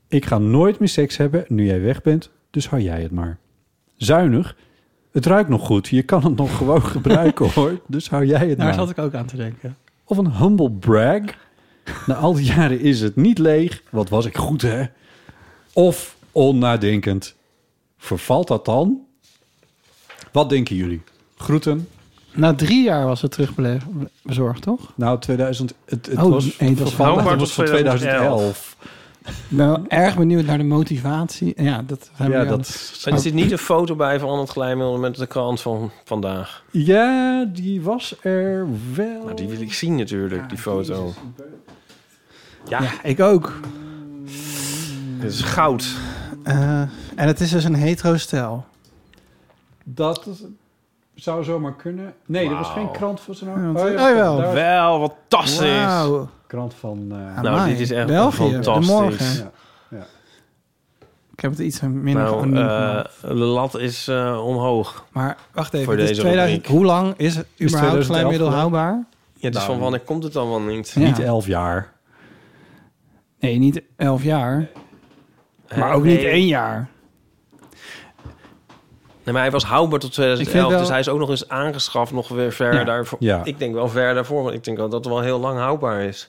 Speaker 2: Ik ga nooit meer seks hebben nu jij weg bent, dus hou jij het maar. Zuinig. Het ruikt nog goed, je kan het nog gewoon gebruiken hoor, dus hou jij het maar.
Speaker 1: Daar zat ik ook aan te denken.
Speaker 2: Of een humble brag. Na al die jaren is het niet leeg. Wat was ik goed, hè? Of onnadenkend. Vervalt dat dan? Wat denken jullie? Groeten.
Speaker 1: Na drie jaar was het terugbezorgd, toch?
Speaker 2: Nou, 2000... Het, het
Speaker 1: Oh,
Speaker 2: was,
Speaker 1: nee, het was
Speaker 2: vervallen,
Speaker 3: houdbaar
Speaker 2: het was
Speaker 3: tot
Speaker 2: van 2011.
Speaker 1: Ik ben wel erg benieuwd naar de motivatie. Ja, dat zijn we
Speaker 2: Ja,
Speaker 1: weer aan
Speaker 2: dat,
Speaker 3: Er zit niet een foto bij van het glijmiddel met de krant van vandaag.
Speaker 2: ja, die was er wel.
Speaker 3: Nou, die wil ik zien natuurlijk, die foto.
Speaker 1: de- Ja, ik ook.
Speaker 3: Het is goud.
Speaker 1: Eh, en het is dus een hetero stijl.
Speaker 2: Dat zou zomaar kunnen. Nee, er was
Speaker 3: Wauw.
Speaker 2: geen krant voor zijn
Speaker 1: Ja, oh, jawel.
Speaker 2: daar-
Speaker 3: Wel, wat fantastisch.
Speaker 1: Wauw.
Speaker 2: Krant van... eh,
Speaker 3: Nou,
Speaker 1: Amai.
Speaker 3: dit is echt
Speaker 1: België,
Speaker 3: fantastisch.
Speaker 1: de morgen.
Speaker 2: ja.
Speaker 1: Ik heb het iets minder
Speaker 3: Nou,
Speaker 1: anoniem
Speaker 3: eh,
Speaker 1: gemaakt.
Speaker 3: de lat is eh, omhoog.
Speaker 1: Maar wacht
Speaker 3: voor
Speaker 1: even, het is
Speaker 3: deze
Speaker 1: 2000,
Speaker 3: rubriek.
Speaker 1: hoe lang is het überhaupt
Speaker 2: 2011
Speaker 1: glijmiddel
Speaker 2: geloof ik.
Speaker 1: houdbaar?
Speaker 3: Ja, dus van wanneer komt het dan wel niet?
Speaker 1: Ja.
Speaker 2: Niet elf jaar.
Speaker 1: Nee, niet elf jaar. Maar
Speaker 3: Eh,
Speaker 1: ook niet
Speaker 3: nee.
Speaker 1: één jaar.
Speaker 3: Nee, maar hij was houdbaar tot
Speaker 1: Ik
Speaker 3: 2011,
Speaker 1: vind wel-
Speaker 3: dus hij is ook nog eens aangeschaft nog weer ver
Speaker 1: Ja.
Speaker 3: daarvoor.
Speaker 1: Ja.
Speaker 3: Ik denk wel ver daarvoor, want ik denk wel dat het wel heel lang houdbaar is.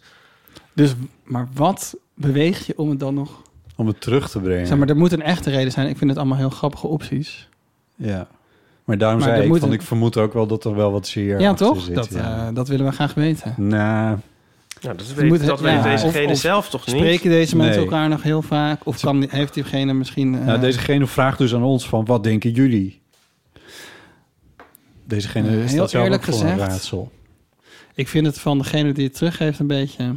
Speaker 1: Dus, maar wat beweegt je om het dan nog...
Speaker 2: Om het terug te brengen.
Speaker 1: Zeg maar, er moet een echte reden zijn. Ik vind het allemaal heel grappige opties.
Speaker 2: Ja. Maar daarom
Speaker 1: Maar
Speaker 2: zei
Speaker 1: dat
Speaker 2: ik,
Speaker 1: moet
Speaker 2: van,
Speaker 1: een-
Speaker 2: ik vermoed ook wel dat er wel wat zeer
Speaker 1: ja,
Speaker 2: achter
Speaker 1: toch?
Speaker 2: zit,
Speaker 1: dat,
Speaker 2: ja.
Speaker 1: eh, dat willen we graag weten.
Speaker 2: Nou,
Speaker 3: Nou, dat
Speaker 1: Je
Speaker 3: weet,
Speaker 1: moet-
Speaker 3: dat
Speaker 1: ja,
Speaker 3: weet deze
Speaker 1: of-
Speaker 3: gene
Speaker 1: of
Speaker 3: zelf toch niet?
Speaker 1: Spreken deze
Speaker 2: Nee.
Speaker 1: mensen elkaar nog heel vaak? Of kan, heeft diegene misschien... eh,
Speaker 2: nou, dezegene vraagt dus aan ons van, wat denken jullie? Dezegene
Speaker 1: Eh,
Speaker 2: is
Speaker 1: heel
Speaker 2: dat zelf ook
Speaker 1: eerlijk
Speaker 2: voor een
Speaker 1: gezegd.
Speaker 2: raadsel.
Speaker 1: Ik vind het van degene die het teruggeeft een beetje...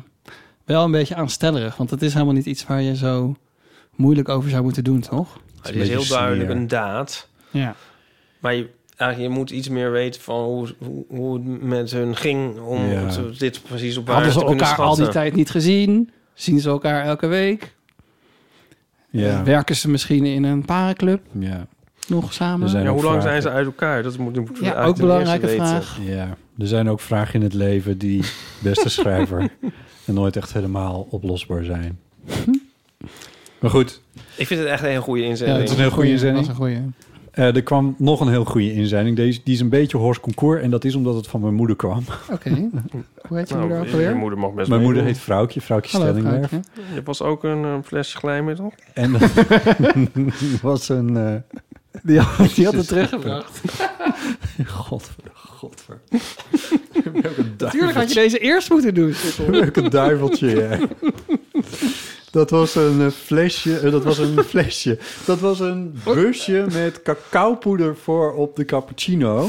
Speaker 1: Wel een beetje aanstellerig. Want het is helemaal niet iets waar je zo moeilijk over zou moeten doen, toch?
Speaker 3: Het Nou, is heel duidelijk een daad.
Speaker 1: Ja.
Speaker 3: Maar je, eigenlijk, je moet iets meer weten van hoe, hoe, hoe het met hun ging om
Speaker 1: Ja.
Speaker 3: het- dit precies op waar
Speaker 1: Hadden
Speaker 3: te
Speaker 1: ze
Speaker 3: kunnen
Speaker 1: elkaar al die
Speaker 3: schatten.
Speaker 1: tijd niet gezien? Zien ze elkaar elke week? eh,
Speaker 2: Ja.
Speaker 1: Werken ze misschien in een parenclub
Speaker 2: Ja.
Speaker 1: nog samen?
Speaker 2: Er zijn
Speaker 3: Ja,
Speaker 2: ook
Speaker 3: hoe lang
Speaker 2: vragen.
Speaker 3: zijn ze uit elkaar? Dat moet, moet
Speaker 1: Ja, ook
Speaker 3: uit ten eerste
Speaker 1: belangrijke
Speaker 3: weten.
Speaker 1: vraag.
Speaker 2: Ja, er zijn ook vragen in het leven die, beste
Speaker 1: [LAUGHS]
Speaker 2: schrijver, en nooit echt helemaal oplosbaar zijn.
Speaker 1: Hm?
Speaker 2: Maar goed,
Speaker 3: Ik vind het echt een hele goede
Speaker 2: Ja,
Speaker 3: inzending.
Speaker 2: het is een heel goede inzending. Eh, er kwam nog een heel goede inzending. Deze, die is een beetje Horst Concours en dat is omdat het van mijn moeder kwam.
Speaker 1: Oké.
Speaker 3: [LAUGHS]
Speaker 1: Hoe heet je
Speaker 3: Nou,
Speaker 1: moeder ook
Speaker 3: je
Speaker 1: alweer?
Speaker 3: moeder mag best
Speaker 2: mijn moeder
Speaker 3: meedoen.
Speaker 2: heet Vrouwtje, Vrouwtje
Speaker 1: Hallo,
Speaker 2: Stellingwerf.
Speaker 1: Vrouwtje.
Speaker 3: Je was ook een eh, flesje glijmiddel.
Speaker 2: En [LAUGHS] was een... eh, die, had, die had het teruggebracht. godver, [LAUGHS] godver.
Speaker 1: Natuurlijk had je deze eerst moeten doen. Sikkel.
Speaker 2: Leuk een duiveltje, ja. Dat was een eh, flesje. eh, dat was een flesje. Dat was een busje met cacaopoeder voor op de
Speaker 1: [LAUGHS]
Speaker 2: cappuccino.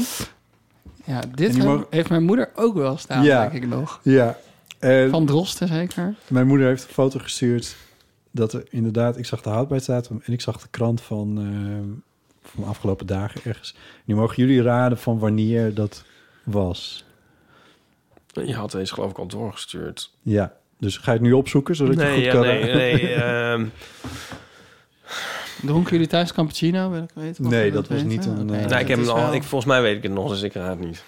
Speaker 1: Ja,
Speaker 2: En
Speaker 1: dit
Speaker 2: die
Speaker 1: he-
Speaker 2: mogen-
Speaker 1: heeft mijn moeder ook wel staan,
Speaker 2: Ja.
Speaker 1: denk ik nog.
Speaker 2: Ja. En
Speaker 1: Van Drosten zeker.
Speaker 2: mijn moeder heeft een foto gestuurd dat er inderdaad, ik zag de houdbaarheidsdatum en ik zag de krant van, eh, van de afgelopen dagen ergens. Nu mogen jullie raden van wanneer dat was.
Speaker 3: Je had deze geloof ik al doorgestuurd.
Speaker 2: Ja. Dus ga je het nu opzoeken zodat je
Speaker 3: nee,
Speaker 2: goed
Speaker 3: ja,
Speaker 2: kan
Speaker 3: nee, nee. [LAUGHS] ehm,
Speaker 1: Dronken jullie thuis cappuccino, wil ik weten? Mag
Speaker 2: Nee,
Speaker 1: ik
Speaker 2: dat was
Speaker 1: weten?
Speaker 2: niet een,
Speaker 1: Oké,
Speaker 2: eh,
Speaker 1: dus
Speaker 3: nou, ik heb
Speaker 1: het
Speaker 3: hem
Speaker 1: is
Speaker 3: al,
Speaker 1: wel-
Speaker 3: ik, volgens mij weet ik het nog, dus ik raad het [LAUGHS] niet.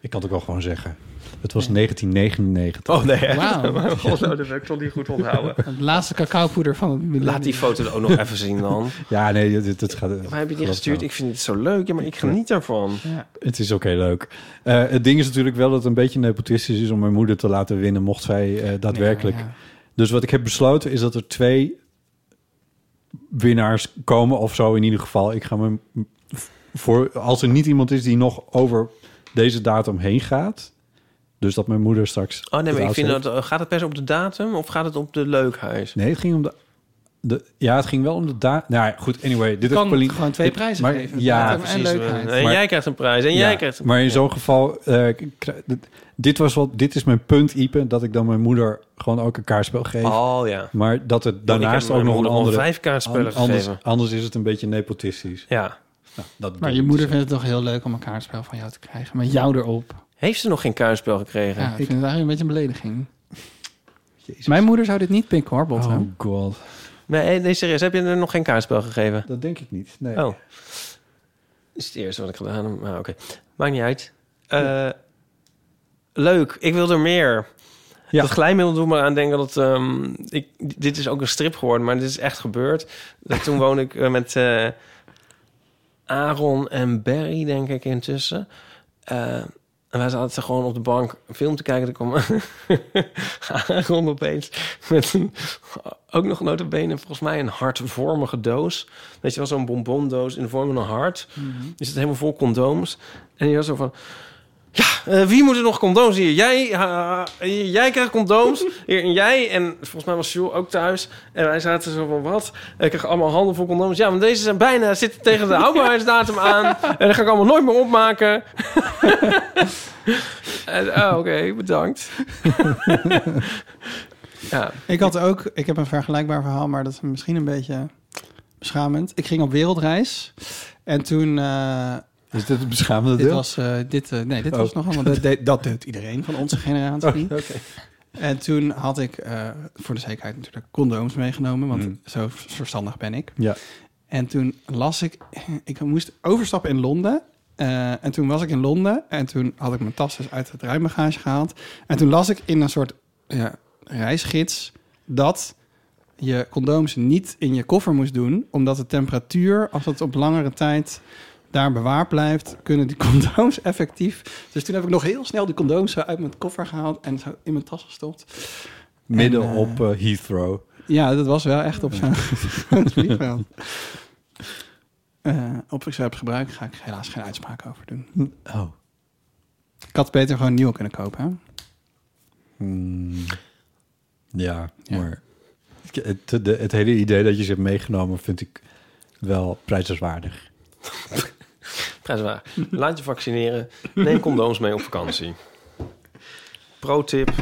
Speaker 2: Ik kan het ook wel gewoon zeggen. Het was 1999.
Speaker 3: Oh, nee, echt? [LAUGHS]
Speaker 1: Wauw.
Speaker 3: God, nou, dat heb ik toch niet goed onthouden.
Speaker 1: Het laatste cacaopoeder van het millennium.
Speaker 3: Laat die foto er ook nog even zien dan.
Speaker 2: Ja, nee, dit, dit gaat...
Speaker 3: Maar heb je die
Speaker 2: geloof
Speaker 3: gestuurd?
Speaker 2: wel.
Speaker 3: Ik vind het zo leuk. Ja, maar ik geniet daarvan.
Speaker 2: Het is ook heel leuk. Eh, het ding is natuurlijk wel dat het een beetje nepotistisch is... om mijn moeder te laten winnen, mocht zij eh, daadwerkelijk...
Speaker 1: Ja, ja.
Speaker 2: Dus wat ik heb besloten is dat er twee winnaars komen of zo in ieder geval. Ik ga me voor als er niet iemand is die nog over deze datum heen gaat, dus dat mijn moeder straks.
Speaker 3: Oh nee,
Speaker 2: het
Speaker 3: maar ik
Speaker 2: oud
Speaker 3: vind
Speaker 2: heeft.
Speaker 3: dat... eh, Gaat het per se op de datum of gaat het op de leukheid?
Speaker 2: Nee, het ging om de, de ja, het ging wel om de datum. Nou ja, goed. Anyway, dit
Speaker 1: Kan
Speaker 2: heeft Pauline-
Speaker 1: gewoon twee prijzen
Speaker 2: maar,
Speaker 1: geven,
Speaker 2: Ja,
Speaker 1: datum en
Speaker 2: precies.
Speaker 1: leukheid.
Speaker 3: En
Speaker 2: Maar-
Speaker 3: Eh, jij krijgt een prijs en jij
Speaker 2: Ja,
Speaker 3: krijgt een
Speaker 2: Maar in zo'n geval, eh, k- kri- dit- dit, was wat, dit is mijn punt, Ipe, dat ik dan mijn moeder gewoon ook een kaartspel geef.
Speaker 3: Oh ja.
Speaker 2: Maar dat het daarnaast
Speaker 3: heb
Speaker 2: ook
Speaker 3: mijn
Speaker 2: nog een
Speaker 3: moeder al
Speaker 2: andere...
Speaker 3: vijf kaartspellen
Speaker 2: an- anders,
Speaker 3: gegeven.
Speaker 2: anders is het een beetje nepotistisch.
Speaker 3: Ja.
Speaker 2: Nou, dat
Speaker 1: Maar je moeder vindt het toch heel leuk om een kaartspel van jou te krijgen. Met jou erop.
Speaker 3: Heeft ze nog geen kaartspel gekregen?
Speaker 1: Ja, ik vind het eigenlijk een beetje een [LAUGHS] belediging. Mijn moeder zou dit niet pikken hoor, Botte.
Speaker 2: Oh god.
Speaker 3: Nee, nee, serieus. Heb je er nog geen kaartspel gegeven?
Speaker 2: Dat denk ik niet, nee.
Speaker 3: Oh. Dat is het eerste wat ik gedaan heb. Maar oké. Maakt niet uit. Eh, Leuk. Ik wil er meer.
Speaker 2: Ja.
Speaker 3: Dat glijmiddel doet me aan denken dat... ehm, ik, dit is ook een strip geworden, maar dit is echt gebeurd. [LAUGHS] Dat toen woonde ik eh, met eh, Aaron en Barry, denk ik, intussen. Eh, en wij zaten gewoon op de bank een film te kijken. Er kwam [LAUGHS] Aaron opeens met een, ook nog notabene volgens mij een hartvormige doos. Weet je wel, zo'n bonbondoos in de vorm van een hart. Die zit helemaal vol condooms. En die was zo van... Eh, wie moet er nog condooms hier? Jij, ah, jij krijgt condooms. Hier, en jij en volgens mij was Jules ook thuis. En wij zaten zo van wat? Ik kreeg allemaal handen vol condooms. Ja, want deze zijn bijna zitten tegen de houdbaarheidsdatum aan. En dat ga ik allemaal nooit meer opmaken. [LAUGHS] en, ah, oké, bedankt. ja.
Speaker 1: Ik had ook, ik heb een vergelijkbaar verhaal, maar dat is misschien een beetje beschamend. Ik ging op wereldreis en toen. eh,
Speaker 2: Is dit het beschamende
Speaker 1: dit
Speaker 2: deel?
Speaker 1: was, eh, dit, eh, nee, dit
Speaker 2: Oh.
Speaker 1: was nog allemaal. [LAUGHS] Dat, deed- dat deed iedereen van onze generatie.
Speaker 2: Oh, oké.
Speaker 1: En toen had ik eh, voor de zekerheid natuurlijk condooms meegenomen, want
Speaker 2: Mm.
Speaker 1: zo verstandig ben ik.
Speaker 2: Ja.
Speaker 1: En toen las ik, ik moest overstappen in Londen. Eh, en toen was ik in Londen en toen had ik mijn tas dus uit het ruimbagage gehaald. En toen las ik in een soort ja, reisgids dat je condooms niet in je koffer moest doen, omdat de temperatuur, als het op langere tijd daar bewaard blijft, kunnen die [LAUGHS] condooms effectief. Dus toen heb ik nog heel snel die condooms zo uit mijn koffer gehaald en zo in mijn tas gestopt.
Speaker 2: Midden
Speaker 1: En, eh,
Speaker 2: op eh, Heathrow.
Speaker 1: Ja, dat was wel echt op [LAUGHS] zo'n zo'n vliegveld. Eh, op website gebruik ga ik helaas geen uitspraak over doen.
Speaker 2: Oh.
Speaker 1: Ik had beter gewoon nieuw kunnen kopen. Hè?
Speaker 2: Hmm. Ja, maar ik- het, de- het hele idee dat je ze hebt meegenomen vind ik wel prijzenswaardig.
Speaker 3: Prijswaar. Laat je vaccineren. Neem condooms mee op vakantie. Pro tip.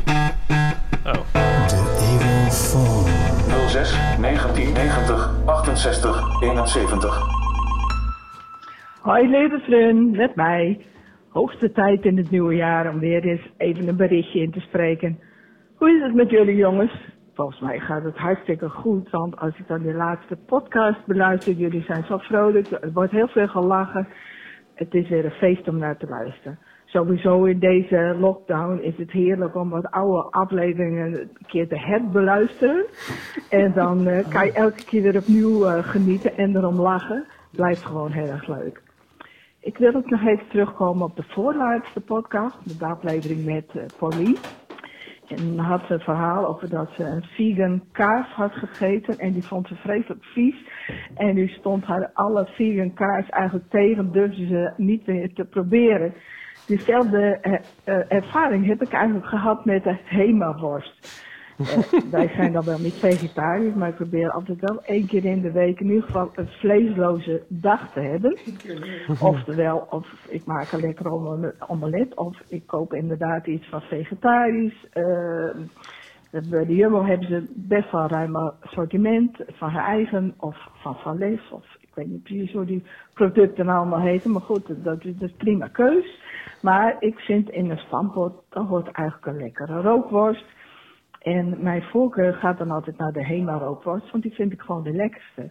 Speaker 3: Oh.
Speaker 6: 06 1990 68 71.
Speaker 7: Hoi lieve vriend, met mij. Hoogste tijd in het nieuwe jaar om weer eens even een berichtje in te spreken. Hoe is het met jullie jongens? Volgens mij gaat het hartstikke goed, want als ik dan die laatste podcast beluister, jullie zijn zo vrolijk, er wordt heel veel gelachen. Het is weer een feest om naar te luisteren. Sowieso in deze lockdown is het heerlijk om wat oude afleveringen een keer te herbeluisteren. En dan eh, kan je elke keer weer opnieuw eh, genieten en erom lachen. Blijft gewoon heel erg leuk. Ik wil ook nog even terugkomen op de voorlaatste podcast, de aflevering met eh, Pauline. En dan had ze een verhaal over dat ze een vegan kaas had gegeten en die vond ze vreselijk vies. En nu stond haar alle vegan kaas eigenlijk tegen, durfde ze niet meer te proberen. Diezelfde eh, eh, ervaring heb ik eigenlijk gehad met de Hema-worst. Eh, wij zijn dan wel niet vegetarisch, maar ik probeer altijd wel één keer in de week in ieder geval een vleesloze dag te hebben. [LAUGHS] Oftewel, of ik maak een lekker om- omelet, of ik koop inderdaad iets van vegetarisch. Ehm, bij de Jumbo hebben ze best wel een ruim assortiment van haar eigen of van Van Les. Of ik weet niet precies hoe die producten allemaal heten. Maar goed, dat is een prima keus. Maar ik vind in een stamppot, dan hoort eigenlijk een lekkere rookworst. En mijn voorkeur gaat dan altijd naar de Hema rookworst, want die vind ik gewoon de lekkerste.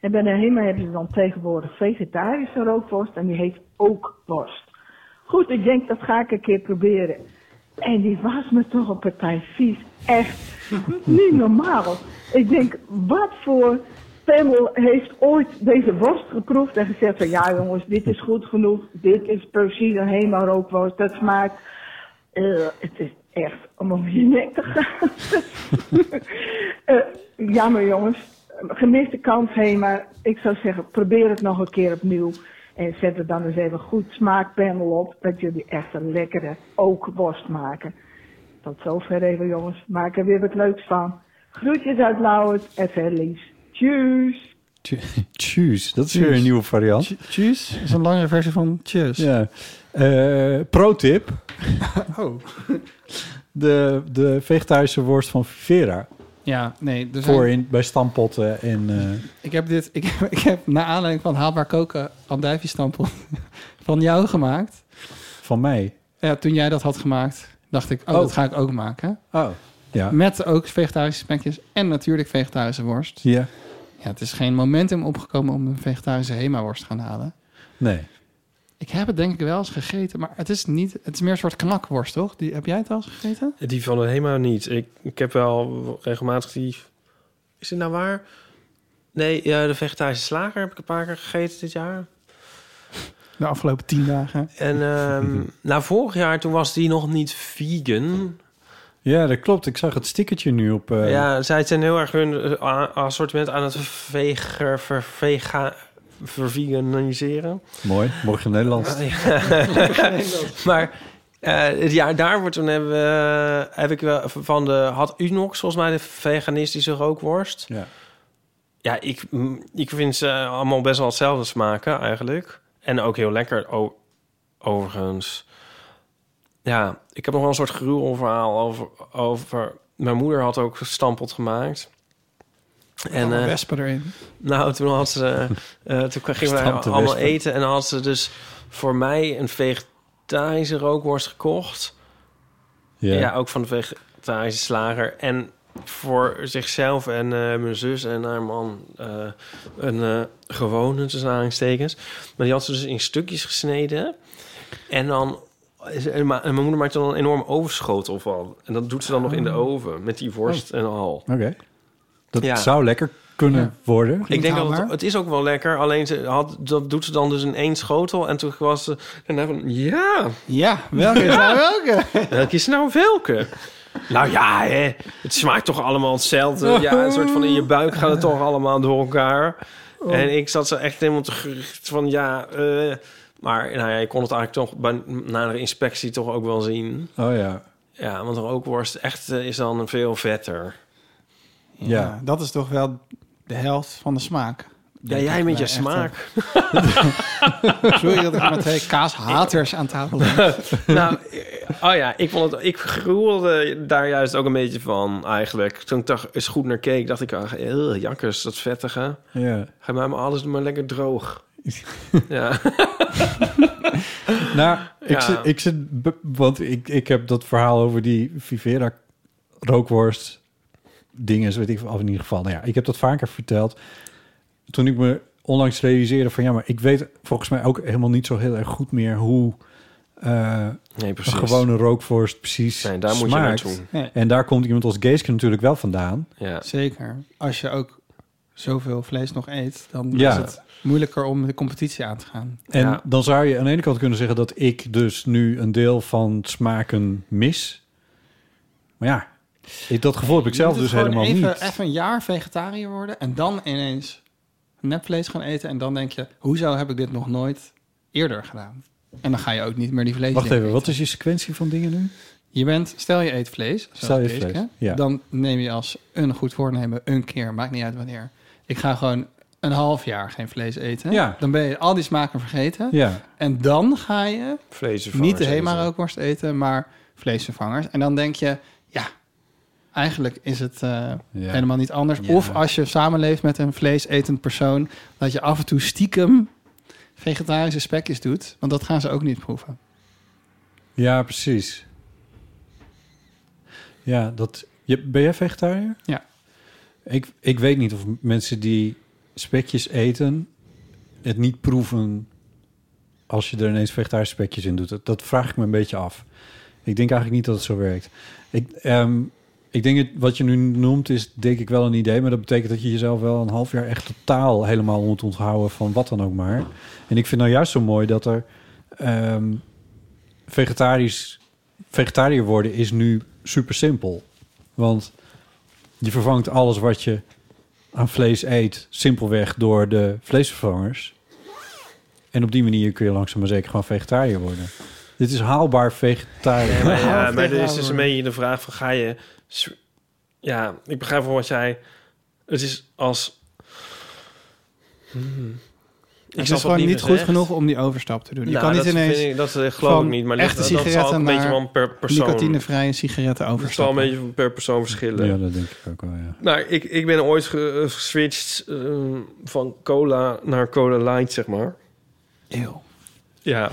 Speaker 7: En bij de Hema hebben ze dan tegenwoordig vegetarische rookworst en die heet ook worst. Goed, ik denk dat ga ik een keer proberen. En die was me toch een partij vies. Echt [LAUGHS] niet normaal. Ik denk, wat voor Pemmel heeft ooit deze worst geproefd en gezegd van ja jongens, dit is goed genoeg. Dit is precies een helemaal rookworst. Dat smaakt. eh, het is echt om om je nek te gaan. Eh, jammer jongens, gemiste kans heen, maar ik zou zeggen, probeer het nog een keer opnieuw. En zet er dan eens even een goed smaakpanel op, dat jullie echt een lekkere ookworst maken. Tot zover even jongens, maak er weer wat leuks van. Groetjes uit Lauwert en verder liefs. Tjus!
Speaker 2: Choose, Dus dat is weer een
Speaker 1: Choose.
Speaker 2: nieuwe variant.
Speaker 1: Cheers is een langere versie van cheers.
Speaker 2: Ja. Eh, pro tip.
Speaker 1: Oh.
Speaker 2: [LAUGHS] De, de vegetarische worst van Vera.
Speaker 1: Ja, nee. Er zijn-
Speaker 2: Voor in, bij stampotten en... eh,
Speaker 1: Ik heb dit, ik, heb- ik heb naar aanleiding van haalbaar koken andijviestampel [LAUGHS] van jou gemaakt.
Speaker 2: Van mij?
Speaker 1: Ja, toen jij dat had gemaakt, dacht ik, oh,
Speaker 2: Oh.
Speaker 1: dat ga ik ook maken.
Speaker 2: Oh, ja.
Speaker 1: Met ook vegetarische spekjes en natuurlijk vegetarische worst.
Speaker 2: Ja.
Speaker 1: Ja, het is geen momentum opgekomen om een vegetarische Hema-worst te gaan halen.
Speaker 2: nee.
Speaker 1: Ik heb het denk ik wel eens gegeten, maar het is niet, het is meer een soort knakworst, toch? Die, heb jij het al eens gegeten?
Speaker 3: Die van de HEMA niet. Ik, ik heb wel regelmatig die... Is dit nou waar? Nee, ja, de vegetarische slager heb ik een paar keer gegeten dit jaar.
Speaker 1: De afgelopen tien dagen.
Speaker 3: En ehm nou, vorig jaar toen was die nog niet vegan.
Speaker 2: Ja, dat klopt. Ik zag het stickertje nu op... eh,
Speaker 3: Ja, zij zijn heel erg hun eh, a- assortiment aan het veger, ver, vega, verveganiseren.
Speaker 2: Mooi. Morgen Nederlands.
Speaker 3: Ja. [LAUGHS] maar eh, het jaar daarvoor toen hebben we, eh, heb ik wel van de had Unox volgens mij de veganistische rookworst.
Speaker 2: Ja.
Speaker 3: Ja, ik, mm, ik vind ze allemaal best wel hetzelfde smaken eigenlijk. En ook heel lekker o- overigens. Ja, ik heb nog wel een soort gruwelverhaal over, over... Mijn moeder had ook stampot gemaakt.
Speaker 1: Allemaal
Speaker 3: eh,
Speaker 1: wespen erin.
Speaker 3: nou, toen had ze... eh, toen gingen wij
Speaker 1: Stampte
Speaker 3: allemaal
Speaker 1: wespen.
Speaker 3: eten. En dan had ze dus voor mij een vegetarische rookworst gekocht.
Speaker 2: Ja.
Speaker 3: Ja, ook van de vegetarische slager. En voor zichzelf en eh, mijn zus en haar man eh, een eh, gewone, tussen aanhalingstekens. Maar die had ze dus in stukjes gesneden. En dan is- en ma- en mijn moeder maakt dan een enorm overschotel van. En dat doet ze dan nog in de oven met die worst en al.
Speaker 2: Oké. Dat
Speaker 3: Ja.
Speaker 2: zou lekker kunnen worden.
Speaker 3: Ik denk dat het, het is ook wel lekker. Alleen ze had, dat doet ze dan dus in één schotel. En toen was ze daarna van ja.
Speaker 1: Ja, welke is nou welke?
Speaker 3: Welke is nou welke? Nou ja, hè. het smaakt toch allemaal hetzelfde. Ja, een soort van in je buik gaat het toch allemaal door elkaar.
Speaker 8: Oh.
Speaker 3: En ik zat zo echt helemaal te gericht van ja. eh, maar nou ja, ik kon het eigenlijk toch bij, na de inspectie toch ook wel zien.
Speaker 2: Oh ja.
Speaker 3: Ja, want rookworst echt eh, is dan veel vetter.
Speaker 1: Ja. dat is toch wel de helft van de smaak.
Speaker 3: Ja,
Speaker 1: Denk
Speaker 3: jij
Speaker 1: ik
Speaker 3: met
Speaker 1: bij
Speaker 3: je
Speaker 1: echte-
Speaker 3: smaak.
Speaker 1: Sorry dat ik met twee kaashaters aan tafel ben.
Speaker 3: nou, eh, oh ja, ik, vond het, ik gruwelde daar juist ook een beetje van eigenlijk. Toen ik dacht, eens goed naar keek, dacht ik, ah, eh, jakkers, dat vettige.
Speaker 2: Ja.
Speaker 3: Ga mij maar alles maar
Speaker 1: [LAUGHS]
Speaker 3: lekker droog. ja.
Speaker 2: Nou, ik,
Speaker 3: Ja.
Speaker 2: zit, ik zit, be- want ik, ik heb dat verhaal over die Vivera rookworst dingen, weet ik veel, of in ieder geval. Nou ja, ik heb dat vaker verteld. Toen ik me onlangs realiseerde van ja, maar ik weet volgens mij ook helemaal niet zo heel erg goed meer hoe eh,
Speaker 3: Nee,
Speaker 2: een
Speaker 3: precies.
Speaker 2: gewone rookworst precies
Speaker 3: Nee, daar moet je
Speaker 2: smaakt.
Speaker 3: naartoe.
Speaker 1: Nee.
Speaker 2: En daar komt iemand als Geeske natuurlijk wel vandaan.
Speaker 3: Ja.
Speaker 1: Zeker. Als je ook zoveel vlees nog eet, dan
Speaker 2: Ja.
Speaker 1: is het moeilijker om de competitie aan te gaan.
Speaker 2: En dan zou je aan de ene kant kunnen zeggen dat ik dus nu een deel van smaken mis. Maar ja, ik, dat gevoel heb ik
Speaker 1: Je moet
Speaker 2: zelf
Speaker 1: het
Speaker 2: dus
Speaker 1: gewoon
Speaker 2: helemaal
Speaker 1: even,
Speaker 2: niet.
Speaker 1: Even een jaar vegetariër worden en dan ineens nepvlees gaan eten. En dan denk je, hoezo heb ik dit nog nooit eerder gedaan? En dan ga je ook niet meer die vlees
Speaker 2: Wacht
Speaker 1: dingen
Speaker 2: even,
Speaker 1: eten.
Speaker 2: wat is je sequentie van dingen nu?
Speaker 1: Je bent, stel je eet vlees, zoals
Speaker 2: Stel je
Speaker 1: deze
Speaker 2: vlees,
Speaker 1: keer,
Speaker 2: ja.
Speaker 1: dan neem je als een goed voornemen een keer, maakt niet uit wanneer. Ik ga gewoon een half jaar geen vlees eten.
Speaker 2: Ja.
Speaker 1: Dan ben je al die smaken vergeten.
Speaker 2: Ja.
Speaker 1: En dan ga je
Speaker 3: Vleesvervangers
Speaker 1: niet de Hema
Speaker 3: eten.
Speaker 1: rookworst eten, maar vleesvervangers. En dan denk je, ja, eigenlijk is het eh, helemaal niet anders. Of als je samenleeft met een vleesetend persoon, dat je af en toe stiekem vegetarische spekjes doet. Want dat gaan ze ook niet proeven.
Speaker 2: Ja, precies. Ja, dat, je, ben jij vegetariër?
Speaker 1: Ja.
Speaker 2: Ik, ik weet niet of mensen die spekjes eten het niet proeven als je er ineens vegetarische spekjes in doet. Dat, dat vraag ik me een beetje af. Ik denk eigenlijk niet dat het zo werkt. Ik, ehm, ik denk het, wat je nu noemt is denk ik wel een idee, maar dat betekent dat je jezelf wel een half jaar echt totaal helemaal moet onthouden van wat dan ook maar. En ik vind nou juist zo mooi dat er ehm, vegetarisch vegetariër worden is nu super simpel, want je vervangt alles wat je aan vlees eet simpelweg door de vleesvervangers. En op die manier kun je langzaam maar zeker gewoon vegetariër worden. Dit is haalbaar vegetariër.
Speaker 1: [LAUGHS]
Speaker 3: Ja, maar, ja, maar er is dus een beetje de vraag van ga je... s- Ja, ik begrijp wel wat jij... Het is als... Hmm. Ik
Speaker 1: het
Speaker 3: snap
Speaker 1: is gewoon
Speaker 3: niet
Speaker 1: niet
Speaker 3: gezegd.
Speaker 1: goed genoeg om die overstap te doen. je
Speaker 3: Nou,
Speaker 1: kan niet
Speaker 3: dat
Speaker 1: ineens
Speaker 3: vind ik- dat, eh, geloof
Speaker 1: van
Speaker 3: ik niet, maar dat-
Speaker 1: echte
Speaker 3: dat zal ook
Speaker 1: sigaretten
Speaker 3: een beetje
Speaker 1: naar
Speaker 3: wel per persoon.
Speaker 1: nicotinevrije sigaretten
Speaker 3: Het zal een
Speaker 1: overstappen.
Speaker 3: beetje van per persoon verschillen.
Speaker 2: Ja, dat denk ik ook wel, ja.
Speaker 3: Nou, ik, ik ben ooit ge- eh, geswitcht eh, van cola naar cola light, zeg maar.
Speaker 1: Eeuw.
Speaker 2: [LAUGHS]
Speaker 3: Ja.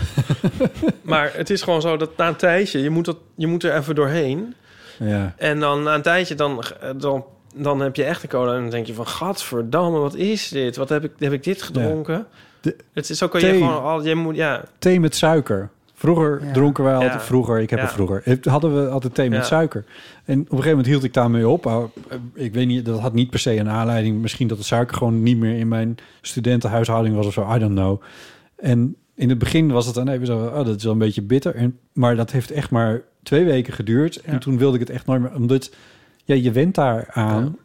Speaker 3: maar het is gewoon zo dat na een tijdje, je moet, dat, je moet er even doorheen.
Speaker 2: Ja.
Speaker 3: En dan na een tijdje, dan, eh, dan, dan heb je echt een cola. En dan denk je van, gadverdamme, wat is dit? Wat heb ik, heb ik dit gedronken? het is ook al, je
Speaker 2: thee.
Speaker 3: gewoon al, je moet, ja.
Speaker 2: Thee met suiker. Vroeger dronken wij altijd,
Speaker 3: Ja.
Speaker 2: vroeger, ik heb
Speaker 3: Ja.
Speaker 2: het vroeger, Het- hadden we altijd thee met
Speaker 3: Ja.
Speaker 2: suiker. En op een gegeven moment hield ik daarmee op. Uh, Ik weet niet, dat had niet per se een aanleiding. Misschien dat de suiker gewoon niet meer in mijn studentenhuishouding was of zo. I don't know. En in het begin was het dan even zo, oh, dat is wel een beetje bitter. En, maar dat heeft echt maar twee weken geduurd. En toen wilde ik het echt nooit meer, omdat ja, je went daar aan.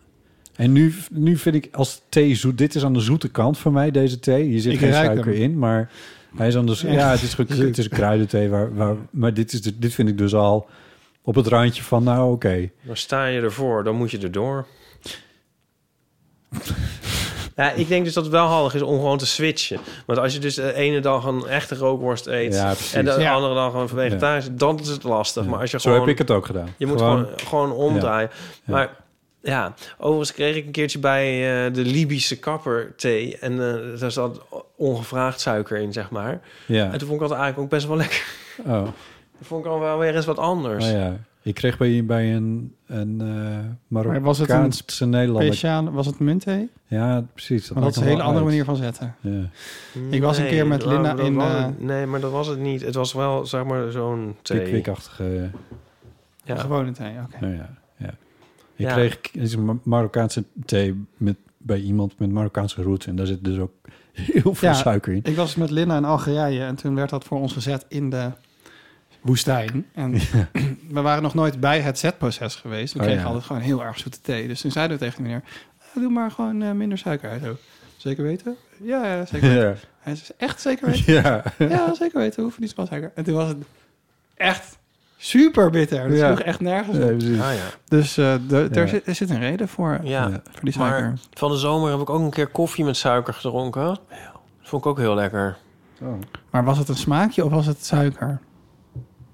Speaker 2: En nu, nu vind ik als thee zoet, dit is aan de zoete kant van mij, deze thee. Hier zit
Speaker 1: Ik
Speaker 2: geen
Speaker 1: ruik
Speaker 2: suiker
Speaker 1: hem.
Speaker 2: in, maar hij is anders.
Speaker 1: Ja.
Speaker 2: Ja, het is, goed, het is een kruidenthee. Waar, waar, maar dit, is, de- dit vind ik dus al op het randje van, nou oké.
Speaker 3: Dan sta je ervoor, dan moet je
Speaker 2: [LAUGHS]
Speaker 3: erdoor. ja, ik denk dus dat het wel handig is om gewoon te switchen. Want als je dus de ene dag een echte rookworst eet...
Speaker 2: Ja, precies.
Speaker 3: en de
Speaker 2: Ja.
Speaker 3: andere dag een vegetarisch, dan is het lastig. Maar als je
Speaker 2: Zo
Speaker 3: gewoon,
Speaker 2: heb ik het ook gedaan.
Speaker 3: Je moet
Speaker 2: Gewoon-
Speaker 3: gewoon, gewoon omdraaien. Maar ja, overigens kreeg ik een keertje bij eh, de Libische kapper thee... en eh, daar zat ongevraagd suiker in, zeg maar.
Speaker 2: Ja.
Speaker 3: En toen vond ik dat eigenlijk ook best wel [LAUGHS] lekker.
Speaker 2: Oh,
Speaker 3: Dat vond ik al wel weer eens wat anders.
Speaker 2: oh ja. Ik kreeg bij, bij een, een eh
Speaker 1: Maar was het een
Speaker 2: Marokkaanse Nederlander.
Speaker 1: Speciaal, was het muntthee?
Speaker 2: Ja, precies.
Speaker 1: Maar dat
Speaker 2: maakt
Speaker 1: is een
Speaker 2: nog
Speaker 1: hele
Speaker 2: wel
Speaker 1: andere
Speaker 2: uit.
Speaker 1: manier van zetten.
Speaker 2: Ja.
Speaker 1: Ik was een
Speaker 3: Nee,
Speaker 1: keer met
Speaker 3: maar
Speaker 1: Linda
Speaker 3: dat
Speaker 1: in...
Speaker 3: was
Speaker 1: eh,
Speaker 3: het- nee, maar dat was het niet. Het was wel, zeg maar, zo'n thee.
Speaker 2: Pikwikachtige...
Speaker 3: Ja.
Speaker 1: Gewone thee, oké.
Speaker 2: Nou ja, ja. Ik
Speaker 3: Ja.
Speaker 2: kreeg is een Ma- Marokkaanse thee met, bij iemand met Marokkaanse roots. En daar zit dus ook [LAUGHS] heel veel
Speaker 1: Ja,
Speaker 2: suiker in.
Speaker 1: Ik was met Linda in Algerije en toen werd dat voor ons gezet in de woestijn. En [CLEARS THROAT] we waren nog nooit bij het zetproces geweest. We
Speaker 2: Oh,
Speaker 1: kregen
Speaker 2: ja.
Speaker 1: altijd gewoon heel erg zoete thee. Dus toen zeiden we tegen de meneer, "Ah, doe maar gewoon eh, minder suiker uit. ook." Zeker weten? Ja, ja, zeker weten.
Speaker 2: Ja.
Speaker 1: Hij zei, echt zeker weten?
Speaker 2: Ja.
Speaker 1: ja zeker weten. We hoeven niet zoveel suiker. En toen was het echt super bitter. Dat
Speaker 2: Ja.
Speaker 1: sloeg echt nergens
Speaker 2: [LAUGHS] Ja,
Speaker 1: op.
Speaker 2: precies.
Speaker 3: Ah, ja.
Speaker 1: Dus eh, de-
Speaker 3: Ja.
Speaker 1: er, zit, er zit een reden voor,
Speaker 3: Ja,
Speaker 1: voor die suiker.
Speaker 3: maar van de zomer heb ik ook een keer koffie met suiker gedronken. Dat vond ik ook heel lekker.
Speaker 2: Oh.
Speaker 1: Maar was het een smaakje of was het suiker?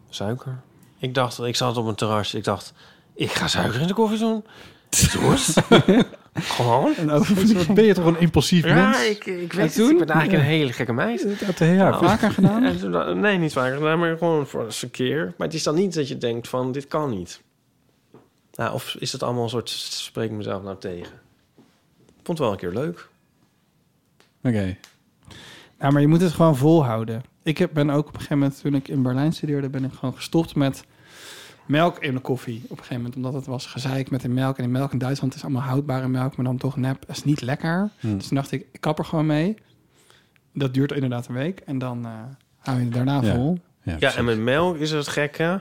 Speaker 3: Suiker. Ik dacht, ik zat op een terras. Ik dacht, ik ga suiker in de koffie doen.
Speaker 2: [LAUGHS]
Speaker 3: Dorst. Gewoon.
Speaker 1: En
Speaker 2: Wat ben je toch een impulsief mens?
Speaker 3: Ja, ik, ik weet
Speaker 2: toen?
Speaker 3: het. Ik ben eigenlijk
Speaker 2: Ja.
Speaker 3: een hele gekke meid. Nou.
Speaker 2: Dat, eh, ja, vaker gedaan?
Speaker 3: [LAUGHS] en toen dacht- nee, niet vaker gedaan, maar gewoon voor een verkeer. Maar het is dan niet dat je denkt van, dit kan niet. Nou, of is het allemaal een soort, spreek ik mezelf nou tegen. Ik vond het wel een keer leuk.
Speaker 1: Oké. Nou, maar je moet het gewoon volhouden. Ik heb, ben ook op een gegeven moment, toen ik in Berlijn studeerde, ben ik gewoon gestopt met melk in de koffie. Op een gegeven moment, omdat het was gezeik met de melk. En die melk in Duitsland is allemaal houdbare melk, maar dan toch nep. Dat is niet lekker.
Speaker 2: Hmm.
Speaker 1: Dus toen dacht ik, ik kap er gewoon mee. Dat duurt inderdaad een week. En dan eh, hou je het daarna
Speaker 3: Ja.
Speaker 1: vol.
Speaker 3: Ja, en met melk is het gekke.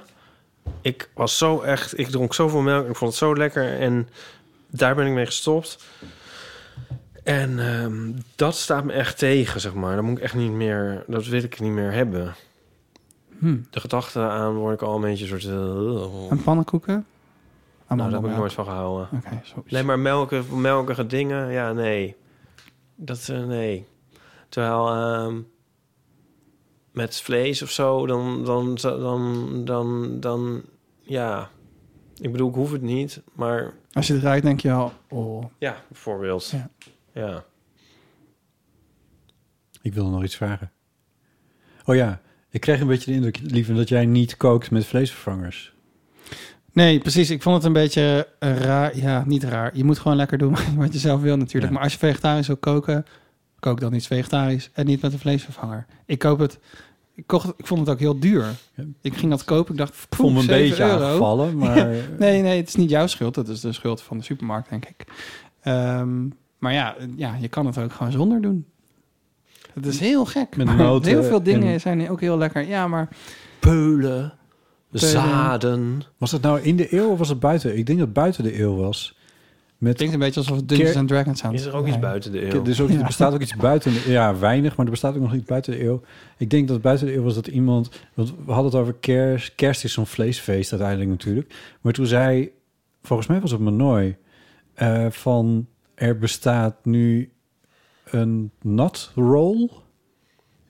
Speaker 3: Ik was zo echt... Ik dronk zoveel melk. Ik vond het zo lekker. En daar ben ik mee gestopt. En ehm, dat staat me echt tegen, zeg maar. Dat moet ik echt niet meer... Dat wil ik niet meer hebben.
Speaker 1: Hmm.
Speaker 3: De gedachte aan word ik al een beetje een soort... eh,
Speaker 1: En pannenkoeken?
Speaker 3: nou, daar heb ik
Speaker 1: Amandelmelk.
Speaker 3: nooit van gehouden.
Speaker 1: Oké, sorry.
Speaker 3: nee, maar melkige, melkige dingen, ja, nee. Dat, eh, nee. Terwijl ehm, met vlees of zo, dan, dan, dan, dan, dan, ja. Ik bedoel, ik hoef het niet, maar
Speaker 1: Als je het ruikt, denk je al, oh.
Speaker 3: ja, bijvoorbeeld.
Speaker 1: Ja.
Speaker 3: ja.
Speaker 2: Ik wilde nog iets vragen. Oh ja, ik kreeg een beetje de indruk, lieve, dat jij niet kookt met vleesvervangers.
Speaker 1: Nee, precies. Ik vond het een beetje eh, raar. Ja, niet raar. Je moet gewoon lekker doen [LAUGHS] wat je zelf wil natuurlijk. Maar als je vegetarisch wil koken, kook dan iets vegetarisch en niet met een vleesvervanger. Ik koop het. Ik, kocht, ik vond het ook heel duur. Ik ging dat kopen. Ik dacht, ik
Speaker 2: vond me een beetje aangevallen, [LAUGHS] maar-
Speaker 1: nee, nee, het is niet jouw schuld. Dat is de schuld van de supermarkt, denk ik. Ehm, maar ja, eh, ja, je kan het ook gewoon zonder doen. Het is [LAUGHS] heel gek.
Speaker 3: Met
Speaker 1: maar
Speaker 3: noten
Speaker 1: heel veel dingen
Speaker 3: en-
Speaker 1: zijn ook heel lekker. Ja, maar...
Speaker 3: Peulen.
Speaker 2: Zaden. Was dat nou in de eeuw of was het buiten? Ik denk dat het buiten de eeuw was. Met
Speaker 1: Klinkt een beetje alsof het Dungeons and Dragons aan
Speaker 3: Is er ook iets buiten de eeuw?
Speaker 1: dus-
Speaker 2: Er, is dus ook,
Speaker 3: Ja.
Speaker 2: er bestaat ook iets buiten de Ja, weinig, maar er bestaat ook nog iets buiten de eeuw. Ik denk dat buiten de eeuw was dat iemand... Want we hadden het over kerst. Kerst is zo'n vleesfeest uiteindelijk natuurlijk. Maar toen zei... Volgens mij was het Manoy. eh van er bestaat nu een nut roll.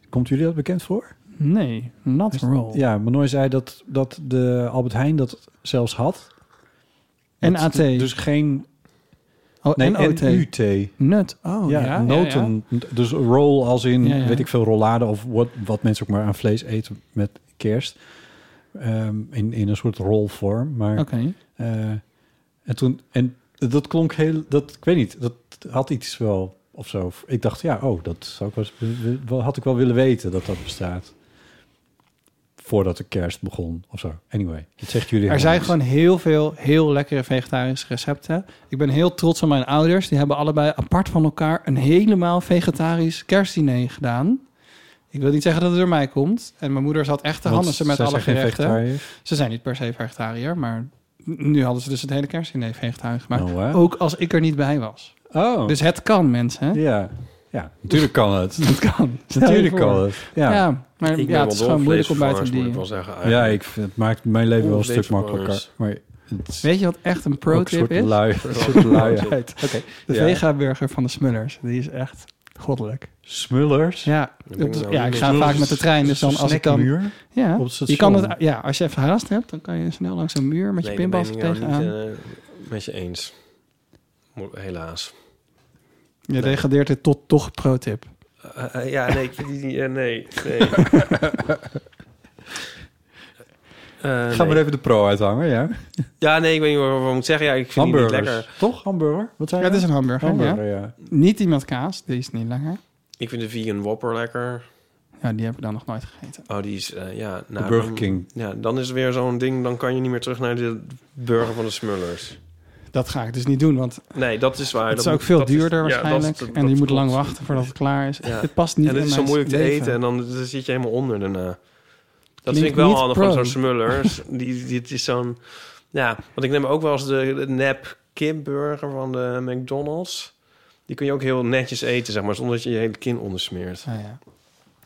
Speaker 2: Komt jullie dat bekend voor?
Speaker 1: Nee, not roll.
Speaker 2: Ja, Manoy zei dat, dat de Albert Heijn dat zelfs had.
Speaker 1: En
Speaker 2: Dat-
Speaker 1: AT.
Speaker 2: Dus geen...
Speaker 1: Oh,
Speaker 2: nee,
Speaker 1: en OT.
Speaker 2: NUT.
Speaker 1: Nut. Oh, ja. ja, ja.
Speaker 2: noten. Dus roll als in,
Speaker 1: Ja, ja.
Speaker 2: weet ik veel, rollade of wat, wat mensen ook maar aan vlees eten met kerst. Ehm, in, in een soort rolvorm. Maar,
Speaker 1: Oké.
Speaker 2: eh, en toen, en dat klonk heel, dat, ik weet niet, dat had iets wel of zo. Ik dacht, ja, oh, dat zou ik wel, eens- wel- wel- had ik wel willen weten dat dat bestaat. Voordat de kerst begon of zo. Anyway, dat zegt jullie.
Speaker 1: Er zijn
Speaker 2: helemaal
Speaker 1: gewoon heel veel heel lekkere vegetarische recepten. Ik ben heel trots op mijn ouders. Die hebben allebei apart van elkaar een helemaal vegetarisch kerstdiner gedaan. Ik wil niet zeggen dat het door mij komt. En mijn moeder zat echt te
Speaker 2: Want
Speaker 1: handen met
Speaker 2: zij
Speaker 1: alle
Speaker 2: zijn geen
Speaker 1: gerechten.
Speaker 2: vegetariër?
Speaker 1: Ze zijn niet per se vegetariër, maar nu hadden ze dus het hele kerstdiner vegetarisch gemaakt.
Speaker 2: Oh, hè?
Speaker 1: Ook als ik er niet bij was.
Speaker 2: Oh.
Speaker 1: Dus het kan, mensen. [LAUGHS]
Speaker 2: Ja. Ja, natuurlijk kan het.
Speaker 1: Dat kan. [LAUGHS] Stel je
Speaker 2: Natuurlijk kan
Speaker 1: voor.
Speaker 2: het. Ja,
Speaker 1: Ja, maar
Speaker 3: Ik ben
Speaker 1: ja,
Speaker 3: wel
Speaker 1: het is
Speaker 3: dol
Speaker 1: gewoon
Speaker 3: op
Speaker 1: moeilijk om bij te
Speaker 3: vleesvervangers, moet ik wel
Speaker 1: dienen.
Speaker 3: zeggen,
Speaker 2: Ja,
Speaker 3: eigenlijk.
Speaker 2: ik vind, het maakt mijn leven wel een stuk
Speaker 3: Onleefbaar
Speaker 2: makkelijker.
Speaker 3: is.
Speaker 2: Maar het is
Speaker 1: Weet je wat echt een pro-tip
Speaker 2: ook een soort
Speaker 1: is?
Speaker 2: lui- een soort
Speaker 1: [LAUGHS]
Speaker 2: luiheid. Oké.
Speaker 1: De
Speaker 2: Ja.
Speaker 1: vega-burger van de Smullers. Die is echt goddelijk.
Speaker 2: Smullers?
Speaker 1: Ja,
Speaker 2: ben ik nou
Speaker 1: ja
Speaker 2: niet
Speaker 1: ik
Speaker 2: mee.
Speaker 1: ga vaak met de trein. Dus dan
Speaker 2: Zo'n
Speaker 1: als ik dan...
Speaker 2: snackmuur
Speaker 1: Ja,
Speaker 2: op het
Speaker 1: je kan het,
Speaker 2: station.
Speaker 1: ja, als je even haast hebt, dan kan je snel langs een muur met je
Speaker 3: Nee, daar
Speaker 1: pinpas
Speaker 3: ben ik
Speaker 1: er
Speaker 3: nou
Speaker 1: tegenaan.
Speaker 3: niet, eh, met je eens. Mo- Helaas.
Speaker 1: je degradeert het tot toch pro-tip.
Speaker 3: Eh, eh, ja, nee, ik vind die niet... eh, nee, nee. Eh,
Speaker 2: Ga maar
Speaker 3: nee.
Speaker 2: even de pro uithangen, ja.
Speaker 3: Ja, nee, ik weet niet wat ik moet zeggen. Ja, ik vind die niet
Speaker 2: Hamburgers.
Speaker 3: lekker.
Speaker 2: Toch? Hamburger? Wat zei
Speaker 1: Ja,
Speaker 2: je?
Speaker 1: het is een hamburger.
Speaker 2: Hamburger,
Speaker 1: ja.
Speaker 2: ja.
Speaker 1: Niet iemand kaas, die is niet lekker.
Speaker 3: Ik vind de vegan Whopper lekker.
Speaker 1: Ja, die heb ik dan nog nooit gegeten.
Speaker 3: Oh, die is, eh, ja...
Speaker 1: De Burger
Speaker 3: dan-
Speaker 1: King.
Speaker 3: Ja, dan is het weer zo'n ding. Dan kan je niet meer terug naar de burger van de Smullers.
Speaker 1: Dat ga ik dus niet doen, want
Speaker 3: Nee, dat is waar.
Speaker 1: het
Speaker 3: Ah, Dat
Speaker 1: is ook
Speaker 3: moet-
Speaker 1: veel
Speaker 3: dat is-
Speaker 1: duurder
Speaker 3: ja, dat-
Speaker 1: waarschijnlijk.
Speaker 3: dat-
Speaker 1: en je
Speaker 3: dat
Speaker 1: moet lang
Speaker 3: klopt.
Speaker 1: wachten voordat het klaar is.
Speaker 3: Ja.
Speaker 1: Het past niet
Speaker 3: En het
Speaker 1: in
Speaker 3: is zo
Speaker 1: mijn
Speaker 3: moeilijk te
Speaker 1: leven.
Speaker 3: eten en dan, dan zit je helemaal onder daarna. Dat vind
Speaker 1: Klinkt
Speaker 3: ik wel
Speaker 1: niet
Speaker 3: handig
Speaker 1: pro.
Speaker 3: van zo'n
Speaker 2: [LAUGHS]
Speaker 3: Smullers. die, die, het is zo'n... Ja, want ik neem ook wel eens de, de nep kipburger van de McDonald's. Die kun je ook heel netjes eten, zeg maar, zonder dat je je hele kin ondersmeert.
Speaker 1: Ah, ja.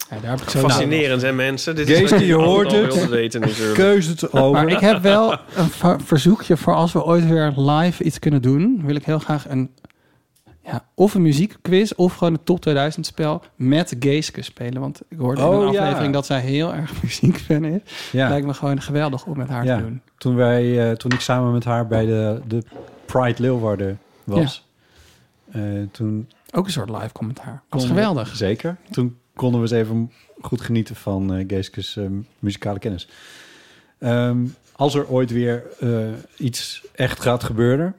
Speaker 1: Ja, daar heb ik zo
Speaker 3: Fascinerend, hè mensen? Dit
Speaker 2: Geest,
Speaker 3: wat
Speaker 2: nou, je hoort
Speaker 3: allemaal
Speaker 2: het.
Speaker 3: wilde weten natuurlijk.
Speaker 2: [LAUGHS] Keuze het
Speaker 1: [LAUGHS]
Speaker 2: over.
Speaker 1: Maar ik heb
Speaker 2: [LAUGHS]
Speaker 1: wel een ver- verzoekje voor als we ooit weer live iets kunnen doen. Wil ik heel graag een, ja, of een muziekquiz of gewoon een top 2000 spel met Geeske spelen. Want ik hoorde in
Speaker 2: Oh,
Speaker 1: een
Speaker 2: ja.
Speaker 1: aflevering dat zij heel erg [LAUGHS] muziekfan is.
Speaker 2: Ja.
Speaker 1: Lijkt me gewoon geweldig om met haar
Speaker 2: Ja,
Speaker 1: te doen.
Speaker 2: Toen, wij, eh, toen ik samen met haar bij de, de Pride Leeuwarden was. eh, toen
Speaker 1: Ook een soort live commentaar. Dat is
Speaker 2: konden-
Speaker 1: geweldig.
Speaker 2: Zeker. Toen konden we eens even goed genieten van eh Geeske's eh, muzikale kennis. Ehm, als er ooit weer eh, iets echt gaat gebeuren.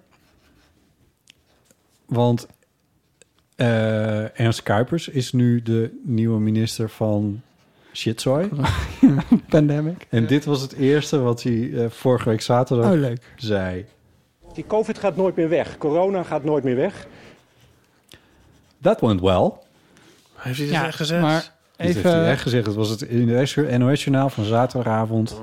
Speaker 2: Want eh, Ernst Kuipers is nu de nieuwe minister van shitzooi.
Speaker 1: Pandemic.
Speaker 2: En dit was het eerste wat hij eh, vorige week zaterdag
Speaker 8: Oh, leuk.
Speaker 2: zei.
Speaker 8: Die COVID gaat nooit meer weg. Corona gaat nooit meer weg.
Speaker 2: That went well.
Speaker 3: Heeft hij
Speaker 8: dit echt gezegd?
Speaker 1: Maar
Speaker 2: Even... Dat heeft hij
Speaker 1: even,
Speaker 2: echt gezegd. Het was het NOS-journaal van zaterdagavond.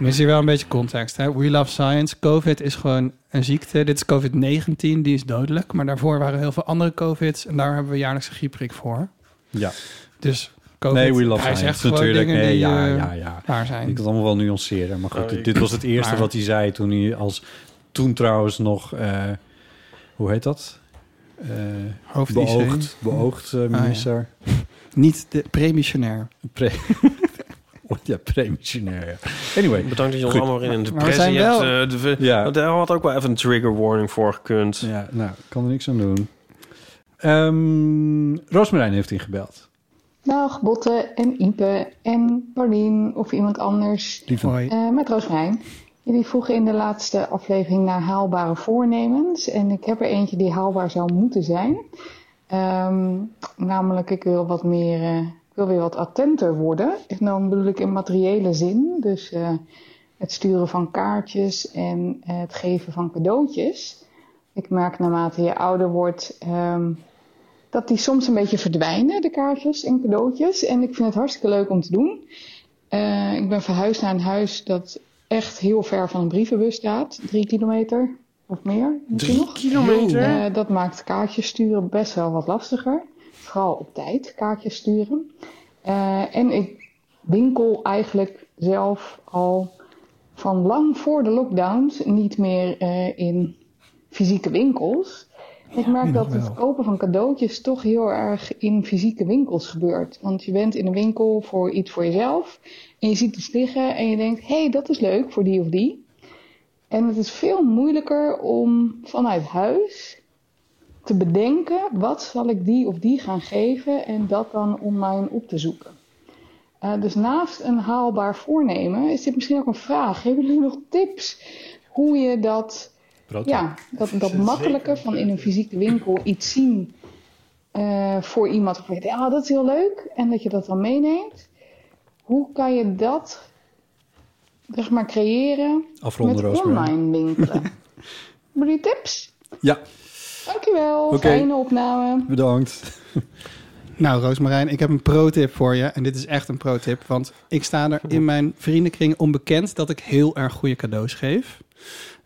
Speaker 1: Is hier wel een beetje context. Hè? We love science. COVID is gewoon een ziekte. Dit is COVID-19, die is dodelijk. Maar daarvoor waren heel veel andere COVID's. En daar hebben we jaarlijks een griepprik voor.
Speaker 2: Ja.
Speaker 1: Dus COVID,
Speaker 2: nee, we love
Speaker 1: hij
Speaker 2: science,
Speaker 1: zegt gewoon
Speaker 2: natuurlijk.
Speaker 1: dingen
Speaker 2: nee,
Speaker 1: die,
Speaker 2: ja,
Speaker 1: eh,
Speaker 2: ja, ja.
Speaker 1: waar zijn.
Speaker 2: Ik had allemaal wel nuanceren. Maar goed,
Speaker 1: Oh,
Speaker 2: dit,
Speaker 1: ik-
Speaker 2: dit was het eerste
Speaker 1: Maar-
Speaker 2: wat hij zei toen hij als... Toen trouwens nog... eh, hoe heet dat? Eh,
Speaker 1: Hoofd IC.
Speaker 2: beoogd, beoogd eh,
Speaker 1: Ah, ja.
Speaker 2: minister. [LAUGHS]
Speaker 1: Niet de premissionair.
Speaker 2: Pre- Oh, ja, premissionair. ja. Anyway.
Speaker 3: Bedankt dat je ons
Speaker 2: Goed.
Speaker 3: allemaal weer in de
Speaker 2: Maar we
Speaker 3: depressie
Speaker 2: zijn
Speaker 3: hebt.
Speaker 2: wel-
Speaker 3: eh, de, we-
Speaker 2: Ja.
Speaker 3: Daar had ook wel even een trigger warning voor gekund.
Speaker 2: Ja, nou, kan er niks aan doen. Ehm Roosmarijn heeft ingebeld.
Speaker 9: Dag Botte en Ipe en Paulien of iemand anders.
Speaker 2: Lieve. Hoi.
Speaker 9: Eh, met Roosmarijn. Jullie vroegen in de laatste aflevering naar haalbare voornemens. En ik heb er eentje die haalbaar zou moeten zijn. Ehm, namelijk, ik wil wat meer, eh, ik wil weer wat attenter worden. En dan bedoel ik in materiële zin. Dus eh, het sturen van kaartjes en eh, het geven van cadeautjes. Ik merk naarmate je ouder wordt, ehm, dat die soms een beetje verdwijnen, de kaartjes en cadeautjes. En ik vind het hartstikke leuk om te doen. Eh, ik ben verhuisd naar een huis dat echt heel ver van een brievenbus staat. Drie kilometer of meer. misschien
Speaker 3: Drie
Speaker 9: nog.
Speaker 3: kilometer?
Speaker 9: Eh, dat maakt kaartjes sturen best wel wat lastiger. Vooral op tijd kaartjes sturen. Eh, en ik winkel eigenlijk zelf al van lang voor de lockdowns niet meer eh, in fysieke winkels. Ik merk dat het kopen van cadeautjes toch heel erg in fysieke winkels gebeurt. Want je bent in een winkel voor iets voor jezelf. En je ziet iets liggen en je denkt, hé, hey, dat is leuk voor die of die. En het is veel moeilijker om vanuit huis te bedenken, wat zal ik die of die gaan geven en dat dan online op te zoeken. Eh, dus naast een haalbaar voornemen is dit misschien ook een vraag. Hebben jullie nog tips hoe je dat, ja, dat, dat makkelijker van in een fysieke winkel iets zien eh, voor iemand? Of weet, ah, dat is heel leuk en dat je dat dan meeneemt. Hoe kan je dat zeg maar, creëren
Speaker 2: Afronden,
Speaker 9: met
Speaker 2: Roosmarijn.
Speaker 9: online winkelen? Hebben jullie tips?
Speaker 2: Ja,
Speaker 9: Dankjewel,
Speaker 1: Oké.
Speaker 9: fijne opname.
Speaker 2: bedankt.
Speaker 1: Nou, Roosmarijn, ik heb een pro-tip voor je. En dit is echt een pro-tip. Want ik sta er
Speaker 2: [LAUGHS]
Speaker 1: in mijn vriendenkring onbekend dat ik heel erg goede cadeaus geef.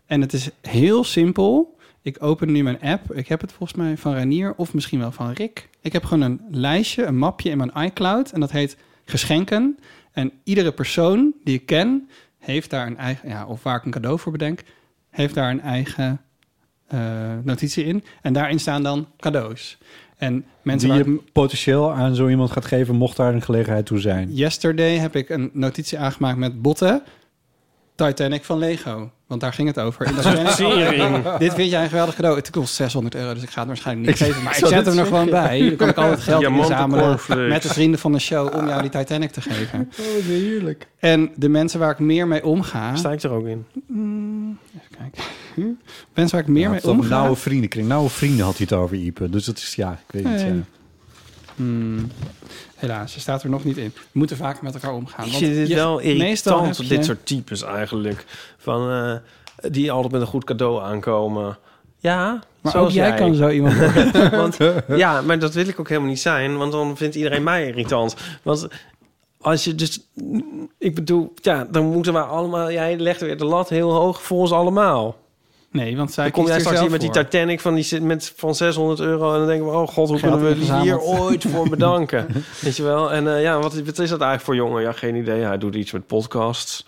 Speaker 1: En het is heel simpel. Ik open nu mijn app. Ik heb het volgens mij van Ranier of misschien wel van Rick. Ik heb gewoon een lijstje, een mapje in mijn iCloud. En dat heet geschenken. En iedere persoon die ik ken, heeft daar een eigen... Ja, of waar ik een cadeau voor bedenk, heeft daar een eigen eh, notitie in. En daarin staan dan cadeaus. En mensen
Speaker 2: Die
Speaker 1: waar ik
Speaker 2: je potentieel aan zo iemand gaat geven, mocht daar een gelegenheid toe zijn.
Speaker 1: Yesterday heb ik een notitie aangemaakt met botten. Titanic van Lego. Want daar ging het over. In dat
Speaker 3: Zo'n
Speaker 1: Titanic-
Speaker 3: serie.
Speaker 1: dit vind jij een geweldig cadeau. Het kost 600 euro, dus ik ga het waarschijnlijk niet
Speaker 3: Ik-
Speaker 1: geven. Maar
Speaker 3: ik
Speaker 1: ik
Speaker 3: zou
Speaker 1: zet
Speaker 3: dit
Speaker 1: hem er gewoon
Speaker 3: zeggen.
Speaker 1: bij. Dan kan ik al het geld
Speaker 3: Diamanten
Speaker 1: inzamelen
Speaker 3: cornflakes.
Speaker 1: met de vrienden van de show om jou die Titanic te geven.
Speaker 2: Oh, wat heerlijk.
Speaker 1: En de mensen waar ik meer mee omga...
Speaker 3: [LAUGHS]
Speaker 1: Hmm,
Speaker 3: Sta ik er ook in?
Speaker 1: Ah, [LAUGHS] Mensen waar ik meer mee
Speaker 2: het was een
Speaker 1: omga...
Speaker 2: nauwe vriendenkring. Nauwe vrienden had hij het over, Ipe. Dus dat is, ja, ik weet het.
Speaker 1: Nee.
Speaker 2: Ja.
Speaker 1: Hmm. Helaas, ze staat er nog niet in. We moeten vaker met elkaar omgaan.
Speaker 3: Ik
Speaker 1: want
Speaker 3: vind het
Speaker 1: je-
Speaker 3: wel
Speaker 1: meestal heb
Speaker 3: irritant,
Speaker 1: je-
Speaker 3: dit soort types eigenlijk. Van, eh, die altijd met een goed cadeau aankomen. Ja,
Speaker 1: Maar
Speaker 3: zoals
Speaker 1: ook jij kan zo iemand worden.
Speaker 3: [LAUGHS] want, ja, maar dat wil ik ook helemaal niet zijn, want dan vindt iedereen mij irritant. Want als je dus... Ik bedoel, ja, dan moeten we allemaal... Jij legt weer de lat heel hoog voor ons allemaal.
Speaker 1: Nee, want zij
Speaker 3: Dan kom
Speaker 1: kiest
Speaker 3: jij
Speaker 1: er
Speaker 3: straks
Speaker 1: zelf
Speaker 3: hier met die
Speaker 1: voor.
Speaker 3: Titanic van, die, zit met, van 600 euro... en dan denken we, oh god, hoe
Speaker 1: Geld
Speaker 3: kunnen we hier
Speaker 1: ingezameld.
Speaker 3: ooit [LAUGHS] voor bedanken? Weet je wel? En eh, ja, wat, wat is dat eigenlijk voor jongen? Ja, geen idee. Hij doet iets met podcasts.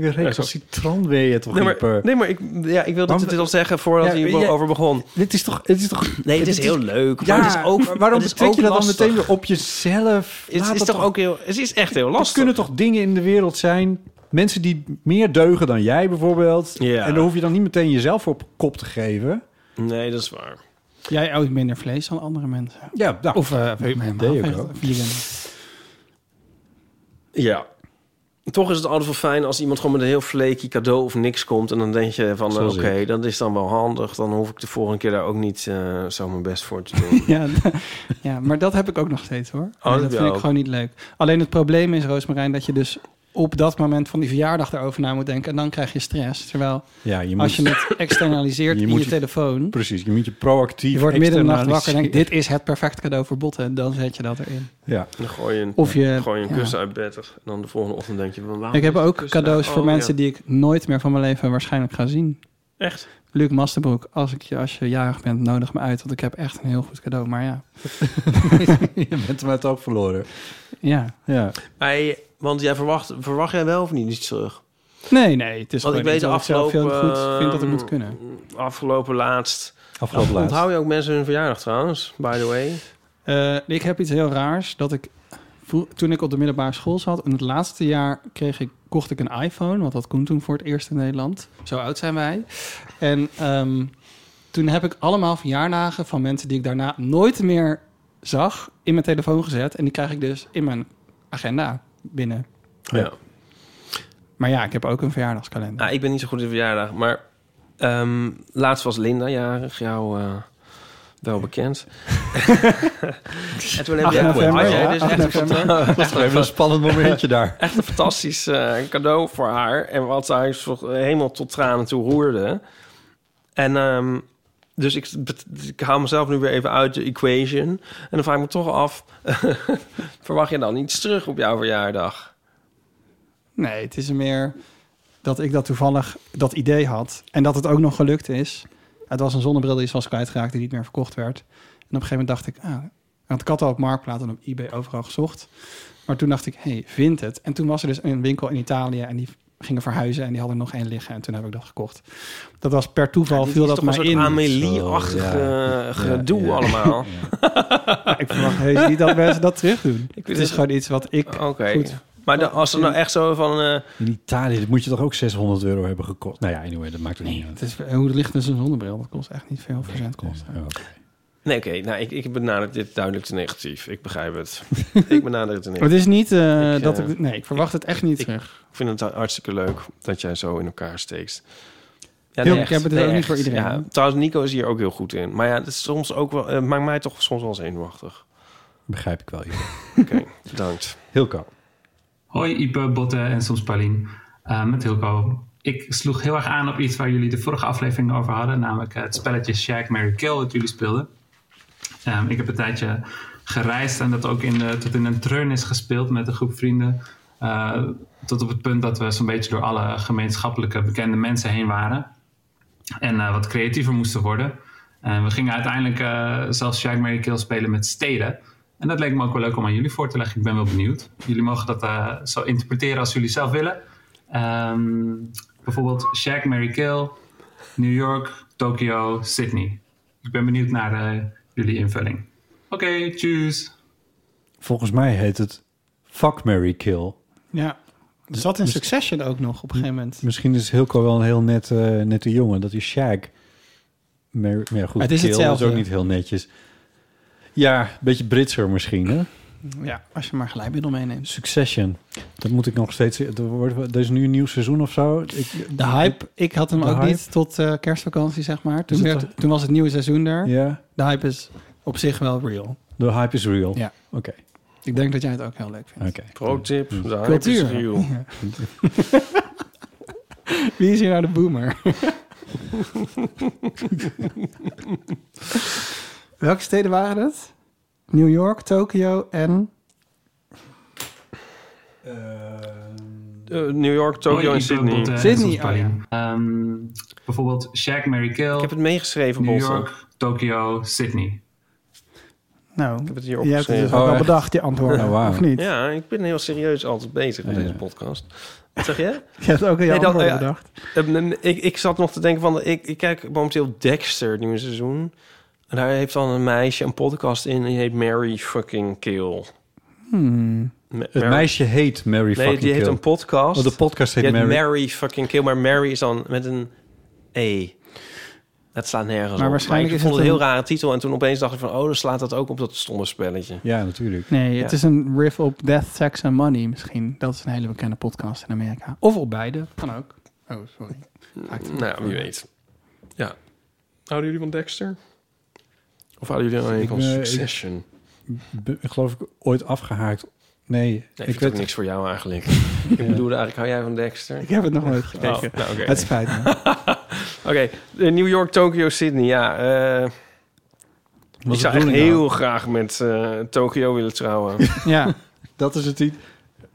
Speaker 2: Recalcitrant ben je toch,
Speaker 3: Nee, maar,
Speaker 2: Ipe?
Speaker 3: nee, maar ik, ja, ik wilde
Speaker 2: Want-
Speaker 3: dit al zeggen voordat
Speaker 2: Ja,
Speaker 3: hij
Speaker 2: ja,
Speaker 3: hierover begon.
Speaker 2: Dit is toch... Dit is toch
Speaker 3: Nee, het
Speaker 2: dit
Speaker 3: is heel leuk,
Speaker 2: Ja,
Speaker 3: maar het is ook-
Speaker 2: maar waarom
Speaker 3: het is
Speaker 2: betrek
Speaker 3: ook
Speaker 2: je dat dan
Speaker 3: lastig.
Speaker 2: meteen weer op jezelf?
Speaker 3: Het
Speaker 2: Laat
Speaker 3: is
Speaker 2: dat
Speaker 3: toch ook heel... Het is echt heel
Speaker 2: Er
Speaker 3: lastig.
Speaker 2: kunnen toch dingen in de wereld zijn... Mensen die meer deugen dan jij bijvoorbeeld.
Speaker 3: Ja.
Speaker 2: En daar hoef je dan niet meteen jezelf voor op kop te geven.
Speaker 3: Nee, dat is waar.
Speaker 1: Jij houdt minder vlees dan andere mensen.
Speaker 2: Ja, nou,
Speaker 1: Of eh weet ik
Speaker 2: deed ik
Speaker 1: helemaal
Speaker 2: ook.
Speaker 1: vegan.
Speaker 3: Ja. Toch is het altijd wel fijn als iemand gewoon met een heel flaky cadeau of niks komt. En dan denk je van, eh,
Speaker 2: Zoals
Speaker 3: oké, dat is dan wel handig. Dan hoef ik de volgende keer daar ook niet eh, zo mijn best voor te
Speaker 1: [LAUGHS]
Speaker 3: doen.
Speaker 1: [LAUGHS] Ja, d- ja, maar dat heb ik ook nog steeds hoor. Nee,
Speaker 3: Oh, dat
Speaker 1: dat
Speaker 3: wel.
Speaker 1: vind ik gewoon niet leuk. Alleen het probleem is, Roosmarijn, dat je dus op dat moment van die verjaardag erover na moet denken. En dan krijg je stress. Terwijl
Speaker 2: Ja, je
Speaker 1: als je
Speaker 2: moet-
Speaker 3: [LAUGHS]
Speaker 1: het externaliseert in je telefoon.
Speaker 2: Precies, je moet je proactief
Speaker 1: Je wordt midden in de nacht wakker en
Speaker 2: externaliseren.
Speaker 1: denkt, dit is het perfecte cadeau voor botten. Dan zet je dat erin.
Speaker 2: Ja.
Speaker 3: Dan gooi je een,
Speaker 1: Of je-
Speaker 3: gooi je een
Speaker 1: ja.
Speaker 3: kussen uit bed. En dan de volgende ochtend denk je van, waarom
Speaker 1: Ik heb
Speaker 3: is die
Speaker 1: ook
Speaker 3: kussen
Speaker 1: cadeaus
Speaker 3: daar?
Speaker 1: voor
Speaker 3: Oh,
Speaker 1: mensen
Speaker 3: ja.
Speaker 1: die ik nooit meer van mijn leven waarschijnlijk ga zien.
Speaker 3: Echt?
Speaker 1: Luc Masterbroek, als, ik je, als je jarig bent, nodig me uit. Want ik heb echt een heel goed cadeau. Maar ja.
Speaker 2: je bent hem uit het ook verloren.
Speaker 1: Ja.
Speaker 2: ja.
Speaker 3: Hey, want jij verwacht, verwacht jij wel of niet iets terug?
Speaker 1: Nee, nee. Het is
Speaker 3: Want ik
Speaker 1: gewoon
Speaker 3: weet
Speaker 1: iets
Speaker 3: de
Speaker 1: wat ik zelf
Speaker 3: afgelopen...
Speaker 1: heel goed vind dat het moet
Speaker 3: eh,
Speaker 1: kunnen.
Speaker 3: Afgelopen laatst.
Speaker 2: Afgelopen laatst.
Speaker 3: Onthoud je ook mensen hun verjaardag trouwens, by the way?
Speaker 1: Eh, ik heb iets heel raars dat ik vro- toen ik op de middelbare school zat in het laatste jaar kreeg ik kocht ik een iPhone, want dat kon toen voor het eerst in Nederland. Zo oud zijn wij. En ehm, toen heb ik allemaal verjaardagen van mensen die ik daarna nooit meer zag in mijn telefoon gezet en die krijg ik dus in mijn agenda binnen.
Speaker 3: Ja.
Speaker 1: Maar ja, ik heb ook een verjaardagskalender.
Speaker 3: Nou, ik ben niet zo goed in verjaardag, maar ehm, laatst was Linda jarig, jou eh, wel bekend. en toen heb
Speaker 2: Acht
Speaker 3: jij,
Speaker 2: november,
Speaker 3: had jij
Speaker 2: ja,
Speaker 3: dus
Speaker 2: acht
Speaker 3: echt een,
Speaker 2: november.
Speaker 3: [LAUGHS] fanta-
Speaker 2: Dat was wel even een spannend [LAUGHS] momentje daar.
Speaker 3: Echt een fantastisch eh, cadeau voor haar. En wat zij zo- helemaal tot tranen toe roerde. En ehm, dus ik, ik haal mezelf nu weer even uit de equation. En dan vraag ik me toch af, [LAUGHS] verwacht je dan iets terug op jouw verjaardag?
Speaker 1: Nee, het is meer dat ik dat toevallig dat idee had. En dat het ook nog gelukt is. Het was een zonnebril die ze was kwijtgeraakt die niet meer verkocht werd. En op een gegeven moment dacht ik... Ah, want ik had al op Marktplaats en op eBay overal gezocht. Maar toen dacht ik, hé, hey, vind het. En toen was er dus een winkel in Italië en die gingen verhuizen... en die hadden nog één liggen en toen heb ik dat gekocht. Dat was per toeval,
Speaker 3: dit
Speaker 1: viel
Speaker 3: is
Speaker 1: dat
Speaker 3: toch een
Speaker 1: mij
Speaker 3: soort
Speaker 1: in.
Speaker 3: Amélie-achtig, Zo, ja. eh, gedoe allemaal.
Speaker 1: Ja, ik verwacht heus niet dat mensen dat terug
Speaker 3: [LAUGHS]
Speaker 1: doen.
Speaker 3: Ik weet
Speaker 1: het
Speaker 3: het-
Speaker 1: is gewoon iets wat ik
Speaker 3: Oké.
Speaker 1: goed
Speaker 3: Maar dan, als er nou echt zo van... eh,
Speaker 2: In Italië dat moet je toch ook 600 euro hebben gekost? Nou ja, anyway, dat maakt er niet uit.
Speaker 1: Het is, hoe licht is een zonnebril? Dat kost echt niet veel verzendkosten.
Speaker 3: Nee, oké. Nou, ik, ik benader dit duidelijk te negatief. Ik begrijp [LAUGHS] het. ik benader het te negatief.
Speaker 1: Maar het is niet eh, dat
Speaker 3: eh,
Speaker 1: ik... Nee, ik verwacht het echt niet
Speaker 3: ik-
Speaker 1: terug.
Speaker 3: Ik vind het hartstikke leuk dat jij zo in elkaar steekt. Ja,
Speaker 1: Heel-
Speaker 3: nee,
Speaker 1: ik heb het
Speaker 3: nee,
Speaker 1: ook niet
Speaker 3: echt.
Speaker 1: voor iedereen,
Speaker 3: Ja,
Speaker 1: hè?
Speaker 3: trouwens, Nico is hier ook heel goed in. Maar ja, het is soms ook wel, eh, maakt mij toch soms wel zenuwachtig.
Speaker 2: Begrijp ik wel. Oké, [LAUGHS]
Speaker 3: bedankt.
Speaker 2: Hilco.
Speaker 10: Hoi Ipe, Botte en soms Paulien. Eh, met Hilco. Ik sloeg heel erg aan op iets waar jullie de vorige aflevering over hadden. Namelijk eh, het spelletje Shag, Mary, Kill dat jullie speelden. Ehm, ik heb een tijdje gereisd en dat ook in de, tot in een treun is gespeeld met een groep vrienden. Eh, tot op het punt dat we zo'n beetje door alle gemeenschappelijke bekende mensen heen waren. En eh, wat creatiever moesten worden. En we gingen uiteindelijk eh, zelfs Shag, Mary, Kill spelen met steden. En dat leek me ook wel leuk om aan jullie voor te leggen. Ik ben wel benieuwd. Jullie mogen dat eh, zo interpreteren als jullie zelf willen. Ehm, bijvoorbeeld Shag, Mary, Kill, New York, Tokio, Sydney. Ik ben benieuwd naar eh, jullie invulling. Oké, tjus.
Speaker 2: Volgens mij heet het Fuck, Mary Kill.
Speaker 1: Ja. Er zat in Succession ook nog op een gegeven moment.
Speaker 2: Misschien is Hilco wel een heel net, eh, nette jongen. Dat is Shaq. Maar, maar ja, goed,
Speaker 1: Het is
Speaker 2: Keel
Speaker 1: hetzelfde.
Speaker 2: is ook niet heel netjes. Ja, een beetje Britser misschien, hè?
Speaker 1: Ja, als je maar glijmiddel meeneemt.
Speaker 2: Succession. Dat moet ik nog steeds... Er, wordt, er is nu een nieuw seizoen of zo.
Speaker 1: De hype, ik had hem
Speaker 2: De
Speaker 1: ook
Speaker 2: hype.
Speaker 1: niet tot eh, kerstvakantie, zeg maar. Toen,
Speaker 2: Is het
Speaker 1: werd-
Speaker 2: wel-
Speaker 1: toen was het nieuwe seizoen er.
Speaker 2: Ja.
Speaker 1: De hype is op zich wel real.
Speaker 2: De hype is real.
Speaker 1: Ja.
Speaker 2: Oké.
Speaker 1: Ik denk dat jij het ook heel leuk vindt.
Speaker 2: Oké.
Speaker 3: Pro tip. daar
Speaker 1: Cultuur.
Speaker 3: heb je het
Speaker 1: Ja. Wie is hier nou de boomer? Welke steden waren het? New York, Tokio en...
Speaker 3: Eh, New York, Tokio
Speaker 10: Hoi, eh,
Speaker 3: en
Speaker 10: Ipe, Botte
Speaker 3: Sydney.
Speaker 10: en Soms
Speaker 1: oh
Speaker 10: Paulien. Ehm, bijvoorbeeld Shaq, Mary Kill. Ik heb
Speaker 3: het meegeschreven,
Speaker 10: New
Speaker 3: Botte.
Speaker 10: York, Tokio, Sydney.
Speaker 1: Nou,
Speaker 3: heb het hier
Speaker 1: je hebt het
Speaker 3: opgeschreven.
Speaker 1: dus ook al bedacht, die antwoorden,
Speaker 2: Oh, wauw.
Speaker 1: of niet?
Speaker 3: Ja, ik ben heel serieus altijd bezig met deze podcast. Wat zeg je? [LAUGHS]
Speaker 1: Je hebt ook al je
Speaker 3: Nee, dat-
Speaker 1: antwoorden
Speaker 3: eh,
Speaker 1: bedacht.
Speaker 3: eh, eh, ik, ik zat nog te denken van... Ik, ik kijk momenteel Dexter, het nieuwe seizoen. En daar heeft dan een meisje een podcast in... die heet Mary fucking Kill.
Speaker 1: Hmm.
Speaker 3: Ma-
Speaker 2: Het
Speaker 3: Mary-
Speaker 2: meisje heet Mary
Speaker 3: nee,
Speaker 2: fucking Kill.
Speaker 3: die heeft een podcast.
Speaker 2: Oh, de podcast heet
Speaker 3: Die
Speaker 2: Mary.
Speaker 3: fucking Kill. Maar Mary is dan met een E. Dat slaat nergens
Speaker 1: Maar
Speaker 3: op.
Speaker 1: waarschijnlijk
Speaker 3: ik
Speaker 1: is
Speaker 3: vond
Speaker 1: het
Speaker 3: het een heel
Speaker 1: een-
Speaker 3: rare titel. En toen opeens dacht ik van... oh, dan slaat dat ook op dat stomme spelletje.
Speaker 2: Ja, natuurlijk.
Speaker 1: Nee, het
Speaker 3: Ja.
Speaker 1: is een riff op Death, Sex and Money misschien. Dat is een hele bekende podcast in Amerika. Of op beide, kan ook. Oh, sorry.
Speaker 3: Nou, wie weet. Ja. Houden jullie van Dexter? Of houden jullie alleen
Speaker 2: Ik
Speaker 3: van
Speaker 2: ben-
Speaker 3: Succession?
Speaker 2: Be- geloof ik ooit afgehaakt. Nee,
Speaker 3: Nee, ik
Speaker 2: ik
Speaker 3: vind het
Speaker 2: weet
Speaker 3: ook niks voor
Speaker 2: [LAUGHS]
Speaker 3: jou eigenlijk. ik bedoelde eigenlijk, hou jij van Dexter?
Speaker 1: Ik heb het nog nooit gekeken.
Speaker 3: Oh, nou, oké.
Speaker 1: Het spijt me.
Speaker 3: Oké, eh, New York, Tokyo, Sydney, ja. eh, ik
Speaker 2: de
Speaker 3: zou echt
Speaker 2: bedoeling
Speaker 3: heel
Speaker 2: nou?
Speaker 3: graag met eh, Tokyo willen
Speaker 2: [LAUGHS]
Speaker 3: trouwen.
Speaker 1: Ja,
Speaker 2: dat is het niet.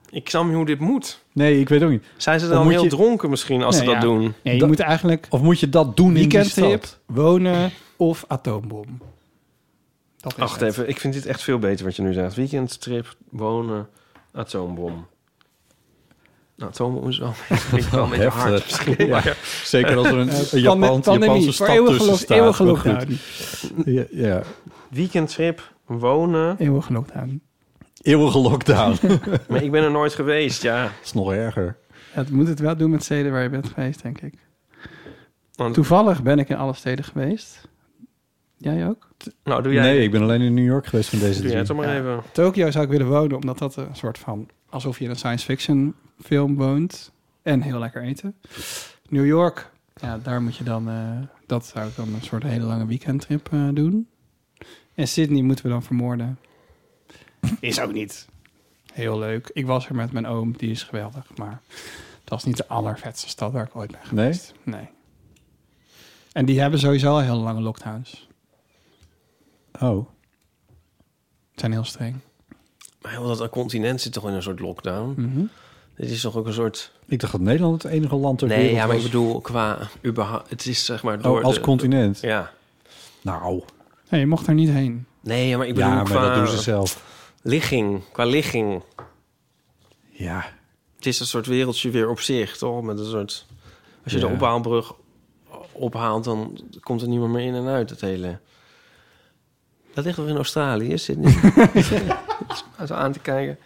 Speaker 3: ik snap niet hoe dit moet.
Speaker 2: Nee, ik weet ook niet.
Speaker 3: Zijn ze
Speaker 2: Of
Speaker 3: dan
Speaker 2: moet
Speaker 3: heel
Speaker 2: je-
Speaker 3: dronken misschien als
Speaker 2: Nee,
Speaker 3: ze dat
Speaker 2: ja.
Speaker 3: doen?
Speaker 1: Nee, je moet eigenlijk
Speaker 2: Of moet je dat doen in die
Speaker 1: weekendtrip,
Speaker 2: stad?
Speaker 1: wonen eh, of atoombom. Dat is
Speaker 3: Wacht
Speaker 1: het.
Speaker 3: even, ik vind dit echt veel beter wat je nu zegt. Weekendtrip, wonen, atoombom. Nou, atoombom is wel ik wel een beetje
Speaker 2: Heftig.
Speaker 3: hard. misschien,
Speaker 2: Ja,
Speaker 3: maar-
Speaker 2: zeker als er een,
Speaker 3: Eh,
Speaker 2: een Japan,
Speaker 3: pandemie,
Speaker 2: Japanse
Speaker 3: voor
Speaker 2: stad
Speaker 3: eeuwig
Speaker 2: tussen
Speaker 3: geloof-
Speaker 2: staat.
Speaker 3: eeuwig
Speaker 2: maar
Speaker 3: geloof
Speaker 2: goed.
Speaker 3: nou.
Speaker 2: Ja, ja.
Speaker 3: Weekendtrip, wonen.
Speaker 1: Eeuwige lockdown.
Speaker 2: Eeuwige lockdown. [LAUGHS]
Speaker 3: Maar ik ben er nooit geweest, ja.
Speaker 2: dat is nog erger.
Speaker 1: Ja, het moet het wel doen met steden waar je bent geweest, denk ik.
Speaker 3: Want-
Speaker 1: Toevallig ben ik in alle steden geweest. Jij ook?
Speaker 3: Nou, doe jij.
Speaker 2: Nee, ik ben alleen in New York geweest van deze
Speaker 3: Doe
Speaker 2: drie.
Speaker 3: jij het dan maar even.
Speaker 1: Tokio zou ik willen wonen, omdat dat een soort van... alsof je in een science fiction film woont. En heel lekker eten. New York, ja, daar moet je dan... eh, dat zou ik dan een soort hele lange weekendtrip eh, doen. En Sydney moeten we dan vermoorden. Is ook niet heel leuk. Ik was er met mijn oom, die is geweldig. Maar dat is niet de allervetste stad waar ik ooit ben geweest. Nee? Nee. En die hebben sowieso al heel lange lockdowns.
Speaker 2: Oh.
Speaker 1: Zijn heel streng.
Speaker 3: Maar heel dat continent zit toch in een soort lockdown?
Speaker 2: Hm.
Speaker 1: Mhm.
Speaker 3: Dit is toch ook een soort...
Speaker 2: Ik dacht dat Nederland het enige land ter
Speaker 3: Nee,
Speaker 2: wereld
Speaker 3: ja, maar ik
Speaker 2: was.
Speaker 3: bedoel qua... überhaupt- Het is zeg maar door
Speaker 2: Oh, als
Speaker 3: de-
Speaker 2: continent?
Speaker 3: Ja.
Speaker 2: Nou.
Speaker 1: Nee, je mocht er niet heen.
Speaker 3: Nee, maar ik
Speaker 2: Ja,
Speaker 3: bedoel
Speaker 2: maar
Speaker 3: qua...
Speaker 2: dat doen ze zelf.
Speaker 3: Ligging, qua ligging.
Speaker 2: Ja.
Speaker 3: Het is een soort wereldje weer op zich, toch? Met een soort... Als je
Speaker 2: Ja.
Speaker 3: de ophaalbrug ophaalt, dan komt er niemand meer in en uit, het hele... Dat ligt toch in Australië, Sydney?
Speaker 2: [LAUGHS]
Speaker 3: Zo aan te kijken.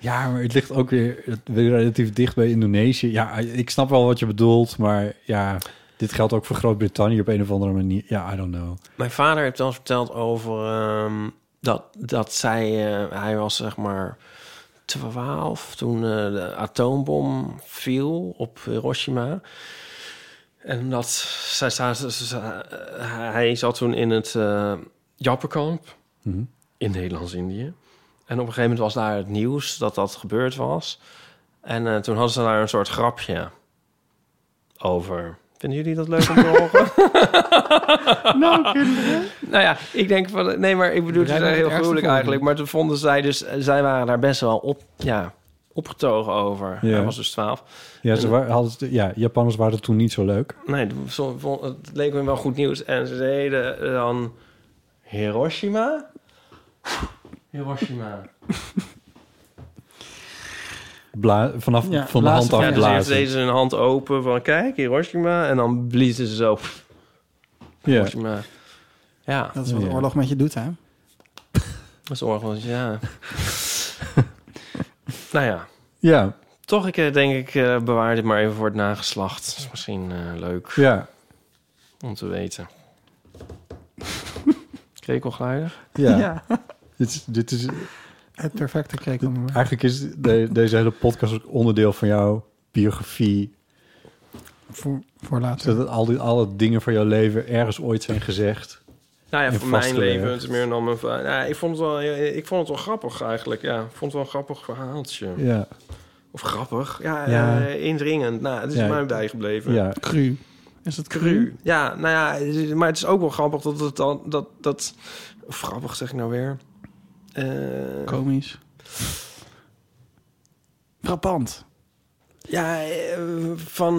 Speaker 2: Ja, maar het ligt ook weer, het- weer relatief dicht bij Indonesië. Ja, ik snap wel wat je bedoelt, maar ja, dit geldt ook voor Groot-Brittannië op een of andere manier. Ja, I don't know.
Speaker 3: Mijn vader heeft wel eens verteld over ehm, dat, dat zij, eh, hij was zeg maar 12 toen eh, de atoombom viel op Hiroshima. En dat zij, zij- zij- zij- hij zat toen in het eh Jappenkamp
Speaker 2: Mhm.
Speaker 3: in Nederlands-Indië. En op een gegeven moment was daar het nieuws dat dat gebeurd was. En eh, toen hadden ze daar een soort grapje over. Vinden jullie dat leuk om te horen? [LAUGHS]
Speaker 1: nou, kinderen.
Speaker 3: Nou ja, ik denk van... Nee, maar ik bedoel, het is
Speaker 1: Jij bent het
Speaker 3: heel
Speaker 1: ergste
Speaker 3: gruwelijk
Speaker 1: voorbeeld.
Speaker 3: eigenlijk. Maar toen vonden zij dus... Zij waren daar best wel op, ja, opgetogen over.
Speaker 2: Ja.
Speaker 3: Hij was dus 12.
Speaker 2: Ja,
Speaker 3: En-
Speaker 2: ze wa- hadden, het- ja, Japanners waren het toen niet zo leuk.
Speaker 3: Nee, ze vond- het leek me wel goed nieuws. En ze deden dan... Hiroshima? Hiroshima.
Speaker 2: Bla- vanaf
Speaker 3: Ja,
Speaker 2: van de hand
Speaker 3: Ja, dus
Speaker 2: afblazen.
Speaker 3: deden ze hun hand open van... Kijk, Hiroshima. En dan bliezen ze zo...
Speaker 2: Ja.
Speaker 3: Hiroshima. Ja.
Speaker 1: Dat is wat de oorlog met je doet, hè?
Speaker 2: [LAUGHS]
Speaker 3: Dat is oorlog, ja. dus nou ja.
Speaker 2: Ja.
Speaker 3: Toch, ik eh, denk ik, eh, bewaar dit maar even voor het nageslacht. Dat is misschien eh, leuk
Speaker 2: Ja.
Speaker 3: om te weten. [LAUGHS] Krekelgeluiden?
Speaker 2: Ja. Dit, is- dit is,
Speaker 1: Het perfecte
Speaker 2: dit-
Speaker 1: krekelmoment.
Speaker 2: eigenlijk is de- deze hele podcast ook onderdeel van jouw biografie.
Speaker 1: Voor, voor later.
Speaker 2: Zodat al die, alle dingen van jouw leven ergens ooit zijn gezegd.
Speaker 3: Nou ja,
Speaker 2: En
Speaker 3: voor mijn
Speaker 2: vastgelegd.
Speaker 3: leven. Het is meer dan mijn... va- Ja, ik, vond het wel, eh, ik vond het wel grappig eigenlijk. Ja, ik vond het wel een grappig verhaaltje.
Speaker 2: Ja.
Speaker 3: Of grappig. Ja,
Speaker 2: Ja.
Speaker 3: eh, indringend. Nou, het is
Speaker 2: Ja.
Speaker 3: mij bijgebleven.
Speaker 2: Ja.
Speaker 1: Cru. Is het
Speaker 3: cru? Ja, nou ja, het is- maar het is ook wel grappig dat het dan... Dat, dat, of grappig zeg ik nou weer. Eh,
Speaker 1: Komisch. Frappant.
Speaker 3: Ja, eh, van,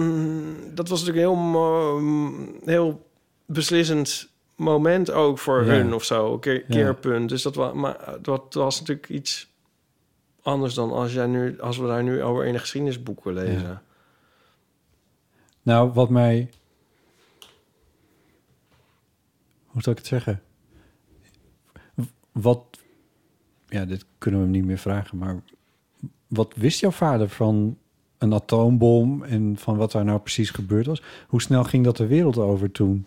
Speaker 3: dat was natuurlijk een heel, mo- heel beslissend moment ook voor
Speaker 2: Ja.
Speaker 3: hun of zo. Keer,
Speaker 2: Ja.
Speaker 3: Keerpunt. Dus dat, wa, maar dat was natuurlijk iets anders dan als, jij nu, als we daar nu over in de geschiedenisboeken lezen.
Speaker 2: Nou, wat mij. Hoe zal ik het zeggen? W- Wat. Ja, dit kunnen we hem niet meer vragen, maar. Wat wist jouw vader van een atoombom en van wat daar nou precies gebeurd was? Hoe snel ging dat de wereld over toen?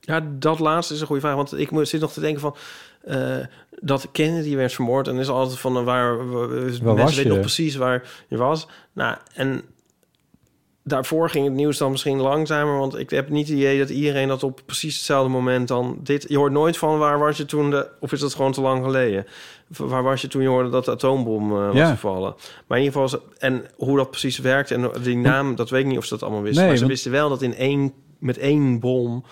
Speaker 3: Ja, dat laatste is een goede vraag. Want ik mo- zit nog te denken van... eh, dat Kennedy werd vermoord. En is altijd van... eh, waar, waar mensen
Speaker 2: was je?
Speaker 3: weten nog precies waar je was. Nou, en daarvoor ging het nieuws dan misschien langzamer. Want ik heb niet het idee dat iedereen dat op precies hetzelfde moment dan... Dit, je hoort nooit van waar was je toen... De, of is dat gewoon te lang geleden? V- Waar was je toen je hoorde dat de atoombom eh, was
Speaker 2: Ja.
Speaker 3: gevallen? Maar in ieder geval... is- En hoe dat precies werkt en die naam... Dat weet ik niet of ze dat allemaal wisten.
Speaker 2: Nee,
Speaker 3: maar ze
Speaker 2: want-
Speaker 3: wisten wel dat in één, met één bom...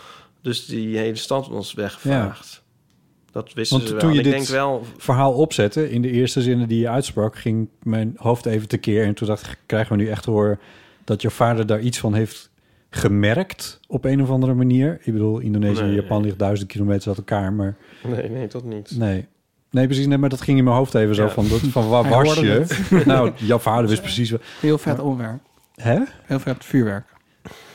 Speaker 3: Dus die hele stad ons weggevaagd. Dat wisten
Speaker 2: Want
Speaker 3: ze wel.
Speaker 2: toen je
Speaker 3: En ik
Speaker 2: dit
Speaker 3: denk wel...
Speaker 2: verhaal opzette, in de eerste zinnen die je uitsprak, ging mijn hoofd even tekeer. En toen dacht ik, krijgen we nu echt te horen dat je vader daar iets van heeft gemerkt op een of andere manier. Ik bedoel, Indonesië en
Speaker 3: Nee,
Speaker 2: Japan ligt duizend kilometers uit elkaar, maar
Speaker 3: Nee, nee, dat niet.
Speaker 2: nee. Nee, precies. Nee, maar dat ging in mijn hoofd even zo
Speaker 3: Ja.
Speaker 2: van, dat,
Speaker 1: [LAUGHS]
Speaker 2: van waar
Speaker 1: Hij
Speaker 2: was
Speaker 1: hoorde
Speaker 2: je?
Speaker 1: het.
Speaker 2: [LAUGHS] nou, jouw vader wist precies wat.
Speaker 1: Heel vet onwerk.
Speaker 2: Hè?
Speaker 1: Heel vet vuurwerk.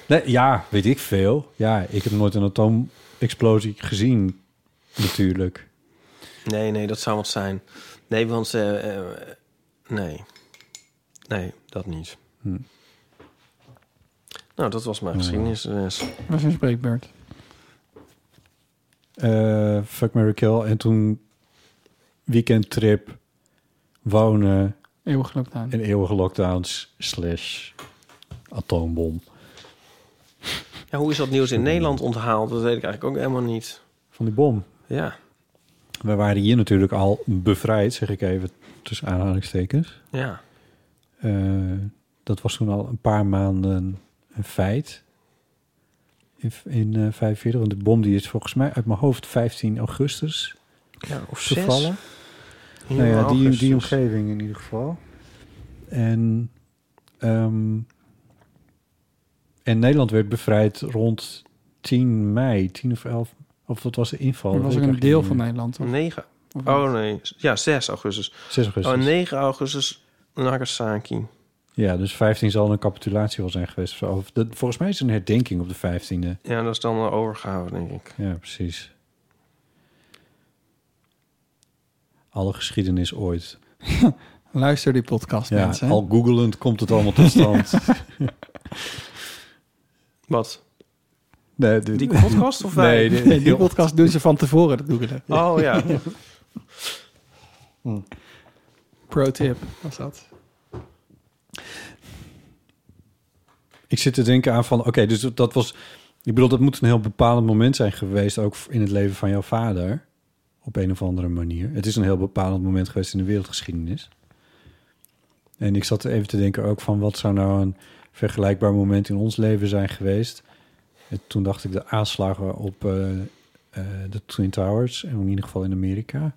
Speaker 2: Nee, ja, weet ik veel. Ja, ik heb nooit een atoomexplosie gezien, natuurlijk.
Speaker 3: Nee, nee, dat zou wat zijn. Nee, want... eh, eh, nee. Nee, dat niet.
Speaker 2: Hm.
Speaker 3: Nou, dat was mijn dus.
Speaker 2: Ja.
Speaker 3: geschiedenisles.
Speaker 1: Was een spreekbeurt.
Speaker 2: eh Fuck Mary Kill. En toen weekendtrip, wonen
Speaker 1: Eeuwig lockdown.
Speaker 2: en eeuwige lockdowns slash atoombom.
Speaker 3: Ja, hoe is dat nieuws in Nederland onthaald? Dat weet ik eigenlijk ook helemaal niet.
Speaker 2: Van die bom.
Speaker 3: Ja,
Speaker 2: We waren hier natuurlijk al bevrijd, zeg ik even tussen aanhalingstekens.
Speaker 3: ja.
Speaker 2: Eh, dat was toen al een paar maanden een feit. In, in eh, 45, want de bom die is volgens mij uit mijn hoofd 15 augustus
Speaker 3: ja of zes.
Speaker 2: gevallen.
Speaker 3: Hier
Speaker 2: Nou ja,
Speaker 3: in
Speaker 2: die,
Speaker 3: augustus.
Speaker 2: die omgeving in ieder geval. En, ehm, en Nederland werd bevrijd rond 10 mei, 10 of 11. Of dat was de inval.
Speaker 1: Er
Speaker 2: dat
Speaker 1: was
Speaker 2: weet
Speaker 1: ook
Speaker 2: ik
Speaker 1: een deel
Speaker 2: eigenlijk
Speaker 1: van
Speaker 2: niet
Speaker 1: Nederland. Of?
Speaker 3: Negen.
Speaker 1: Of niet?
Speaker 3: Oh nee, ja, 6 augustus.
Speaker 2: 6 augustus.
Speaker 3: Oh, 9 augustus Nagasaki.
Speaker 2: meer. Ja, dus 15 zal een capitulatie wel zijn geweest. of zo. Of dat, volgens mij is het een herdenking op de 15e.
Speaker 3: Ja, dat is dan een overgave, denk ik.
Speaker 2: Ja, precies. Alle geschiedenis ooit.
Speaker 1: Luister die podcast,
Speaker 2: Ja,
Speaker 1: mensen.
Speaker 2: al googelend komt het allemaal tot
Speaker 1: [LAUGHS]
Speaker 2: stand.
Speaker 3: Wat?
Speaker 2: nee, dit-
Speaker 3: Die podcast of wij?
Speaker 2: Nee, dit-
Speaker 1: Nee, die podcast doen ze van tevoren, dat googelen.
Speaker 3: [LAUGHS] Oh [LAUGHS] ja.
Speaker 1: Pro tip was dat.
Speaker 2: Ik zit te denken aan van, oké, dus dat- dat was... Ik bedoel, dat moet een heel bepalend moment zijn geweest... ook in het leven van jouw vader. Op een of andere manier. Het is een heel bepalend moment geweest in de wereldgeschiedenis. En ik zat even te denken ook van... wat zou nou een vergelijkbaar moment in ons leven zijn geweest? En toen dacht ik de aanslagen op eh, eh, de Twin Towers... en in ieder geval in Amerika.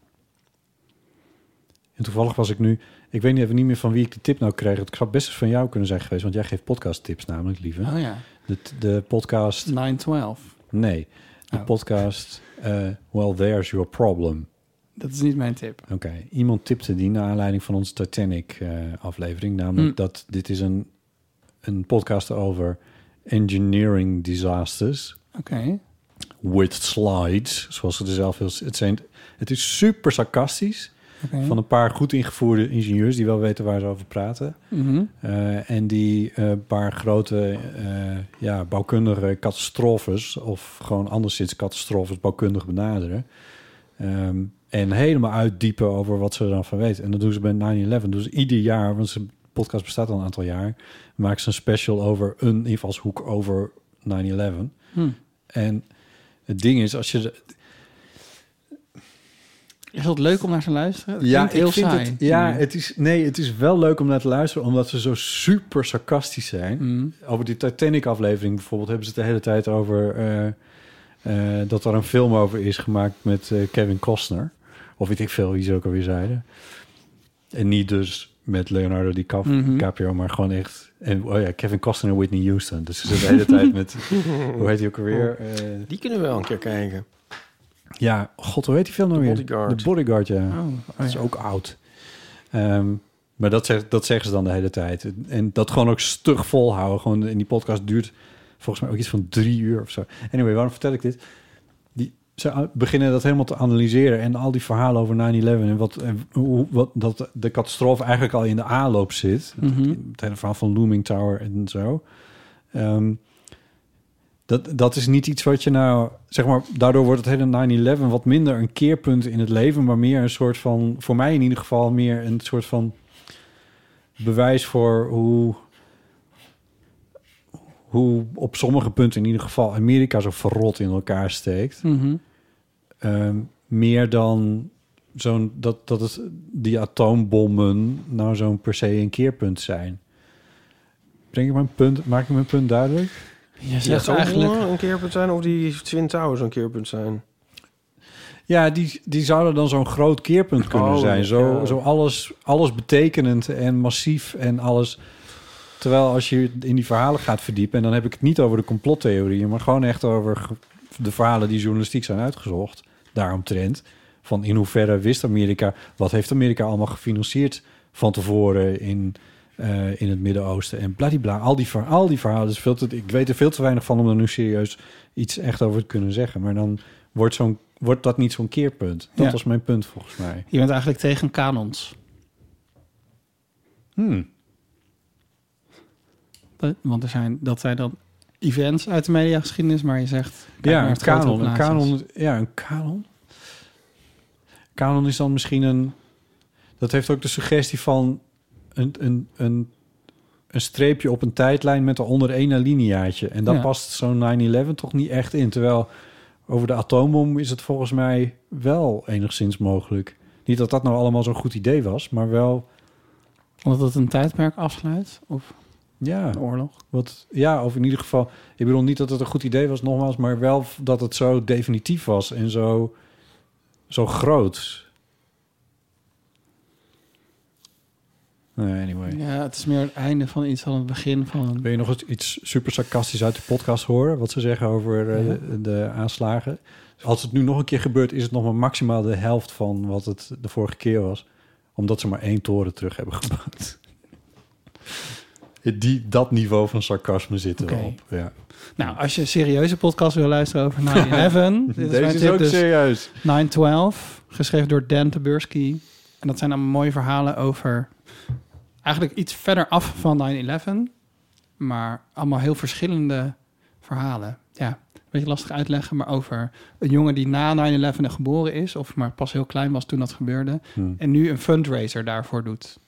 Speaker 2: En toevallig was ik nu... Ik weet niet even niet meer van wie ik de tip nou kreeg. Het zou best eens van jou kunnen zijn geweest... want jij geeft podcasttips namelijk, lieve.
Speaker 1: Oh ja,
Speaker 2: De, de podcast...
Speaker 1: 912.
Speaker 2: Nee, de
Speaker 1: Oh.
Speaker 2: podcast eh, Well, There's Your Problem.
Speaker 1: Dat is niet mijn tip.
Speaker 2: Oké, iemand tipte die naar aanleiding van onze Titanic-aflevering. namelijk
Speaker 1: Hmm.
Speaker 2: dat dit is een, een podcast over engineering disasters
Speaker 1: Oké.
Speaker 2: with slides, zoals ze er zelf heel... Het, zijn, het is super sarcastisch.
Speaker 1: Oké.
Speaker 2: Van een paar goed ingevoerde ingenieurs die wel weten waar ze over praten.
Speaker 1: Mhm.
Speaker 2: Eh, en die eh, een paar grote eh, ja, bouwkundige catastrofes, of gewoon anderszins catastrofes bouwkundig benaderen. Ehm, en helemaal uitdiepen over wat ze er dan van weten. En dat doen ze bij 9-11. Dus ieder jaar, want zijn podcast bestaat al een aantal jaar, maakt ze een special over een invalshoek over 9-11.
Speaker 1: Hm.
Speaker 2: En het ding is, als je de-
Speaker 1: Is dat leuk om naar te luisteren? Dat
Speaker 2: ja,
Speaker 1: klinkt heel
Speaker 2: ik vind
Speaker 1: saai.
Speaker 2: het. Ja, het is. Nee, het is wel leuk om naar te luisteren, omdat ze zo super sarcastisch zijn.
Speaker 1: Hmm. Mhm.
Speaker 2: Over die Titanic-aflevering bijvoorbeeld hebben ze het de hele tijd over eh, eh, dat er een film over is gemaakt met eh, Kevin Costner, of weet ik veel wie ze ook alweer zeiden. En niet dus met Leonardo DiCap-
Speaker 1: Mhm.
Speaker 2: DiCaprio, maar gewoon echt. En oh ja, Kevin Costner en Whitney Houston. Dus ze zitten de hele tijd met. hoe heet die ook alweer? Eh,
Speaker 3: Die kunnen we wel een keer kijken.
Speaker 2: ja, god, hoe heet die film nou
Speaker 3: The
Speaker 2: weer?
Speaker 3: Bodyguard.
Speaker 2: De Bodyguard, ja.
Speaker 3: Oh, oh
Speaker 2: dat is
Speaker 3: ja.
Speaker 2: ook oud. Ehm, maar dat, zegt, dat zeggen ze dan de hele tijd. En dat gewoon ook stug volhouden. Gewoon in die podcast duurt volgens mij ook iets van drie uur of zo. Anyway, waarom vertel ik dit? Die, ze beginnen dat helemaal te analyseren. En al die verhalen over 9-11 en, wat, en hoe, wat, dat de catastrofe eigenlijk al in de aanloop zit.
Speaker 1: Mhm.
Speaker 2: Het hele verhaal van Looming Tower en zo. Ehm, dat, dat is niet iets wat je nou... Zeg maar, daardoor wordt het hele 9-11 wat minder een keerpunt in het leven... maar meer een soort van... voor mij in ieder geval meer een soort van... bewijs voor hoe... hoe op sommige punten in ieder geval... Amerika zo verrot in elkaar steekt.
Speaker 1: Mhm.
Speaker 2: Ehm, meer dan zo'n... Dat, dat het, die atoombommen nou zo'n per se een keerpunt zijn. Breng ik mijn punt, maak ik mijn punt duidelijk?
Speaker 3: Je zegt eigenlijk... een keerpunt zijn of die Twin Towers een keerpunt zijn.
Speaker 2: Ja, die, die zouden dan zo'n groot keerpunt kunnen
Speaker 3: Oh,
Speaker 2: zijn. Zo,
Speaker 3: ja.
Speaker 2: zo alles, alles betekenend en massief en alles. Terwijl als je in die verhalen gaat verdiepen... en dan heb ik het niet over de complottheorieën... maar gewoon echt over ge- de verhalen die journalistiek zijn uitgezocht... daaromtrent. Van in hoeverre wist Amerika... wat heeft Amerika allemaal gefinancierd van tevoren... in, eh, in het Midden-Oosten en bladibla. Al die, ver- al die verhalen. Dus veel te, ik weet er veel te weinig van om er nu serieus iets echt over te kunnen zeggen. Maar dan wordt, zo'n, wordt dat niet zo'n keerpunt. Dat
Speaker 1: Ja.
Speaker 2: was mijn punt volgens mij.
Speaker 1: Je bent eigenlijk tegen kanons.
Speaker 2: Hmm.
Speaker 1: Dat- Want er zijn, dat zijn dan events uit de mediageschiedenis, maar je zegt... kijk
Speaker 2: Ja,
Speaker 1: naar
Speaker 2: een
Speaker 1: het grote
Speaker 2: kanon. Een
Speaker 1: plaatjes.
Speaker 2: kanon. Ja, een kanon. Kanon is dan misschien een... Dat heeft ook de suggestie van een, een, een, een streepje op een tijdlijn met daaronder één alineaatje. En daar
Speaker 1: Ja.
Speaker 2: past zo'n 9-11 toch niet echt in. Terwijl over de atoombom is het volgens mij wel enigszins mogelijk. Niet dat dat nou allemaal zo'n goed idee was, maar wel...
Speaker 1: Omdat het een tijdperk afsluit? Of
Speaker 2: Ja.
Speaker 1: een oorlog?
Speaker 2: Wat, ja, of in ieder geval... Ik bedoel niet dat het een goed idee was, nogmaals... maar wel dat het zo definitief was en zo, zo groot. Nee, anyway.
Speaker 1: Ja, het is meer het einde van iets dan het begin van... een-
Speaker 2: Wil je nog eens iets super sarcastisch uit de podcast horen? Wat ze zeggen over eh,
Speaker 1: Ja.
Speaker 2: de aanslagen? Als het nu nog een keer gebeurt, is het nog maar maximaal de helft van wat het de vorige keer was. Omdat ze maar één toren terug hebben gebouwd. [LAUGHS] Die, dat niveau van sarcasme zit er
Speaker 1: Oké.
Speaker 2: wel op. Ja.
Speaker 1: Nou, als je een serieuze podcast wil luisteren over 9-11...
Speaker 2: [LAUGHS]
Speaker 1: dit
Speaker 2: Deze
Speaker 1: mijn
Speaker 2: is
Speaker 1: tip, dus.
Speaker 2: ook serieus.
Speaker 1: 9-12, geschreven door Dan Taberski. En dat zijn dan mooie verhalen over... Eigenlijk iets verder af van 9-11. Maar allemaal heel verschillende verhalen. Ja, een beetje lastig uitleggen, maar over een jongen die na 9-11 geboren is... of maar pas heel klein was toen dat gebeurde...
Speaker 2: Hmm.
Speaker 1: en nu een fundraiser daarvoor doet.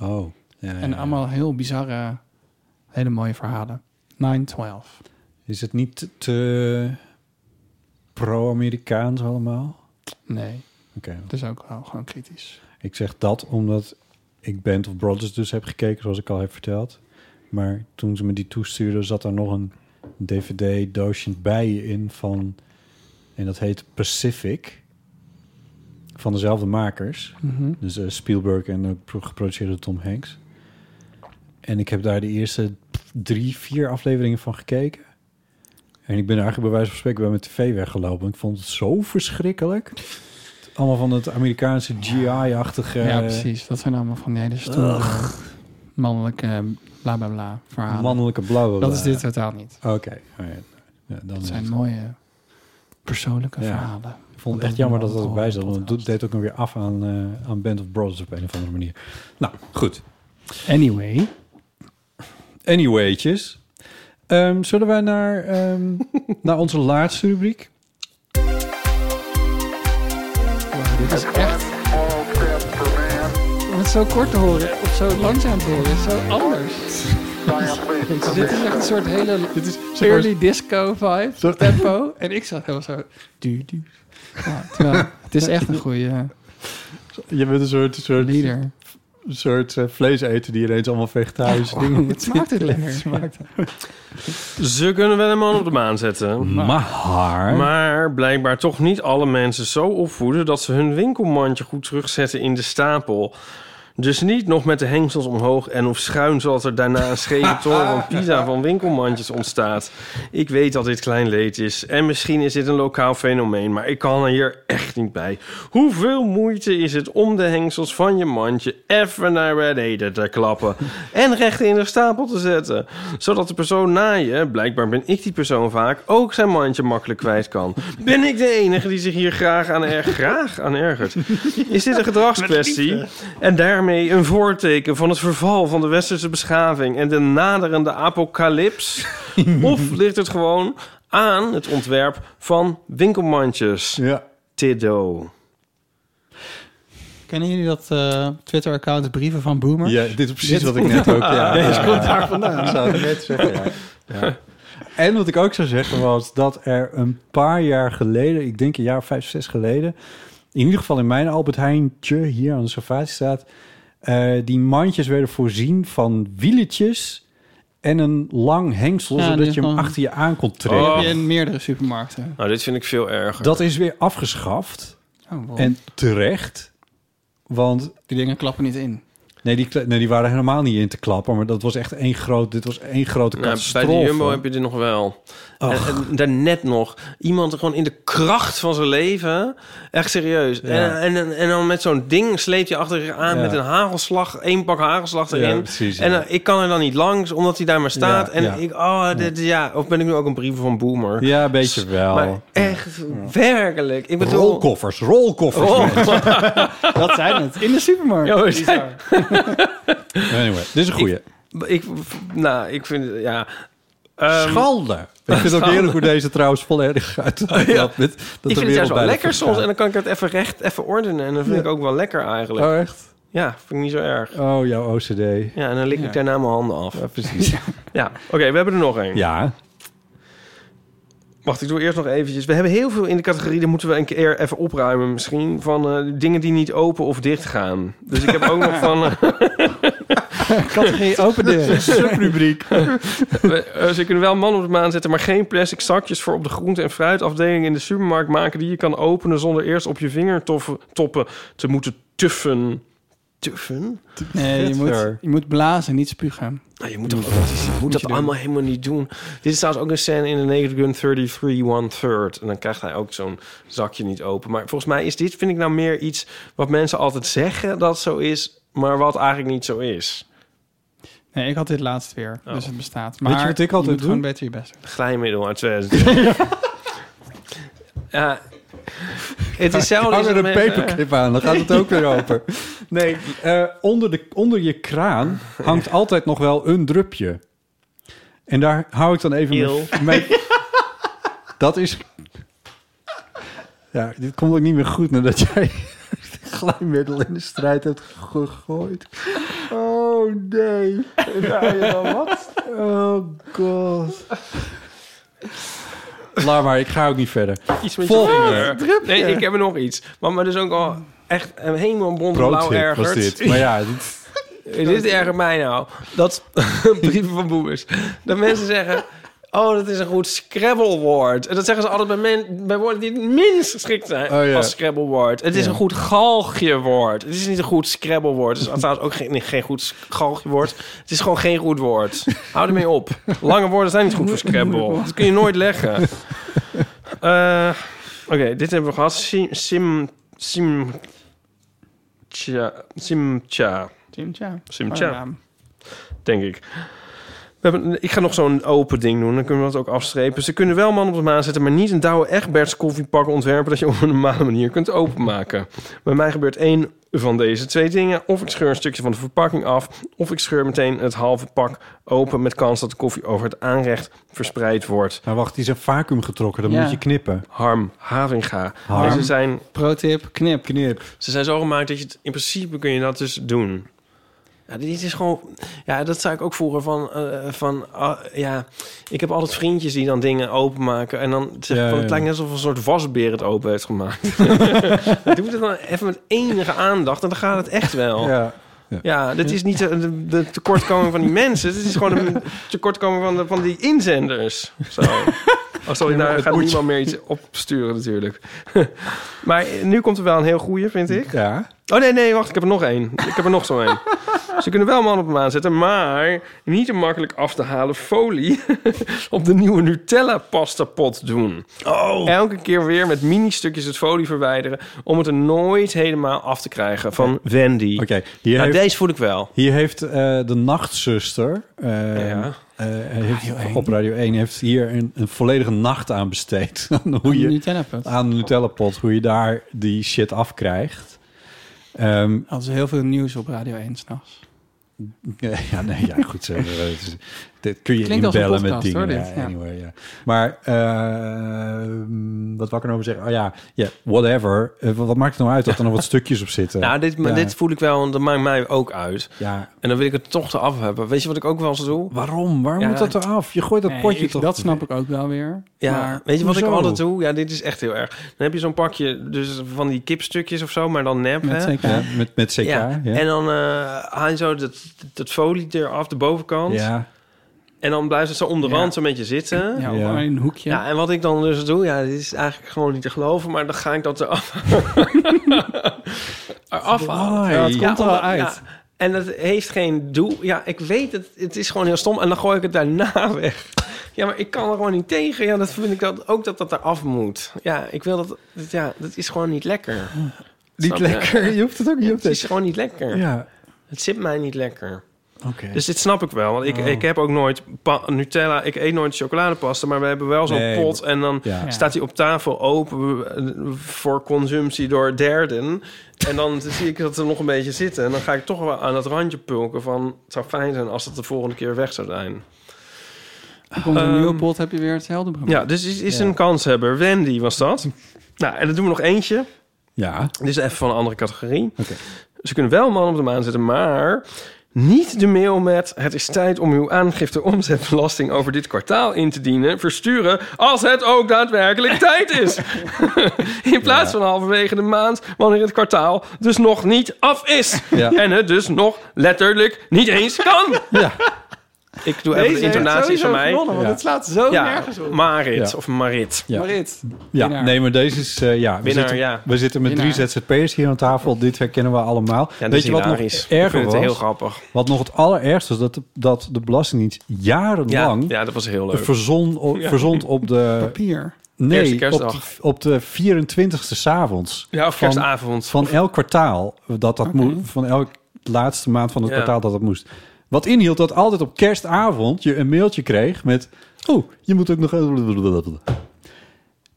Speaker 2: Oh, ja,
Speaker 1: En
Speaker 2: ja.
Speaker 1: allemaal heel bizarre, hele mooie verhalen. 9-12.
Speaker 2: Is het niet te pro-Amerikaans allemaal?
Speaker 1: Nee.
Speaker 2: Oké.
Speaker 1: Het is ook wel gewoon kritisch.
Speaker 2: Ik zeg dat omdat ik Band of Brothers dus heb gekeken, zoals ik al heb verteld. Maar toen ze me die toestuurden, zat er nog een DVD-doosje bij in van... En dat heet Pacific. Van dezelfde makers.
Speaker 1: Mhm.
Speaker 2: Dus eh, Spielberg en ook pro- geproduceerd door Tom Hanks. En ik heb daar de eerste drie, vier afleveringen van gekeken. En ik ben er eigenlijk bij wijze van spreken bij mijn tv weggelopen. Ik vond het zo verschrikkelijk. Allemaal van het Amerikaanse GI-achtige...
Speaker 1: ja, precies. Dat zijn allemaal van die hele stoere, mannelijke bla bla bla verhalen.
Speaker 2: Mannelijke blauwe.
Speaker 1: Dat is dit totaal niet.
Speaker 2: Oké. Oh ja, ja, dan
Speaker 1: Dat
Speaker 2: is
Speaker 1: zijn
Speaker 2: het-
Speaker 1: mooie persoonlijke verhalen.
Speaker 2: Ik vond het echt jammer dat dat erbij zat. Want het deed ook nog weer af aan, eh, aan Band of Brothers op een of andere manier. Nou, goed.
Speaker 1: Anyway.
Speaker 2: Anywaytjes. Ehm, zullen wij naar, [LAUGHS] ehm, naar onze laatste rubriek?
Speaker 1: dit is echt... Om het zo kort te horen of zo langzaam te horen, is zo anders.
Speaker 2: [LAUGHS]
Speaker 1: dit is echt een soort hele dit is,
Speaker 2: zeg maar-
Speaker 1: early disco vibe, tempo. En ik zat helemaal zo... Du, du. Ja, terwijl, het is echt een goeie...
Speaker 2: [LAUGHS]
Speaker 1: eh,
Speaker 2: Je bent een soort, soort
Speaker 1: leader.
Speaker 2: Een soort eh, vleeseter die ineens allemaal vegetarische
Speaker 1: Ja,
Speaker 2: dingen
Speaker 1: het smaakt het lekker.
Speaker 2: Het smaakt
Speaker 3: Ze kunnen wel een man op de maan zetten.
Speaker 2: Maar...
Speaker 3: Maar blijkbaar toch niet alle mensen zo opvoeden... dat ze hun winkelmandje goed terugzetten in de stapel. Dus niet nog met de hengsels omhoog en of schuin... zodat er daarna een [LAUGHS] scheve toren van pizza van winkelmandjes ontstaat. Ik weet dat dit klein leed is. En misschien is dit een lokaal fenomeen... maar ik kan er hier echt niet bij. Hoeveel moeite is het om de hengsels van je mandje... even naar beneden te klappen... en recht in de stapel te zetten. Zodat de persoon na je, blijkbaar ben ik die persoon vaak, ook zijn mandje makkelijk kwijt kan. Ben ik de enige die zich hier graag aan, er, graag aan ergert? Is dit een gedragskwestie? En daarmee een voorteken van het verval van de westerse beschaving en de naderende apocalyps? Of ligt het gewoon aan het ontwerp van winkelmandjes?
Speaker 2: Ja.
Speaker 3: Tiddo.
Speaker 1: Kennen jullie dat eh, Twitter-account Brieven van Boomers?
Speaker 2: Ja, dit is precies wat ik net ook...
Speaker 1: [LAUGHS]
Speaker 2: Ja,
Speaker 1: Deze
Speaker 2: ja,
Speaker 1: komt
Speaker 2: ja.
Speaker 1: daar vandaan.
Speaker 2: Ik zou het net zeggen, ja. [LAUGHS] Ja. En wat ik ook zou zeggen was dat er een paar jaar geleden... ik denk een jaar of vijf, zes geleden... in ieder geval in mijn Albert Heijntje hier aan de Savatistraat... eh die mandjes werden voorzien van wieletjes... en een lang hengsel,
Speaker 1: Ja, die
Speaker 2: zodat je hem
Speaker 1: gewoon-
Speaker 2: achter je aan kon
Speaker 1: Die
Speaker 2: trekken.
Speaker 1: heb je in meerdere supermarkten.
Speaker 3: Oh, Nou, dit vind ik veel erger.
Speaker 2: Dat is weer afgeschaft.
Speaker 1: Oh, wow.
Speaker 2: En terecht. Want...
Speaker 1: Die dingen klappen niet in.
Speaker 2: Nee die, kle- nee, die waren helemaal niet in te klappen. Maar dat was echt één groot... Dit was één grote
Speaker 3: Nou, bij
Speaker 2: catastrofe.
Speaker 3: de Jumbo heb je dit nog wel. En,
Speaker 2: Ach.
Speaker 3: en daarnet nog. Iemand gewoon in de kracht van zijn leven. Echt serieus. En, en, en, dan met zo'n ding sleep je achter je aan
Speaker 2: Ja.
Speaker 3: met een hagelslag. één pak hagelslag erin.
Speaker 2: Ja, precies, ja.
Speaker 3: En dan- ik kan er dan niet langs, omdat hij daar maar staat.
Speaker 2: Ja,
Speaker 3: en
Speaker 2: ja.
Speaker 3: ik, oh, dit, ja. Of ben ik nu ook een brief van Boomer?
Speaker 2: Ja, een beetje wel.
Speaker 3: Maar echt, werkelijk. Ik bedoel... Oh.
Speaker 2: Rolkoffers, rolkoffers.
Speaker 3: [LAUGHS]
Speaker 1: dat zijn het. In de
Speaker 2: [LAUGHS]
Speaker 1: supermarkt.
Speaker 3: Ja, we
Speaker 1: Bizar.
Speaker 2: Anyway, dit is een goeie.
Speaker 3: Ik, nou, ik vind, ja... ehm,
Speaker 2: Schalde. Ik vind het ook
Speaker 3: Schande.
Speaker 2: eerlijk hoe deze trouwens volledig uit.
Speaker 3: Ja.
Speaker 2: met- dat
Speaker 3: ik
Speaker 2: er
Speaker 3: vind
Speaker 2: weer
Speaker 3: het
Speaker 2: op
Speaker 3: juist wel
Speaker 2: bijna
Speaker 3: lekker soms. En
Speaker 2: vergaat.
Speaker 3: dan kan ik het even recht, even ordenen. En dat vind
Speaker 2: Ja.
Speaker 3: ik ook wel lekker eigenlijk.
Speaker 2: Oh, echt?
Speaker 3: Ja, vind ik niet zo erg.
Speaker 2: Oh, jouw OCD.
Speaker 3: Ja, en dan lik ik
Speaker 2: Ja.
Speaker 3: daarna mijn handen af. [LAUGHS] Ja,
Speaker 2: precies. ja,
Speaker 3: oké, we hebben er nog één.
Speaker 2: Ja.
Speaker 3: Wacht, ik doe eerst nog eventjes. We hebben heel veel in de categorie, daar moeten we een keer even opruimen misschien, van eh, dingen die niet open of dicht gaan. Dus ik heb ook nog
Speaker 2: [LAUGHS]
Speaker 3: van... eh,
Speaker 1: Categorie open deur.
Speaker 2: Subrubriek.
Speaker 3: We- eh, ze kunnen wel man op de maan zetten, maar geen plastic zakjes voor op de groente- en fruitafdeling in de supermarkt maken die je kan openen zonder eerst op je vingertoppen te moeten tuffen. Tuffen?
Speaker 1: Nee, je moet, je moet blazen, niet spugen.
Speaker 3: Nou, je moet, toch, dat is- je moet dat
Speaker 1: doen.
Speaker 3: allemaal helemaal niet doen. Dit is trouwens ook een scène in de Naked Gun 33 One Third. En dan krijgt hij ook zo'n zakje niet open. Maar volgens mij is dit, vind ik nou meer iets... wat mensen altijd zeggen dat zo is... maar wat eigenlijk niet zo is.
Speaker 1: Nee, ik had dit laatst weer.
Speaker 2: Oh.
Speaker 1: Dus het bestaat. Maar
Speaker 3: Weet je wat ik altijd
Speaker 1: moet
Speaker 3: doe?
Speaker 1: gewoon beter je best doen.
Speaker 3: Glijmiddel uit 2000. [LAUGHS] ja. Het is zelfs...
Speaker 2: Hang er een
Speaker 3: met-
Speaker 2: paperclip aan, dan gaat het ook weer open. Nee, eh, onder, de, onder je kraan hangt altijd nog wel een drupje. En daar hou ik dan even
Speaker 3: Eeuw.
Speaker 2: mee. Dat is... Ja, dit komt ook niet meer goed nadat jij [LAUGHS] glijmiddel in de strijd hebt gegooid. Oh nee. wat? Oh god. Laat maar, ik ga ook niet verder.
Speaker 3: Iets met
Speaker 2: Volgende.
Speaker 3: je vinger. Nee, ik heb er nog iets. Maar, maar dat is ook al echt een helemaal blauw
Speaker 2: Broodtip
Speaker 3: ergert.
Speaker 2: was
Speaker 3: [LAUGHS]
Speaker 2: dit. Maar ja, dit-
Speaker 3: Eh, Dit ergert mij nou. Dat brieven van boemers. Dat mensen zeggen... Oh, dat is een goed Scrabble-woord. En dat zeggen ze altijd bij, men, bij woorden die het minst geschikt zijn
Speaker 2: Oh, ja.
Speaker 3: als Scrabble-woord. Het is
Speaker 2: Ja.
Speaker 3: een goed galgje-woord. Het is niet een goed Scrabble-woord. Het is trouwens ook geen, nee, geen goed galgje-woord. Het is gewoon geen goed woord. Hou ermee op. Lange woorden zijn niet goed voor Scrabble. Dat kun je nooit leggen. Eh, Oké, dit hebben we gehad. Sim... Sim... Sim... Tja... Simcha.
Speaker 1: Simcha. Oh,
Speaker 3: Simcha.
Speaker 1: Mooie naam.
Speaker 3: Denk ik. We hebben, ik ga nog zo'n open ding doen. Dan kunnen we dat ook afstrepen. Ze kunnen wel man op de maan zetten, maar niet een Douwe Egberts koffiepak ontwerpen dat je op een normale manier kunt openmaken. Bij mij gebeurt één van deze twee dingen. Of ik scheur een stukje van de verpakking af, of ik scheur meteen het halve pak open met kans dat de koffie over het aanrecht verspreid wordt.
Speaker 2: Nou wacht, die is een vacuüm getrokken. Dan
Speaker 3: Ja.
Speaker 2: moet je knippen.
Speaker 3: Harm Havinga.
Speaker 2: Harm.
Speaker 3: Maar Ze zijn,
Speaker 1: Pro tip, knip.
Speaker 2: Knip.
Speaker 3: ze zijn zo gemaakt dat je het, in principe kun je dat dus doen. Ja, dit is gewoon... Ja, dat zei ik ook vroeger van... eh, van ah, ja, ik heb altijd vriendjes die dan dingen openmaken. En dan zeg ik
Speaker 2: Ja,
Speaker 3: van,
Speaker 2: ja.
Speaker 3: het lijkt net alsof een soort wasbeer het open heeft
Speaker 2: [LAUGHS]
Speaker 3: gemaakt. [LAUGHS] Doe het dan even met enige aandacht en dan gaat het echt wel.
Speaker 2: Ja.
Speaker 3: Ja, dit is niet de, de, de tekortkoming van die mensen. Dit is gewoon een tekortkoming van, de, van die inzenders.
Speaker 2: [LAUGHS]
Speaker 3: Zo. Oh, sorry, daar gaat niemand meer iets opsturen natuurlijk. [LAUGHS] maar nu komt er wel een heel goeie, vind ik.
Speaker 2: Ja.
Speaker 3: Oh nee, nee, wacht, ik heb er nog één. Ik heb er nog
Speaker 2: [LAUGHS]
Speaker 3: zo één. Ze kunnen wel man op hem aanzetten, maar niet een makkelijk af te halen folie [LAUGHS] op de nieuwe Nutella pastapot doen. Oh. Elke keer weer met mini stukjes het folie verwijderen om het er nooit helemaal af te krijgen van Wendy.
Speaker 2: Oké,
Speaker 3: Ja,
Speaker 2: hier heeft-
Speaker 3: deze voel ik wel.
Speaker 2: Hier heeft eh, de nachtzuster eh, eh, heeft, op Radio 1 heeft hier een, een volledige nacht aan besteed. [LAUGHS] aan, hoe je, aan de Nutella-pot. Hoe je daar die shit afkrijgt. Ehm
Speaker 1: Hadden ze heel veel nieuws op Radio 1 s'nachts.
Speaker 2: ja, [LAUGHS] nee, ja, goed. Zo, eh, het is- dit kun je
Speaker 1: Klinkt als een
Speaker 2: inbellen met
Speaker 1: podcast,
Speaker 2: dingen.
Speaker 1: hoor,
Speaker 2: ja,
Speaker 1: dit, ja.
Speaker 2: anyway, ja. Maar eh, wat wou ik er nou over zeggen? Oh ja, ja, whatever. Eh, wat wat maakt het nou uit dat er nog wat stukjes op zitten?
Speaker 3: Nou, dit, maar
Speaker 2: Ja.
Speaker 3: dit voel ik wel, want dat maakt mij ook uit.
Speaker 2: Ja.
Speaker 3: En dan wil ik het toch eraf hebben. Weet je wat ik ook wel eens doe?
Speaker 2: Waarom? Waarom moet dat eraf? Je gooit dat
Speaker 1: Nee,
Speaker 2: potje
Speaker 1: ik-
Speaker 2: toch
Speaker 1: Dat snap ik ook wel weer.
Speaker 3: Ja,
Speaker 1: maar
Speaker 3: weet je wat ik
Speaker 1: hoezo?
Speaker 3: altijd doe? Ja, dit is echt heel erg. Dan heb je zo'n pakje dus van die kipstukjes of zo, maar dan nep.
Speaker 2: Met
Speaker 3: hè?
Speaker 2: CK. Ja, met- met CK, ja.
Speaker 3: En dan eh, haal je zo dat, dat folie eraf, de bovenkant.
Speaker 2: Ja.
Speaker 3: En dan blijft het zo om de
Speaker 2: Ja.
Speaker 3: rand een beetje zitten.
Speaker 2: Ja, Ja. maar in
Speaker 1: een hoekje.
Speaker 3: Ja, en wat ik dan dus doe, ja, dit is eigenlijk gewoon niet te geloven, maar dan ga ik dat
Speaker 2: [LAUGHS]
Speaker 3: eraf eraf halen.
Speaker 2: Why? Ja, het komt er wel
Speaker 3: omdat-
Speaker 2: uit.
Speaker 3: ja, en dat heeft geen doel. Ja, ik weet het. Het is gewoon heel stom. En dan gooi ik het daarna [LAUGHS] weg. Ja, maar ik kan er gewoon niet tegen. Ja, dat vind ik dat, ook dat dat eraf moet. Ja, ik wil dat... dat- ja, dat is gewoon niet lekker.
Speaker 2: Niet
Speaker 3: Snap je?
Speaker 2: lekker. Je hoeft het ook niet op
Speaker 3: Het
Speaker 2: te
Speaker 3: is gewoon niet lekker.
Speaker 2: Ja.
Speaker 3: Het zit mij niet lekker.
Speaker 2: Oké.
Speaker 3: Dus dit snap ik wel. Want ik,
Speaker 2: Oh.
Speaker 3: ik heb ook nooit pa- Nutella. Ik eet nooit chocoladepasta. Maar we hebben wel zo'n
Speaker 2: Nee,
Speaker 3: pot. En dan
Speaker 2: ja.
Speaker 3: staat die op tafel open eh, voor consumptie door derden. En dan [LAUGHS] zie ik dat er nog een beetje zitten. En dan ga ik toch wel aan dat randje pulken van... het zou fijn zijn als dat de volgende keer weg zou zijn.
Speaker 1: Komt er een
Speaker 3: Ehm,
Speaker 1: nieuwe pot, heb je weer hetzelfde probleem.
Speaker 3: Ja, dus is, is een kanshebber. Wendy was dat. Nou, en dan doen we nog eentje.
Speaker 2: Ja.
Speaker 3: Dit is even van een andere categorie. Ze kunnen wel man op de maan zetten, maar niet de mail met... het is tijd om uw aangifte omzetbelasting over dit kwartaal in te dienen... versturen als het
Speaker 2: [LAUGHS]
Speaker 3: ook daadwerkelijk tijd is. [LAUGHS] in plaats van halverwege de maand, wanneer het kwartaal dus nog niet af is.
Speaker 2: Ja.
Speaker 3: En het dus nog letterlijk niet eens
Speaker 2: [LAUGHS]
Speaker 3: kan. Ik doe even de
Speaker 1: Deze heeft
Speaker 3: intonatie
Speaker 1: sowieso
Speaker 3: van mij.
Speaker 1: gewonnen, want Ja. het slaat zo nergens op.
Speaker 3: Marit
Speaker 2: Ja.
Speaker 3: of Marit.
Speaker 2: Ja.
Speaker 1: Marit.
Speaker 2: Ja,
Speaker 1: Winnaar.
Speaker 2: nee, maar deze is... eh, ja, we
Speaker 3: Winnaar,
Speaker 2: zitten,
Speaker 3: ja.
Speaker 2: We zitten met drie
Speaker 3: Winnaar.
Speaker 2: ZZP'ers hier aan tafel. Dit herkennen we allemaal.
Speaker 3: Ja,
Speaker 2: Weet je wat nog
Speaker 3: is? Ik
Speaker 2: erger
Speaker 3: vind het
Speaker 2: was?
Speaker 3: heel grappig.
Speaker 2: Wat nog het allerergste is, dat de, dat de Belastingdienst jarenlang...
Speaker 3: Ja, ja, dat was heel leuk.
Speaker 2: Verzon, op,
Speaker 3: Ja.
Speaker 2: verzond op de...
Speaker 1: Papier.
Speaker 3: Eerste
Speaker 2: Nee, op de,
Speaker 3: kerstdag.
Speaker 2: op de 24ste 's avonds.
Speaker 3: Ja, of
Speaker 2: Van-
Speaker 3: kerstavond.
Speaker 2: Van elk kwartaal. Dat dat moe- van elk laatste maand van het
Speaker 3: Ja.
Speaker 2: kwartaal dat dat moest. Wat inhield dat altijd op kerstavond je een mailtje kreeg met... Oh, je moet ook nog...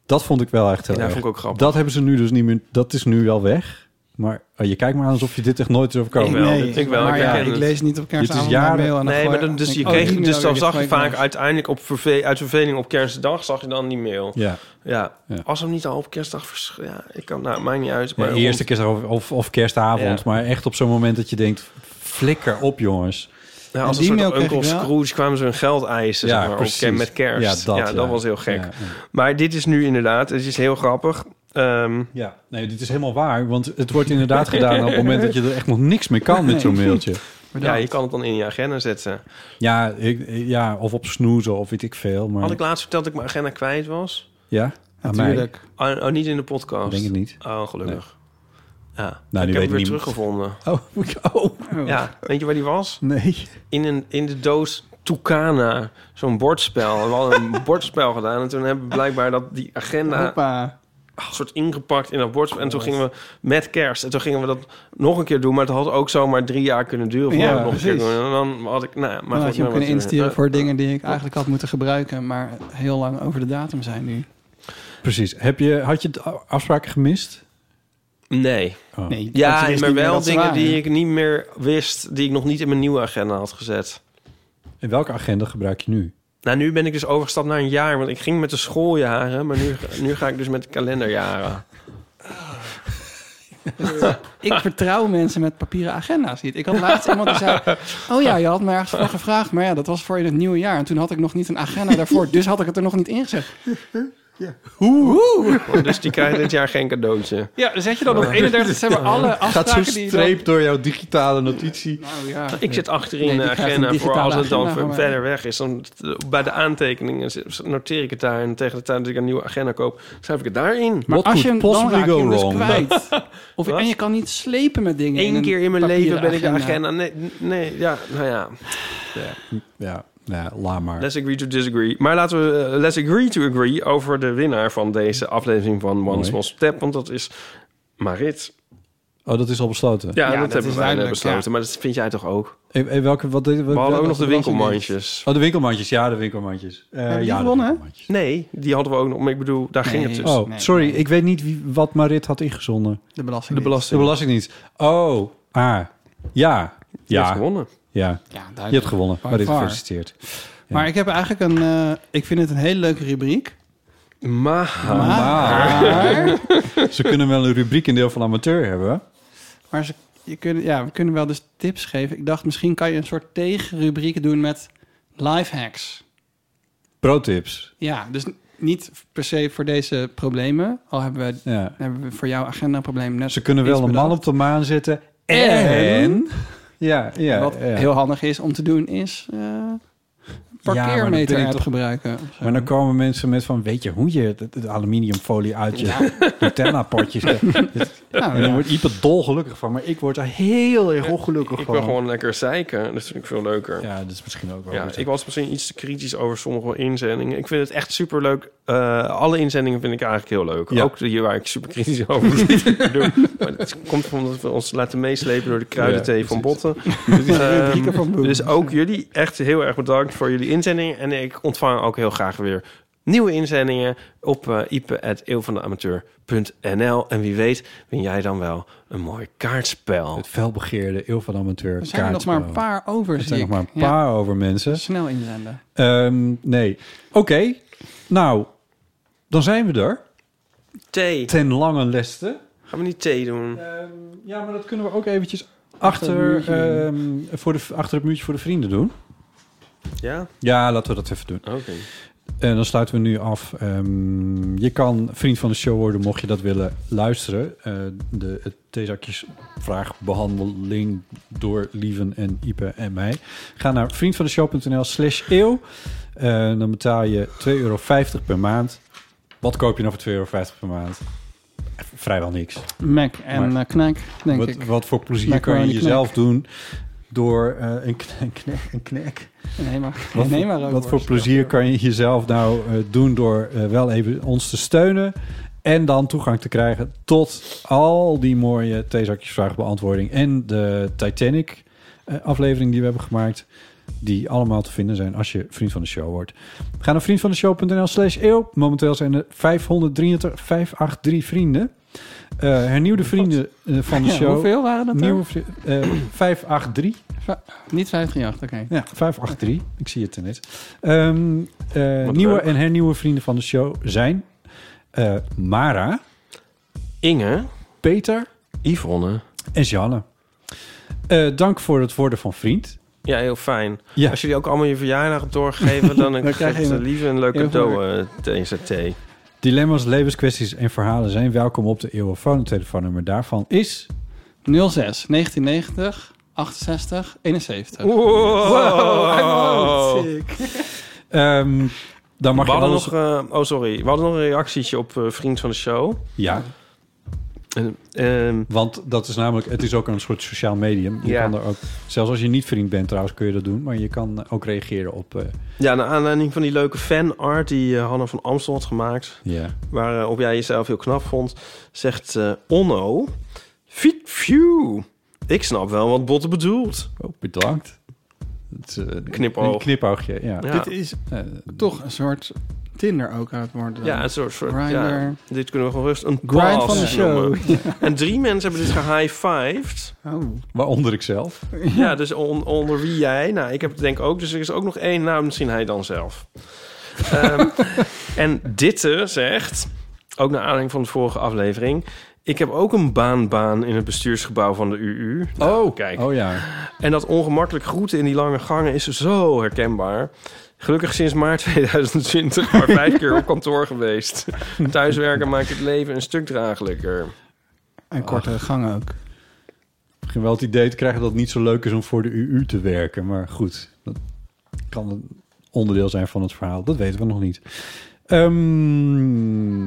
Speaker 2: Dat vond ik wel echt heel
Speaker 3: Ja,
Speaker 2: erg.
Speaker 3: vond ik ook grappig.
Speaker 2: Dat hebben ze nu dus niet meer... Dat is nu wel weg. Maar oh, je kijkt maar aan alsof je dit echt nooit is overkomen.
Speaker 3: Ik wel, Nee, ik wel, maar ik ja, herken ik het. lees
Speaker 1: niet op kerstavond
Speaker 2: Dit is jaren...
Speaker 1: mijn mail en dan
Speaker 3: Nee,
Speaker 1: gooi
Speaker 3: maar
Speaker 1: je-
Speaker 3: dan, dus
Speaker 1: denk
Speaker 3: je
Speaker 1: ik, oh,
Speaker 3: kreeg,
Speaker 1: die
Speaker 3: dus
Speaker 1: mail
Speaker 3: dan
Speaker 1: weer,
Speaker 3: zag je
Speaker 1: die gooi ik
Speaker 3: vaak uiteindelijk op verve- uit verveling op kerstdag zag je dan die mail.
Speaker 2: Ja.
Speaker 3: Ja.
Speaker 2: Ja.
Speaker 3: Als hem niet al op kerstdag vers- ja, ik kan nou maakt niet uit,
Speaker 2: Ja,
Speaker 3: maar
Speaker 2: de eerste keer of, of, of kerstavond.
Speaker 3: Ja.
Speaker 2: Maar echt op zo'n moment dat je denkt... Flikker op, jongens.
Speaker 3: Ja, als
Speaker 2: En
Speaker 3: een
Speaker 2: die
Speaker 3: soort
Speaker 2: mail kreeg
Speaker 3: Uncle
Speaker 2: ik wel.
Speaker 3: Scrooge kwamen ze hun geld eisen
Speaker 2: Ja,
Speaker 3: zeg maar, op-
Speaker 2: precies.
Speaker 3: met kerst.
Speaker 2: Ja,
Speaker 3: Ja,
Speaker 2: dat,
Speaker 3: dat,
Speaker 2: ja.
Speaker 3: was heel gek.
Speaker 2: Ja, ja.
Speaker 3: Maar dit is nu inderdaad, het is heel grappig. Ehm,
Speaker 2: Ja, nee, dit is helemaal waar. Want het wordt inderdaad gedaan op het moment dat je er echt nog niks mee kan met zo'n mailtje.
Speaker 3: ja, je kan het dan in je agenda zetten.
Speaker 2: Ja, ik, ja, of op snoezen of weet ik veel. Maar,
Speaker 3: Had ik laatst verteld dat ik mijn agenda kwijt was?
Speaker 2: ja, aan mij.
Speaker 1: Natuurlijk.
Speaker 3: Oh, oh, niet in de podcast?
Speaker 2: Denk het niet.
Speaker 3: Oh, gelukkig. Ja,
Speaker 2: Nou, nu
Speaker 3: ik heb
Speaker 2: weet
Speaker 3: hem weer
Speaker 2: niemand.
Speaker 3: teruggevonden.
Speaker 1: [LAUGHS]
Speaker 2: Oh, oh.
Speaker 3: Ja, weet je waar die was?
Speaker 2: Nee.
Speaker 3: In, een, in de doos Tucana,
Speaker 1: [LAUGHS]
Speaker 3: zo'n bordspel. We hadden een bordspel gedaan en eh, toen hebben we blijkbaar dat die agenda
Speaker 1: Hoppa.
Speaker 3: soort ingepakt in dat bordspel. En toen gingen we met kerst. En toen gingen we dat nog een keer doen. Maar het had ook zomaar drie jaar kunnen duren. voordat
Speaker 1: Ja,
Speaker 3: we het nog een keer
Speaker 1: precies.
Speaker 3: doen. En dan had ik... Nou, ja, maar
Speaker 1: Dan
Speaker 3: goed,
Speaker 1: had je
Speaker 3: nou,
Speaker 1: hem kunnen
Speaker 3: wat-
Speaker 1: insturen
Speaker 3: eh,
Speaker 1: voor dingen die ik eigenlijk had moeten gebruiken, maar heel lang over de datum zijn nu.
Speaker 2: Precies. Heb je, had je de a- afspraken gemist?
Speaker 3: Nee.
Speaker 2: Oh.
Speaker 1: Nee, dat je
Speaker 3: ja,
Speaker 1: wist
Speaker 3: maar
Speaker 1: niet meer
Speaker 3: wel
Speaker 1: dat ze
Speaker 3: dingen die
Speaker 1: waren.
Speaker 3: ik niet meer wist, die ik nog niet in mijn nieuwe agenda had gezet.
Speaker 2: En welke agenda gebruik je nu?
Speaker 3: Nou, nu ben ik dus overgestapt naar een jaar, want ik ging met de schooljaren, maar nu, nu ga ik dus met de kalenderjaren.
Speaker 1: Ik vertrouw mensen met papieren agenda's niet. Ik had laatst iemand die
Speaker 3: [LAUGHS]
Speaker 1: zei... Oh ja, je had me ergens voor gevraagd, maar ja, dat was voor in het nieuwe jaar. En toen had ik nog niet een agenda daarvoor, dus had ik het er nog niet ingezet. Hoe?
Speaker 3: Oh, [LAUGHS] dus die krijgen dit jaar geen cadeautje.
Speaker 1: Ja, dan zet je dan op 31 december alle
Speaker 2: Gaat zo'n
Speaker 1: afspraken die je dan-
Speaker 2: streep door jouw digitale notitie.
Speaker 1: Nou ja.
Speaker 3: Ik zit achterin
Speaker 1: Nee,
Speaker 3: in
Speaker 1: die
Speaker 3: de
Speaker 1: krijgt een
Speaker 3: agenda voor
Speaker 1: digitale
Speaker 3: als het dan
Speaker 1: agenda van mij.
Speaker 3: verder weg is. Dan eh, bij de aantekeningen noteer ik het daar en tegen de tijd dat ik een nieuwe agenda koop, schrijf ik het daarin.
Speaker 1: Maar als je hem dan raak je hem dus
Speaker 3: [LAUGHS]
Speaker 1: kwijt. Of, en je kan niet slepen met dingen.
Speaker 3: Eén
Speaker 1: een
Speaker 3: keer in mijn leven ben ik de
Speaker 1: papieren
Speaker 3: agenda. Nee, nee ja, nou ja. ja.
Speaker 2: Ja, nou ja, laat maar.
Speaker 3: Let's agree to disagree. Maar laten we eh, let's agree to agree over de winnaar van deze aflevering van One Small Step. Want dat is Marit.
Speaker 2: Oh, dat is al besloten.
Speaker 3: Ja, dat, hebben we bijna besloten. Maar dat vind jij toch ook?
Speaker 2: En, en welke, wat, wat,
Speaker 3: We hadden ook nog de
Speaker 2: winkelmandjes.
Speaker 3: winkelmandjes.
Speaker 2: Oh, de winkelmandjes. Ja, de winkelmandjes. Eh,
Speaker 3: Hebben die
Speaker 2: ja, de
Speaker 3: gewonnen?
Speaker 2: winkelmandjes.
Speaker 3: Nee, die hadden we ook nog. Maar ik bedoel, daar ging het dus.
Speaker 2: Oh, sorry. Ik weet niet wie, wat Marit had ingezonden.
Speaker 1: De
Speaker 3: De
Speaker 1: belasting.
Speaker 3: belasting.
Speaker 2: De belastingdienst. Oh, ah. Ja.
Speaker 3: Je
Speaker 2: ja.
Speaker 3: hebt gewonnen.
Speaker 2: Ja.
Speaker 1: duidelijk.
Speaker 2: je hebt gewonnen.
Speaker 1: By
Speaker 2: Marit,
Speaker 1: far.
Speaker 2: gefeliciteerd.
Speaker 1: Maar ik heb eigenlijk een... eh, ik vind het een hele leuke rubriek.
Speaker 3: Maar...
Speaker 1: Maar-
Speaker 2: [LAUGHS] Ze kunnen wel een rubriek in deel van amateur hebben.
Speaker 1: Maar ze, je kunnen, ja, we kunnen wel dus tips geven. Ik dacht, misschien kan je een soort tegenrubriek doen met lifehacks.
Speaker 2: Pro-tips.
Speaker 1: Ja, dus n- niet per se voor deze problemen. Al hebben we, eh,
Speaker 2: Ja.
Speaker 1: hebben we voor jouw agenda probleem net
Speaker 2: Ze kunnen
Speaker 1: iets
Speaker 2: wel een man
Speaker 1: bedacht.
Speaker 2: op de maan zetten.
Speaker 1: En-
Speaker 2: En... Ja, ja.
Speaker 1: Wat
Speaker 2: ja.
Speaker 1: heel handig is om te doen is eh, een parkeermeter
Speaker 2: ben ik
Speaker 1: app
Speaker 2: toch-
Speaker 1: gebruiken.
Speaker 2: Maar dan komen mensen met van, weet je hoe je het, het aluminiumfolie uit je
Speaker 1: [LAUGHS]
Speaker 2: Nutella-potjes... en
Speaker 1: ja.
Speaker 2: dan wordt Ipe dolgelukkig van, maar ik word er heel erg ongelukkig
Speaker 3: Ik
Speaker 2: van.
Speaker 3: wil gewoon lekker zeiken. Dat vind ik veel leuker.
Speaker 2: Ja, dat is misschien ook wel
Speaker 3: Ja,
Speaker 2: goed.
Speaker 3: ik was misschien iets te kritisch over sommige inzendingen. Ik vind het echt superleuk. Eh alle inzendingen vind ik eigenlijk heel leuk.
Speaker 2: Ja.
Speaker 3: Ook die waar ik super kritisch [LAUGHS] over doe. Maar het komt omdat we ons laten meeslepen door de kruidenthee
Speaker 2: Ja,
Speaker 3: van
Speaker 2: precies. [LAUGHS]
Speaker 3: botten.
Speaker 2: Dit is de
Speaker 3: Ehm,
Speaker 2: rubrieken van Boom.
Speaker 3: [LAUGHS] dus ook jullie echt heel erg bedankt voor jullie inzendingen. En ik ontvang ook heel graag weer nieuwe inzendingen op eh ipe.eeuwvandeamateur.nl. En wie weet win jij dan wel een mooi kaartspel.
Speaker 2: Het felbegeerde eeuw van amateur
Speaker 1: Er zijn er nog maar een paar over,
Speaker 2: Er
Speaker 1: zie
Speaker 2: zijn nog
Speaker 1: ik.
Speaker 2: maar een
Speaker 1: Ja.
Speaker 2: paar over, mensen.
Speaker 1: Snel inzenden.
Speaker 2: Ehm, nee. Oké, nou, dan zijn we er.
Speaker 3: Thee.
Speaker 2: Ten lange leste. Ehm,
Speaker 3: Gaan we niet thee doen?
Speaker 2: ja, maar dat kunnen we ook eventjes
Speaker 3: Achter
Speaker 2: Achter,
Speaker 3: het muurtje
Speaker 2: ehm, voor de, achter het muurtje voor de vrienden doen.
Speaker 3: Ja?
Speaker 2: Ja, laten we dat even doen.
Speaker 3: Oké.
Speaker 2: En Eh, dan sluiten we nu af. Ehm, je kan vriend van de show worden, mocht je dat willen luisteren. Eh de het theezakjesvraagbehandeling door Lieven en Ipe en mij. Ga naar vriendvandeshow.nl slash eeuw. Eh, dan betaal je 2,50 euro per maand. Wat koop je nou voor 2,50 euro per maand? Vrijwel niks.
Speaker 1: Mac en
Speaker 2: Maar-
Speaker 1: eh, knak, denk
Speaker 2: wat,
Speaker 1: ik.
Speaker 2: Wat voor plezier
Speaker 1: Macaroni
Speaker 2: kan je
Speaker 1: knak.
Speaker 2: jezelf doen door eh, een kn- een knek, een knek.
Speaker 1: Nee, maar, [LAUGHS]
Speaker 2: Wat,
Speaker 1: nee,
Speaker 2: voor-
Speaker 1: maar ook
Speaker 2: wat voor
Speaker 1: worst.
Speaker 2: plezier kan je jezelf nou eh, doen door eh, wel even ons te steunen en dan toegang te krijgen tot al die mooie theezakjesvraagbeantwoording en de Titanic eh, aflevering die we hebben gemaakt, die allemaal te vinden zijn als je vriend van de show wordt. Ga naar vriendvandeshow.nl slash eeuw. Momenteel zijn er 533, 583 vrienden. Eh, hernieuwde vrienden eh, van de
Speaker 1: Oh, Ja,
Speaker 2: show.
Speaker 1: hoeveel waren dat er?
Speaker 2: Nieuwe vri- eh, 583.
Speaker 1: Va- Niet 538, oké.
Speaker 2: Ja, 583. Ik zie het er net. Ehm, eh,
Speaker 1: Wat
Speaker 2: nieuwe
Speaker 1: leuk.
Speaker 2: en hernieuwe vrienden van de show zijn eh, Mara,
Speaker 3: Inge,
Speaker 2: Peter
Speaker 3: Yvonne.
Speaker 2: en Janne. Eh, dank voor het worden van vriend.
Speaker 3: Ja, heel fijn.
Speaker 2: Ja.
Speaker 3: Als jullie ook allemaal je verjaardag hebt doorgegeven,
Speaker 2: [LAUGHS]
Speaker 3: dan,
Speaker 2: Dan krijg
Speaker 3: krijg
Speaker 2: je
Speaker 3: je
Speaker 2: een-
Speaker 3: liever een leuk
Speaker 2: heel
Speaker 3: cadeau eh, deze thee.
Speaker 2: Dilemma's, levenskwesties en verhalen zijn welkom op de Eeuwofoon. Het telefoonnummer daarvan is...
Speaker 1: 06 1990 68 71.
Speaker 3: Wow,
Speaker 1: [LAUGHS]
Speaker 2: Ehm, dan mag
Speaker 3: we
Speaker 2: je
Speaker 3: hadden
Speaker 2: alles...
Speaker 3: nog, eh, oh sorry, we hadden nog een reactietje op eh, Vriend van de Show.
Speaker 2: Ja.
Speaker 3: ehm,
Speaker 2: Want dat is namelijk, het is ook een soort sociaal medium. Je
Speaker 3: Ja.
Speaker 2: kan er ook, zelfs als je niet vriend bent trouwens, kun je dat doen. Maar je kan ook reageren op... eh,
Speaker 3: Ja, naar aanleiding van die leuke fanart die eh, Hanna van Amstel had gemaakt...
Speaker 2: Ja.
Speaker 3: waarop eh, jij jezelf heel knap vond, zegt eh, Onno... Fiet, phew. Ik snap wel wat Botte bedoelt.
Speaker 2: Oh, bedankt. Het, eh,
Speaker 3: Knipoog.
Speaker 2: Een knipoogje, ja.
Speaker 3: Ja.
Speaker 1: Dit is
Speaker 2: Eh,
Speaker 1: toch een soort Tinder ook aan het worden.
Speaker 3: Ja, een soort, soort
Speaker 1: Grindr.
Speaker 3: ja, dit kunnen we gewoon rust een
Speaker 1: Grind
Speaker 3: pass
Speaker 1: van de show.
Speaker 3: noemen. [LAUGHS] En drie mensen hebben dit gehighfived.
Speaker 2: Waaronder ik zelf.
Speaker 3: Ja, dus on- onder wie jij. Nou, ik heb het denk ik ook. Dus er is ook nog één naam, misschien hij dan
Speaker 1: [LAUGHS]
Speaker 3: zelf. Ehm, en Ditte zegt, ook naar aanleiding van de vorige aflevering... Ik heb ook een baanbaan in het bestuursgebouw van de UU. oh, kijk.
Speaker 2: Oh ja.
Speaker 3: En dat ongemakkelijk groeten in die lange gangen is zo herkenbaar. Gelukkig sinds maart [LAUGHS] 2020
Speaker 2: [LAUGHS]
Speaker 3: maar vijf keer op kantoor geweest. Thuiswerken maakt het leven een stuk draaglijker.
Speaker 1: En
Speaker 3: Oh.
Speaker 1: korte gang ook.
Speaker 2: Misschien wel het idee te krijgen dat het niet zo leuk is om voor de UU te werken. Maar goed, dat kan een onderdeel zijn van het verhaal. Dat weten we nog niet. Ehm,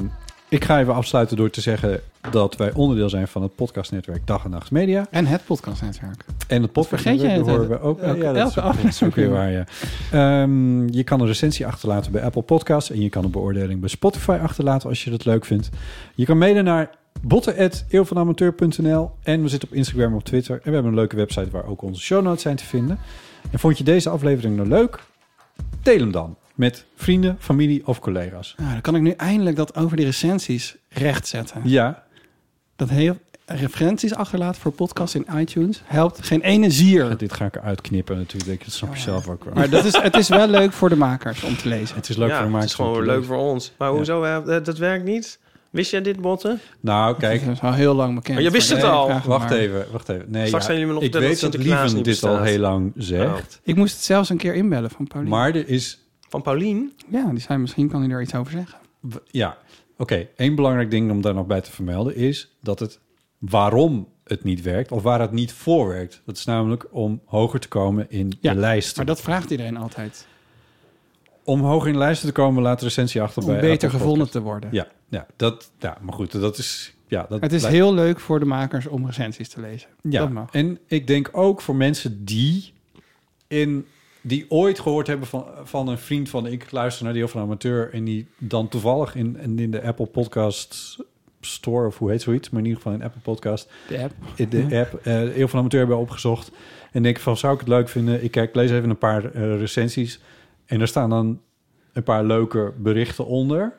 Speaker 2: ik ga even afsluiten door te zeggen dat wij onderdeel zijn van het podcastnetwerk Dag en Nacht Media.
Speaker 1: En het podcastnetwerk.
Speaker 2: En het podcast
Speaker 1: vergeet jij het
Speaker 2: horen we
Speaker 1: hele-
Speaker 2: ook.
Speaker 1: elke-
Speaker 2: ja, dat is
Speaker 1: elke
Speaker 2: ook- dat is ook weer waar, ja. Ehm, je kan een recensie achterlaten bij Apple Podcasts. En je kan een beoordeling bij Spotify achterlaten als je dat leuk vindt. Je kan mailen naar botten.eeuwvanamateur.nl En we zitten op Instagram en op Twitter. En we hebben een leuke website waar ook onze show notes zijn te vinden. En vond je deze aflevering nou leuk? Deel hem dan met vrienden, familie of collega's.
Speaker 1: Nou, dan kan ik nu eindelijk dat over die recensies rechtzetten.
Speaker 2: Ja.
Speaker 1: Dat heel referenties achterlaten voor podcasts in iTunes helpt geen ene zier.
Speaker 2: Dit ga ik eruit knippen natuurlijk. Dat
Speaker 3: Oh,
Speaker 2: snap je zelf ook wel.
Speaker 1: Maar dat is, het is wel leuk voor de makers om te lezen.
Speaker 2: Het is leuk
Speaker 3: ja,
Speaker 2: voor de
Speaker 3: Het is
Speaker 2: makers om
Speaker 3: gewoon
Speaker 2: te
Speaker 3: leuk
Speaker 2: lezen.
Speaker 3: voor ons. Maar hoezo? eh, Dat, dat werkt niet? Wist jij dit, Botten?
Speaker 2: Nou,
Speaker 3: [LAUGHS]
Speaker 2: kijk.
Speaker 1: Dat is al heel lang bekend.
Speaker 3: Maar je wist het al.
Speaker 2: Wacht even, wacht even. Nee,
Speaker 3: Straks
Speaker 2: ja,
Speaker 3: zijn jullie me
Speaker 2: ik
Speaker 3: nog vertellen
Speaker 2: weet
Speaker 3: dat
Speaker 2: dat
Speaker 3: Sinterklaas
Speaker 2: Lieven
Speaker 3: niet
Speaker 2: dit al
Speaker 3: bestaat. Oh,
Speaker 2: heel lang
Speaker 3: Nou,
Speaker 2: zegt.
Speaker 1: Ik moest het zelfs een keer inbellen van Paulien.
Speaker 2: Maar er is,
Speaker 3: Van Paulien?
Speaker 1: Ja, die zei misschien kan hij er iets over zeggen.
Speaker 2: ja, oké. één belangrijk ding om daar nog bij te vermelden is dat het waarom het niet werkt of waar het niet voor werkt. Dat is namelijk om hoger te komen in de lijsten.
Speaker 1: Maar dat vraagt iedereen altijd.
Speaker 2: Om hoger in de lijsten te komen, laat de recensie achter
Speaker 1: Om
Speaker 2: bij
Speaker 1: beter
Speaker 2: Apple
Speaker 1: gevonden
Speaker 2: Podcast.
Speaker 1: te worden.
Speaker 2: Ja, ja, dat, ja, maar goed, dat is... Ja, dat
Speaker 1: het is
Speaker 2: lijkt-
Speaker 1: heel leuk voor de makers om recensies te lezen.
Speaker 2: Ja,
Speaker 1: Dat mag.
Speaker 2: en ik denk ook voor mensen die, in, die ooit gehoord hebben van, van een vriend van... ik luister naar Deel van Amateur... en die dan toevallig in, en in de Apple Podcast Store... of hoe heet zoiets, maar in ieder geval in Apple Podcast...
Speaker 1: De app.
Speaker 2: in De app, eh, Eeuw van Amateur hebben opgezocht... en denken van, zou ik het leuk vinden? Ik kijk, lees even een paar eh, recensies... en er staan dan een paar leuke berichten onder...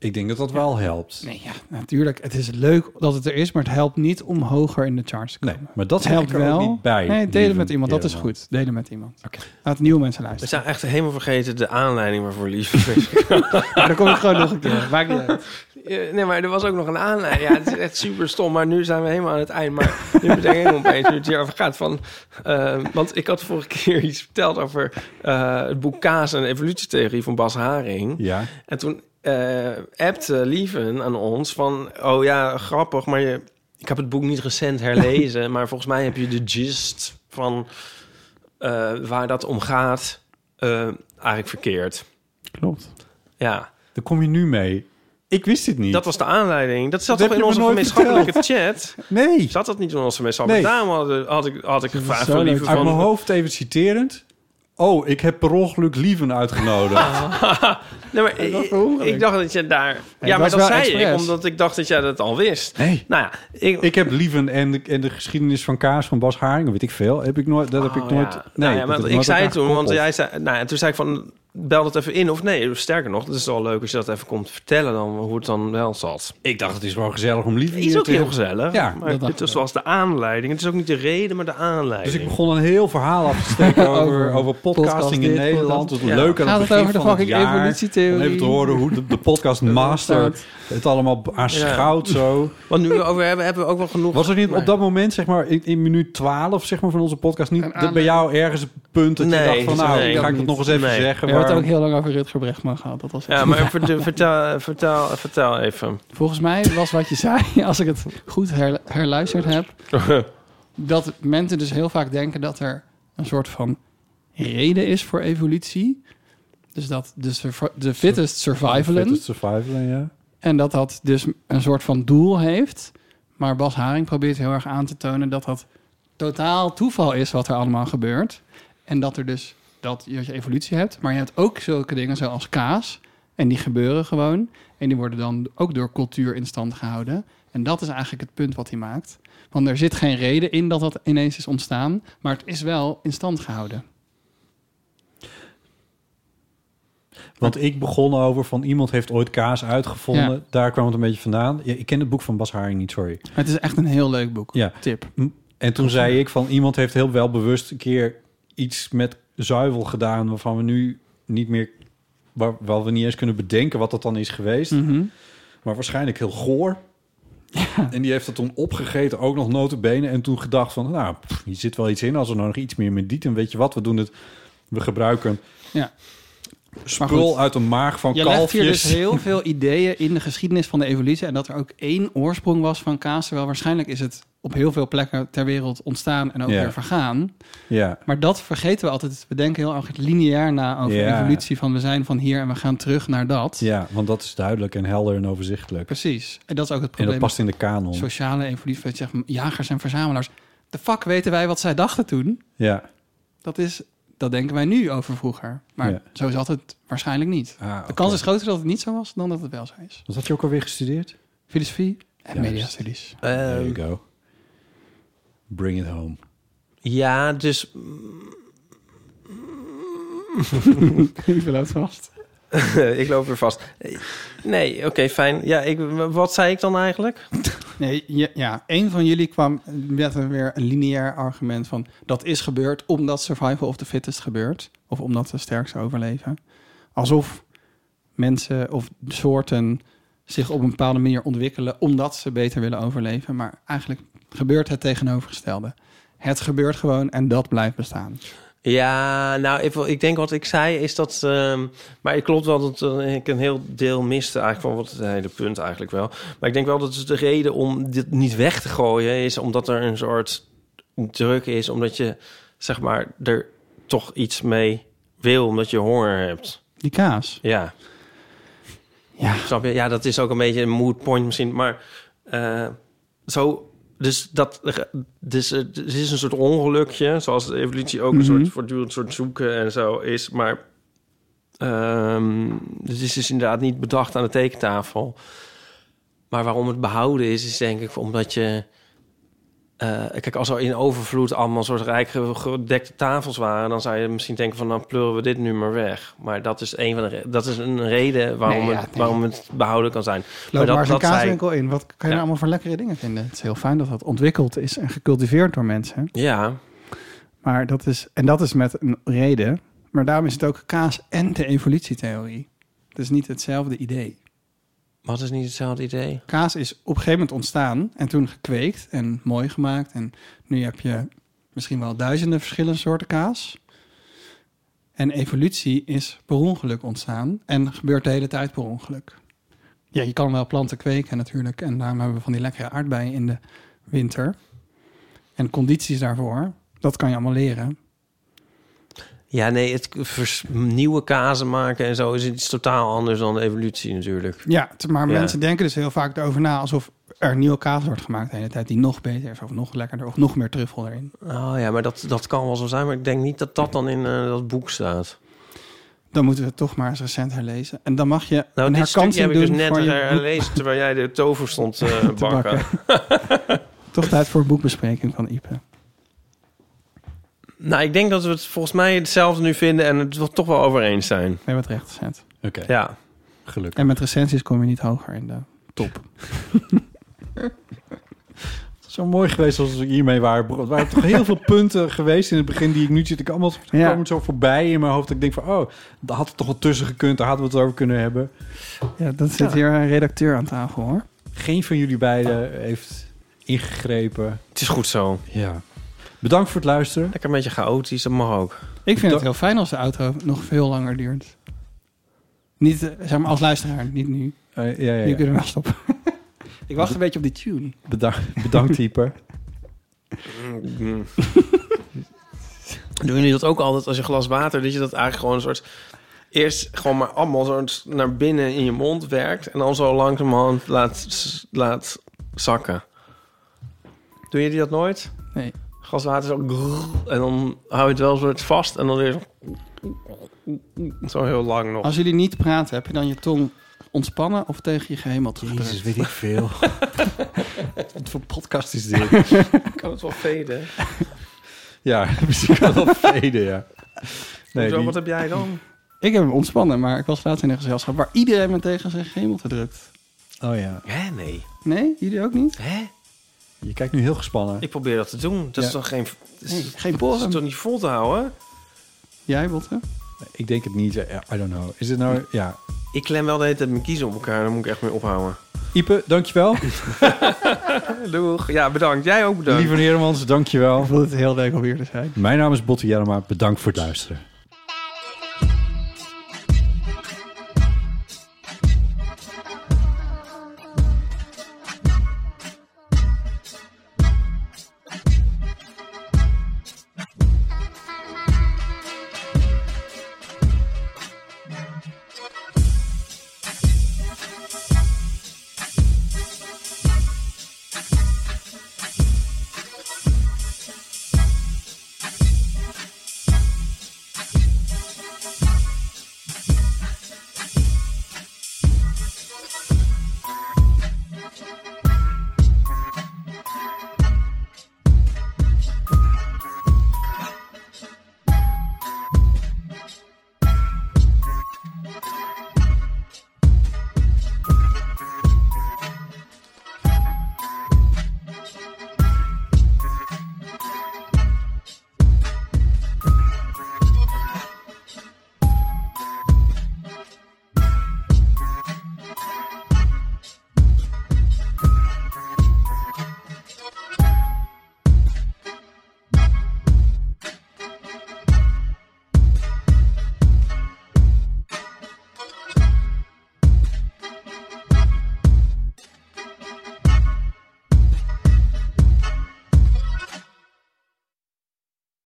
Speaker 2: Ik denk dat dat wel helpt.
Speaker 1: Nee, ja, natuurlijk. Het is leuk dat het er is, maar het helpt niet om hoger in de charts te komen.
Speaker 2: maar dat
Speaker 1: Het
Speaker 2: zeg ik
Speaker 1: helpt
Speaker 2: er ook
Speaker 1: wel.
Speaker 2: niet bij,
Speaker 1: Nee, delen met
Speaker 2: lieve
Speaker 1: iemand. Dat is
Speaker 2: Herman.
Speaker 1: goed. Delen met iemand. Laat nieuwe mensen luisteren.
Speaker 3: We
Speaker 1: [LAUGHS]
Speaker 3: zijn echt helemaal vergeten de aanleiding waarvoor [LAUGHS] lief.
Speaker 1: Maar dan kom ik gewoon nog een keer. Maakt niet uit.
Speaker 3: Eh, Nee, maar er was ook nog een aanleiding. Ja, het is echt super stom. Maar nu zijn we helemaal aan het eind. Maar nu bedenk ik helemaal opeens nu het hierover gaat. Van, eh, want ik had vorige keer iets verteld over eh, het boek Kaas en de evolutietheorie van Bas Haring.
Speaker 2: Ja.
Speaker 3: En toen eh appte Lieven aan ons van... Oh ja, grappig, maar je, ik heb het boek niet
Speaker 2: [LAUGHS]
Speaker 3: recent herlezen. maar volgens mij heb je de gist van eh, waar dat om gaat eh, eigenlijk verkeerd.
Speaker 2: Klopt.
Speaker 3: Ja.
Speaker 2: Daar kom je nu mee. Ik wist dit niet.
Speaker 3: Dat was de aanleiding. Dat zat
Speaker 2: Dat
Speaker 3: toch in
Speaker 2: heb je
Speaker 3: onze
Speaker 2: me nooit
Speaker 3: gemeenschappelijke chat?
Speaker 2: Nee.
Speaker 3: Zat dat niet in onze gemeenschappelijke?
Speaker 2: Nee.
Speaker 3: Daarom had, had ik, had ik gevraagd
Speaker 2: Zo
Speaker 3: van
Speaker 2: leuk.
Speaker 3: liever
Speaker 2: Uit mijn
Speaker 3: van...
Speaker 2: hoofd even citerend. Oh, ik heb per ongeluk Lieven uitgenodigd.
Speaker 3: [LAUGHS] Nee, maar ik, ik dacht dat je daar...
Speaker 2: het
Speaker 3: ja, maar
Speaker 2: was
Speaker 3: dat
Speaker 2: wel
Speaker 3: zei ik,
Speaker 2: expres.
Speaker 3: omdat ik dacht dat jij dat al wist.
Speaker 2: Nee.
Speaker 3: Nou ja, ik...
Speaker 2: Ik heb Lieven en de, en de geschiedenis van Kaas van Bas Haring, weet ik veel. Heb ik nooit, dat heb ik
Speaker 3: Oh,
Speaker 2: nooit...
Speaker 3: ja.
Speaker 2: Nee,
Speaker 3: Nou ja,
Speaker 2: dat
Speaker 3: maar
Speaker 2: heb
Speaker 3: ik
Speaker 2: nooit
Speaker 3: zei
Speaker 2: elkaar
Speaker 3: toen, want
Speaker 2: gekoppeld.
Speaker 3: jij zei, nou ja, toen zei ik van, bel dat even in of nee. Sterker nog, het is wel leuk als je dat even komt vertellen dan hoe het dan wel zat.
Speaker 2: Ik dacht, het is wel gezellig om Lieven
Speaker 3: Het
Speaker 2: hier
Speaker 3: is ook
Speaker 2: te-
Speaker 3: heel gezellig.
Speaker 2: Ja, dat
Speaker 3: maar
Speaker 2: dacht ik
Speaker 3: dit is zoals de aanleiding. Het is ook niet de reden, maar de aanleiding.
Speaker 2: Dus ik begon een heel verhaal af te
Speaker 3: [LAUGHS]
Speaker 2: steken over, over podcasting
Speaker 3: podcast,
Speaker 2: in
Speaker 3: dit,
Speaker 2: Nederland.
Speaker 3: podcast.
Speaker 2: Het
Speaker 3: Ja.
Speaker 2: leuke aan
Speaker 3: Gaat
Speaker 2: het
Speaker 3: het
Speaker 2: begin
Speaker 3: over de
Speaker 2: van het
Speaker 3: fucking
Speaker 2: jaar.
Speaker 3: evolutietheorie?
Speaker 2: Om even te horen hoe de, de
Speaker 3: [LAUGHS]
Speaker 2: podcast master het allemaal aanschouwt zo.
Speaker 3: Want nu we over hebben, hebben we ook wel genoeg...
Speaker 2: Was er niet
Speaker 3: Maar-
Speaker 2: op dat moment, zeg maar, in, in minuut 12 zeg maar, van onze podcast, niet dat bij jou ergens een punt dat je
Speaker 3: Nee,
Speaker 2: dacht van, nou,
Speaker 3: nee,
Speaker 2: ga ik
Speaker 3: niet.
Speaker 2: het nog eens even
Speaker 3: Nee.
Speaker 2: zeggen.
Speaker 1: We hebben
Speaker 2: maar-
Speaker 1: het ook heel lang over Rutger Bregman gehad. Dat was echt-
Speaker 3: Ja, maar vertel, vertel, vertel, vertel even.
Speaker 1: Volgens mij was wat je [LAUGHS] zei, als ik het goed her- herluisterd [LAUGHS] heb, dat mensen dus heel vaak denken dat er een soort van reden is voor evolutie. Dus dat de, survi- de fittest survivalen.
Speaker 2: Fittest survivalen, ja.
Speaker 1: En dat dat dus een soort van doel heeft. Maar Bas Haring probeert heel erg aan te tonen dat dat totaal toeval is wat er allemaal gebeurt. En dat er dus dat je dat je evolutie hebt. Maar je hebt ook zulke dingen zoals kaas. En die gebeuren gewoon. En die worden dan ook door cultuur in stand gehouden. En dat is eigenlijk het punt wat hij maakt. Want er zit geen reden in dat dat ineens is ontstaan. Maar het is wel in stand gehouden.
Speaker 2: Want ik begon over van iemand heeft ooit kaas uitgevonden.
Speaker 1: Ja.
Speaker 2: Daar kwam het een beetje vandaan. Ja, ik ken het boek van Bas Haring niet, sorry.
Speaker 1: Het is echt een heel leuk boek.
Speaker 2: Ja.
Speaker 1: Tip.
Speaker 2: En toen zei ik van iemand heeft heel wel bewust een keer iets met zuivel gedaan... waarvan we nu niet meer... waar, waar we niet eens kunnen bedenken wat dat dan is geweest.
Speaker 1: Mhm.
Speaker 2: Maar waarschijnlijk heel goor. En die heeft dat toen opgegeten, ook nog notenbenen. En toen gedacht van, nou, pff, hier zit wel iets in. Als er nou nog iets meer met en weet je wat? We doen het, we gebruiken
Speaker 1: Ja. Maar
Speaker 2: spul
Speaker 1: goed.
Speaker 2: uit de maag van
Speaker 1: je legt
Speaker 2: kalfjes.
Speaker 1: hier dus heel
Speaker 2: [LAUGHS]
Speaker 1: veel ideeën in de geschiedenis van de evolutie. En dat er ook één oorsprong was van kaas. Terwijl waarschijnlijk is het op heel veel plekken ter wereld ontstaan en ook
Speaker 2: Ja.
Speaker 1: weer vergaan.
Speaker 2: Ja.
Speaker 1: Maar dat vergeten we altijd. We denken heel erg lineair na over
Speaker 2: Ja.
Speaker 1: evolutie. Van we zijn van hier en we gaan terug naar dat.
Speaker 2: Ja, want dat is duidelijk en helder en overzichtelijk.
Speaker 1: Precies. En dat is ook het
Speaker 2: En
Speaker 1: probleem.
Speaker 2: dat past in de kanon.
Speaker 1: Sociale evolutie. Dat je zegt, jagers en verzamelaars. De fuck weten wij wat zij dachten toen?
Speaker 2: Ja.
Speaker 1: Dat is... Dat denken wij nu over vroeger. Maar
Speaker 2: Ja. Ah,
Speaker 1: zo zat het waarschijnlijk niet. De kans is groter dat het niet zo was dan dat het wel zo is.
Speaker 2: Wat had je ook alweer gestudeerd?
Speaker 1: Filosofie en [LAUGHS]
Speaker 2: Juist.
Speaker 1: mediastudies.
Speaker 3: Ehm,
Speaker 2: There you go. Bring it home.
Speaker 3: Ja, dus...
Speaker 1: Ik loopt vast.
Speaker 3: [LAUGHS] ik loop weer vast. Nee, oké, fijn. Ja, ik, wat zei ik dan eigenlijk?
Speaker 1: Nee, ja, ja, een van jullie kwam met een weer een lineair argument van... dat is gebeurd omdat survival of the fittest gebeurt. Of omdat de sterkste overleven. Alsof mensen of soorten zich op een bepaalde manier ontwikkelen... omdat ze beter willen overleven. Maar eigenlijk gebeurt het tegenovergestelde. Het gebeurt gewoon en dat blijft bestaan.
Speaker 3: Ja, nou, ik, wil- ik denk wat ik zei is dat... ehm, maar het klopt wel dat eh, ik een heel deel miste eigenlijk van wat het hele punt eigenlijk wel. Maar ik denk wel dat het de reden om dit niet weg te gooien is... omdat er een soort druk is, omdat je zeg maar er toch iets mee wil, omdat je honger hebt.
Speaker 1: Die kaas.
Speaker 3: Ja.
Speaker 1: Ja.
Speaker 3: Snap je? Ja, dat is ook een beetje een mood point misschien. Maar eh, zo... Dus dat... Dus eh, het is een soort ongelukje. Zoals de evolutie ook een
Speaker 1: Mhm.
Speaker 3: soort voortdurend soort zoeken en zo is. Maar... ehm het is dus inderdaad niet bedacht aan de tekentafel. Maar waarom het behouden is, is denk ik omdat je... eh, kijk, als er in overvloed allemaal soort rijk ge- gedekte tafels waren... dan zou je misschien denken van, dan pleuren we dit nu maar weg. Maar dat is een, van de, re- dat is een reden waarom,
Speaker 1: Nee, ja,
Speaker 3: het,
Speaker 1: nee.
Speaker 3: waarom het behouden kan zijn.
Speaker 1: Loop
Speaker 3: dat,
Speaker 1: maar eens een
Speaker 3: zei-
Speaker 1: kaaswinkel in. Wat kan je nou allemaal voor lekkere dingen vinden? Het is heel fijn dat dat ontwikkeld is en gecultiveerd door mensen.
Speaker 3: Ja,
Speaker 1: Maar dat is, en dat is met een reden. Maar daarom is het ook kaas en de evolutietheorie. Het is niet hetzelfde idee.
Speaker 3: wat is niet hetzelfde idee?
Speaker 1: Kaas is op een gegeven moment ontstaan en toen gekweekt en mooi gemaakt. En nu heb je misschien wel duizenden verschillende soorten kaas. En evolutie is per ongeluk ontstaan en gebeurt de hele tijd per ongeluk. Ja, je kan wel planten kweken natuurlijk. En daarom hebben we van die lekkere aardbeien in de winter. En condities daarvoor, dat kan je allemaal leren.
Speaker 3: Ja, nee, het vers- nieuwe kazen maken en zo is iets totaal anders dan de evolutie natuurlijk.
Speaker 1: Ja, t- maar
Speaker 3: Ja.
Speaker 1: mensen denken dus heel vaak erover na alsof er nieuwe kaas wordt gemaakt de hele tijd die nog beter is of nog lekkerder of nog meer truffel erin.
Speaker 3: Oh ja, maar dat, dat kan wel zo zijn. Maar ik denk niet dat dat dan in eh, dat boek staat.
Speaker 1: Dan moeten we het toch maar eens recent herlezen. En dan mag je
Speaker 3: Nou,
Speaker 1: een
Speaker 3: dit stukje
Speaker 1: herkansing
Speaker 3: heb ik
Speaker 1: doen
Speaker 3: dus net
Speaker 1: voor je boek.
Speaker 3: herlezen terwijl jij de tover
Speaker 1: [LAUGHS]
Speaker 3: stond eh, bakken. [LAUGHS]
Speaker 1: Toch tijd voor een boekbespreking van Ipe.
Speaker 3: Nou, ik denk dat we het volgens mij hetzelfde nu vinden en het wel- toch wel over eens zijn.
Speaker 1: Nee, wat recht zet.
Speaker 2: Oké.
Speaker 3: Ja.
Speaker 2: Gelukkig.
Speaker 1: En met recensies kom je niet hoger in de top.
Speaker 2: Het zou mooi geweest als we hiermee waren. begonnen. Er waren toch heel veel punten [LAUGHS] geweest in het begin die ik nu zit. Ik allemaal
Speaker 1: Ja.
Speaker 2: komen zo voorbij in mijn hoofd. dat Ik denk van, oh, daar had het toch wel tussen gekund. Daar hadden we het over kunnen hebben.
Speaker 1: Ja, dat zit hier een redacteur aan tafel hoor.
Speaker 2: Geen van jullie beiden heeft ingegrepen.
Speaker 3: Het is goed zo.
Speaker 2: Ja. Bedankt voor het luisteren.
Speaker 3: Lekker een beetje chaotisch, dat mag ook.
Speaker 1: Ik vind het heel fijn als de outro nog veel langer duurt. Niet, eh, zeg maar, als luisteraar, niet nu.
Speaker 2: Eh, ja, ja,
Speaker 1: Nu
Speaker 2: ja.
Speaker 1: kunnen we wel stoppen. Ik wacht een beetje op die tune.
Speaker 2: Bedankt, bedankt [LAUGHS] Hyper.
Speaker 3: Doen jullie dat ook altijd als je een glas water, dat je dat eigenlijk gewoon een soort... Eerst gewoon maar allemaal zo naar binnen in je mond werkt... en dan zo langzamerhand laat, laat zakken. Doen jullie dat nooit?
Speaker 1: Nee.
Speaker 3: Gaswater is ook... grrr, En dan hou je het wel soort vast en dan weer zo... Zo heel lang nog.
Speaker 1: Als jullie niet praten, heb je dan je tong ontspannen of tegen je gehemel teruggedrukt?
Speaker 2: Jezus, Dus weet ik [LAUGHS] veel. Wat voor podcast is dit?
Speaker 3: kan het wel veden.
Speaker 2: ja, [LAUGHS] misschien kan dat veden, ja.
Speaker 3: Hoezo,
Speaker 1: die-
Speaker 3: wat heb jij dan?
Speaker 1: Ik heb hem ontspannen, maar ik was laatst in een gezelschap waar iedereen me tegen zijn gehemel drukt.
Speaker 2: Oh ja.
Speaker 3: Hè, nee.
Speaker 1: Nee, jullie ook niet?
Speaker 3: Hè?
Speaker 2: Je kijkt nu heel gespannen.
Speaker 3: Ik probeer dat te doen. Dat is
Speaker 2: Ja.
Speaker 3: toch geen...
Speaker 1: Nee, geen
Speaker 3: Dat
Speaker 1: poren.
Speaker 3: is toch niet vol te houden?
Speaker 1: Jij, Botte?
Speaker 2: Ik denk het niet. eh, I don't know. Is het nou... Ja.
Speaker 3: Ik klem wel de hele tijd mijn kiezen op elkaar. Daar moet ik echt mee ophouden.
Speaker 2: Ipe, dankjewel.
Speaker 3: Doeg. Ja, bedankt. Jij ook bedankt.
Speaker 2: Lieve Hermans, dankjewel.
Speaker 1: Ik vond het heel leuk om hier te zijn.
Speaker 2: Mijn naam is Botte Jarema. Bedankt voor het luisteren.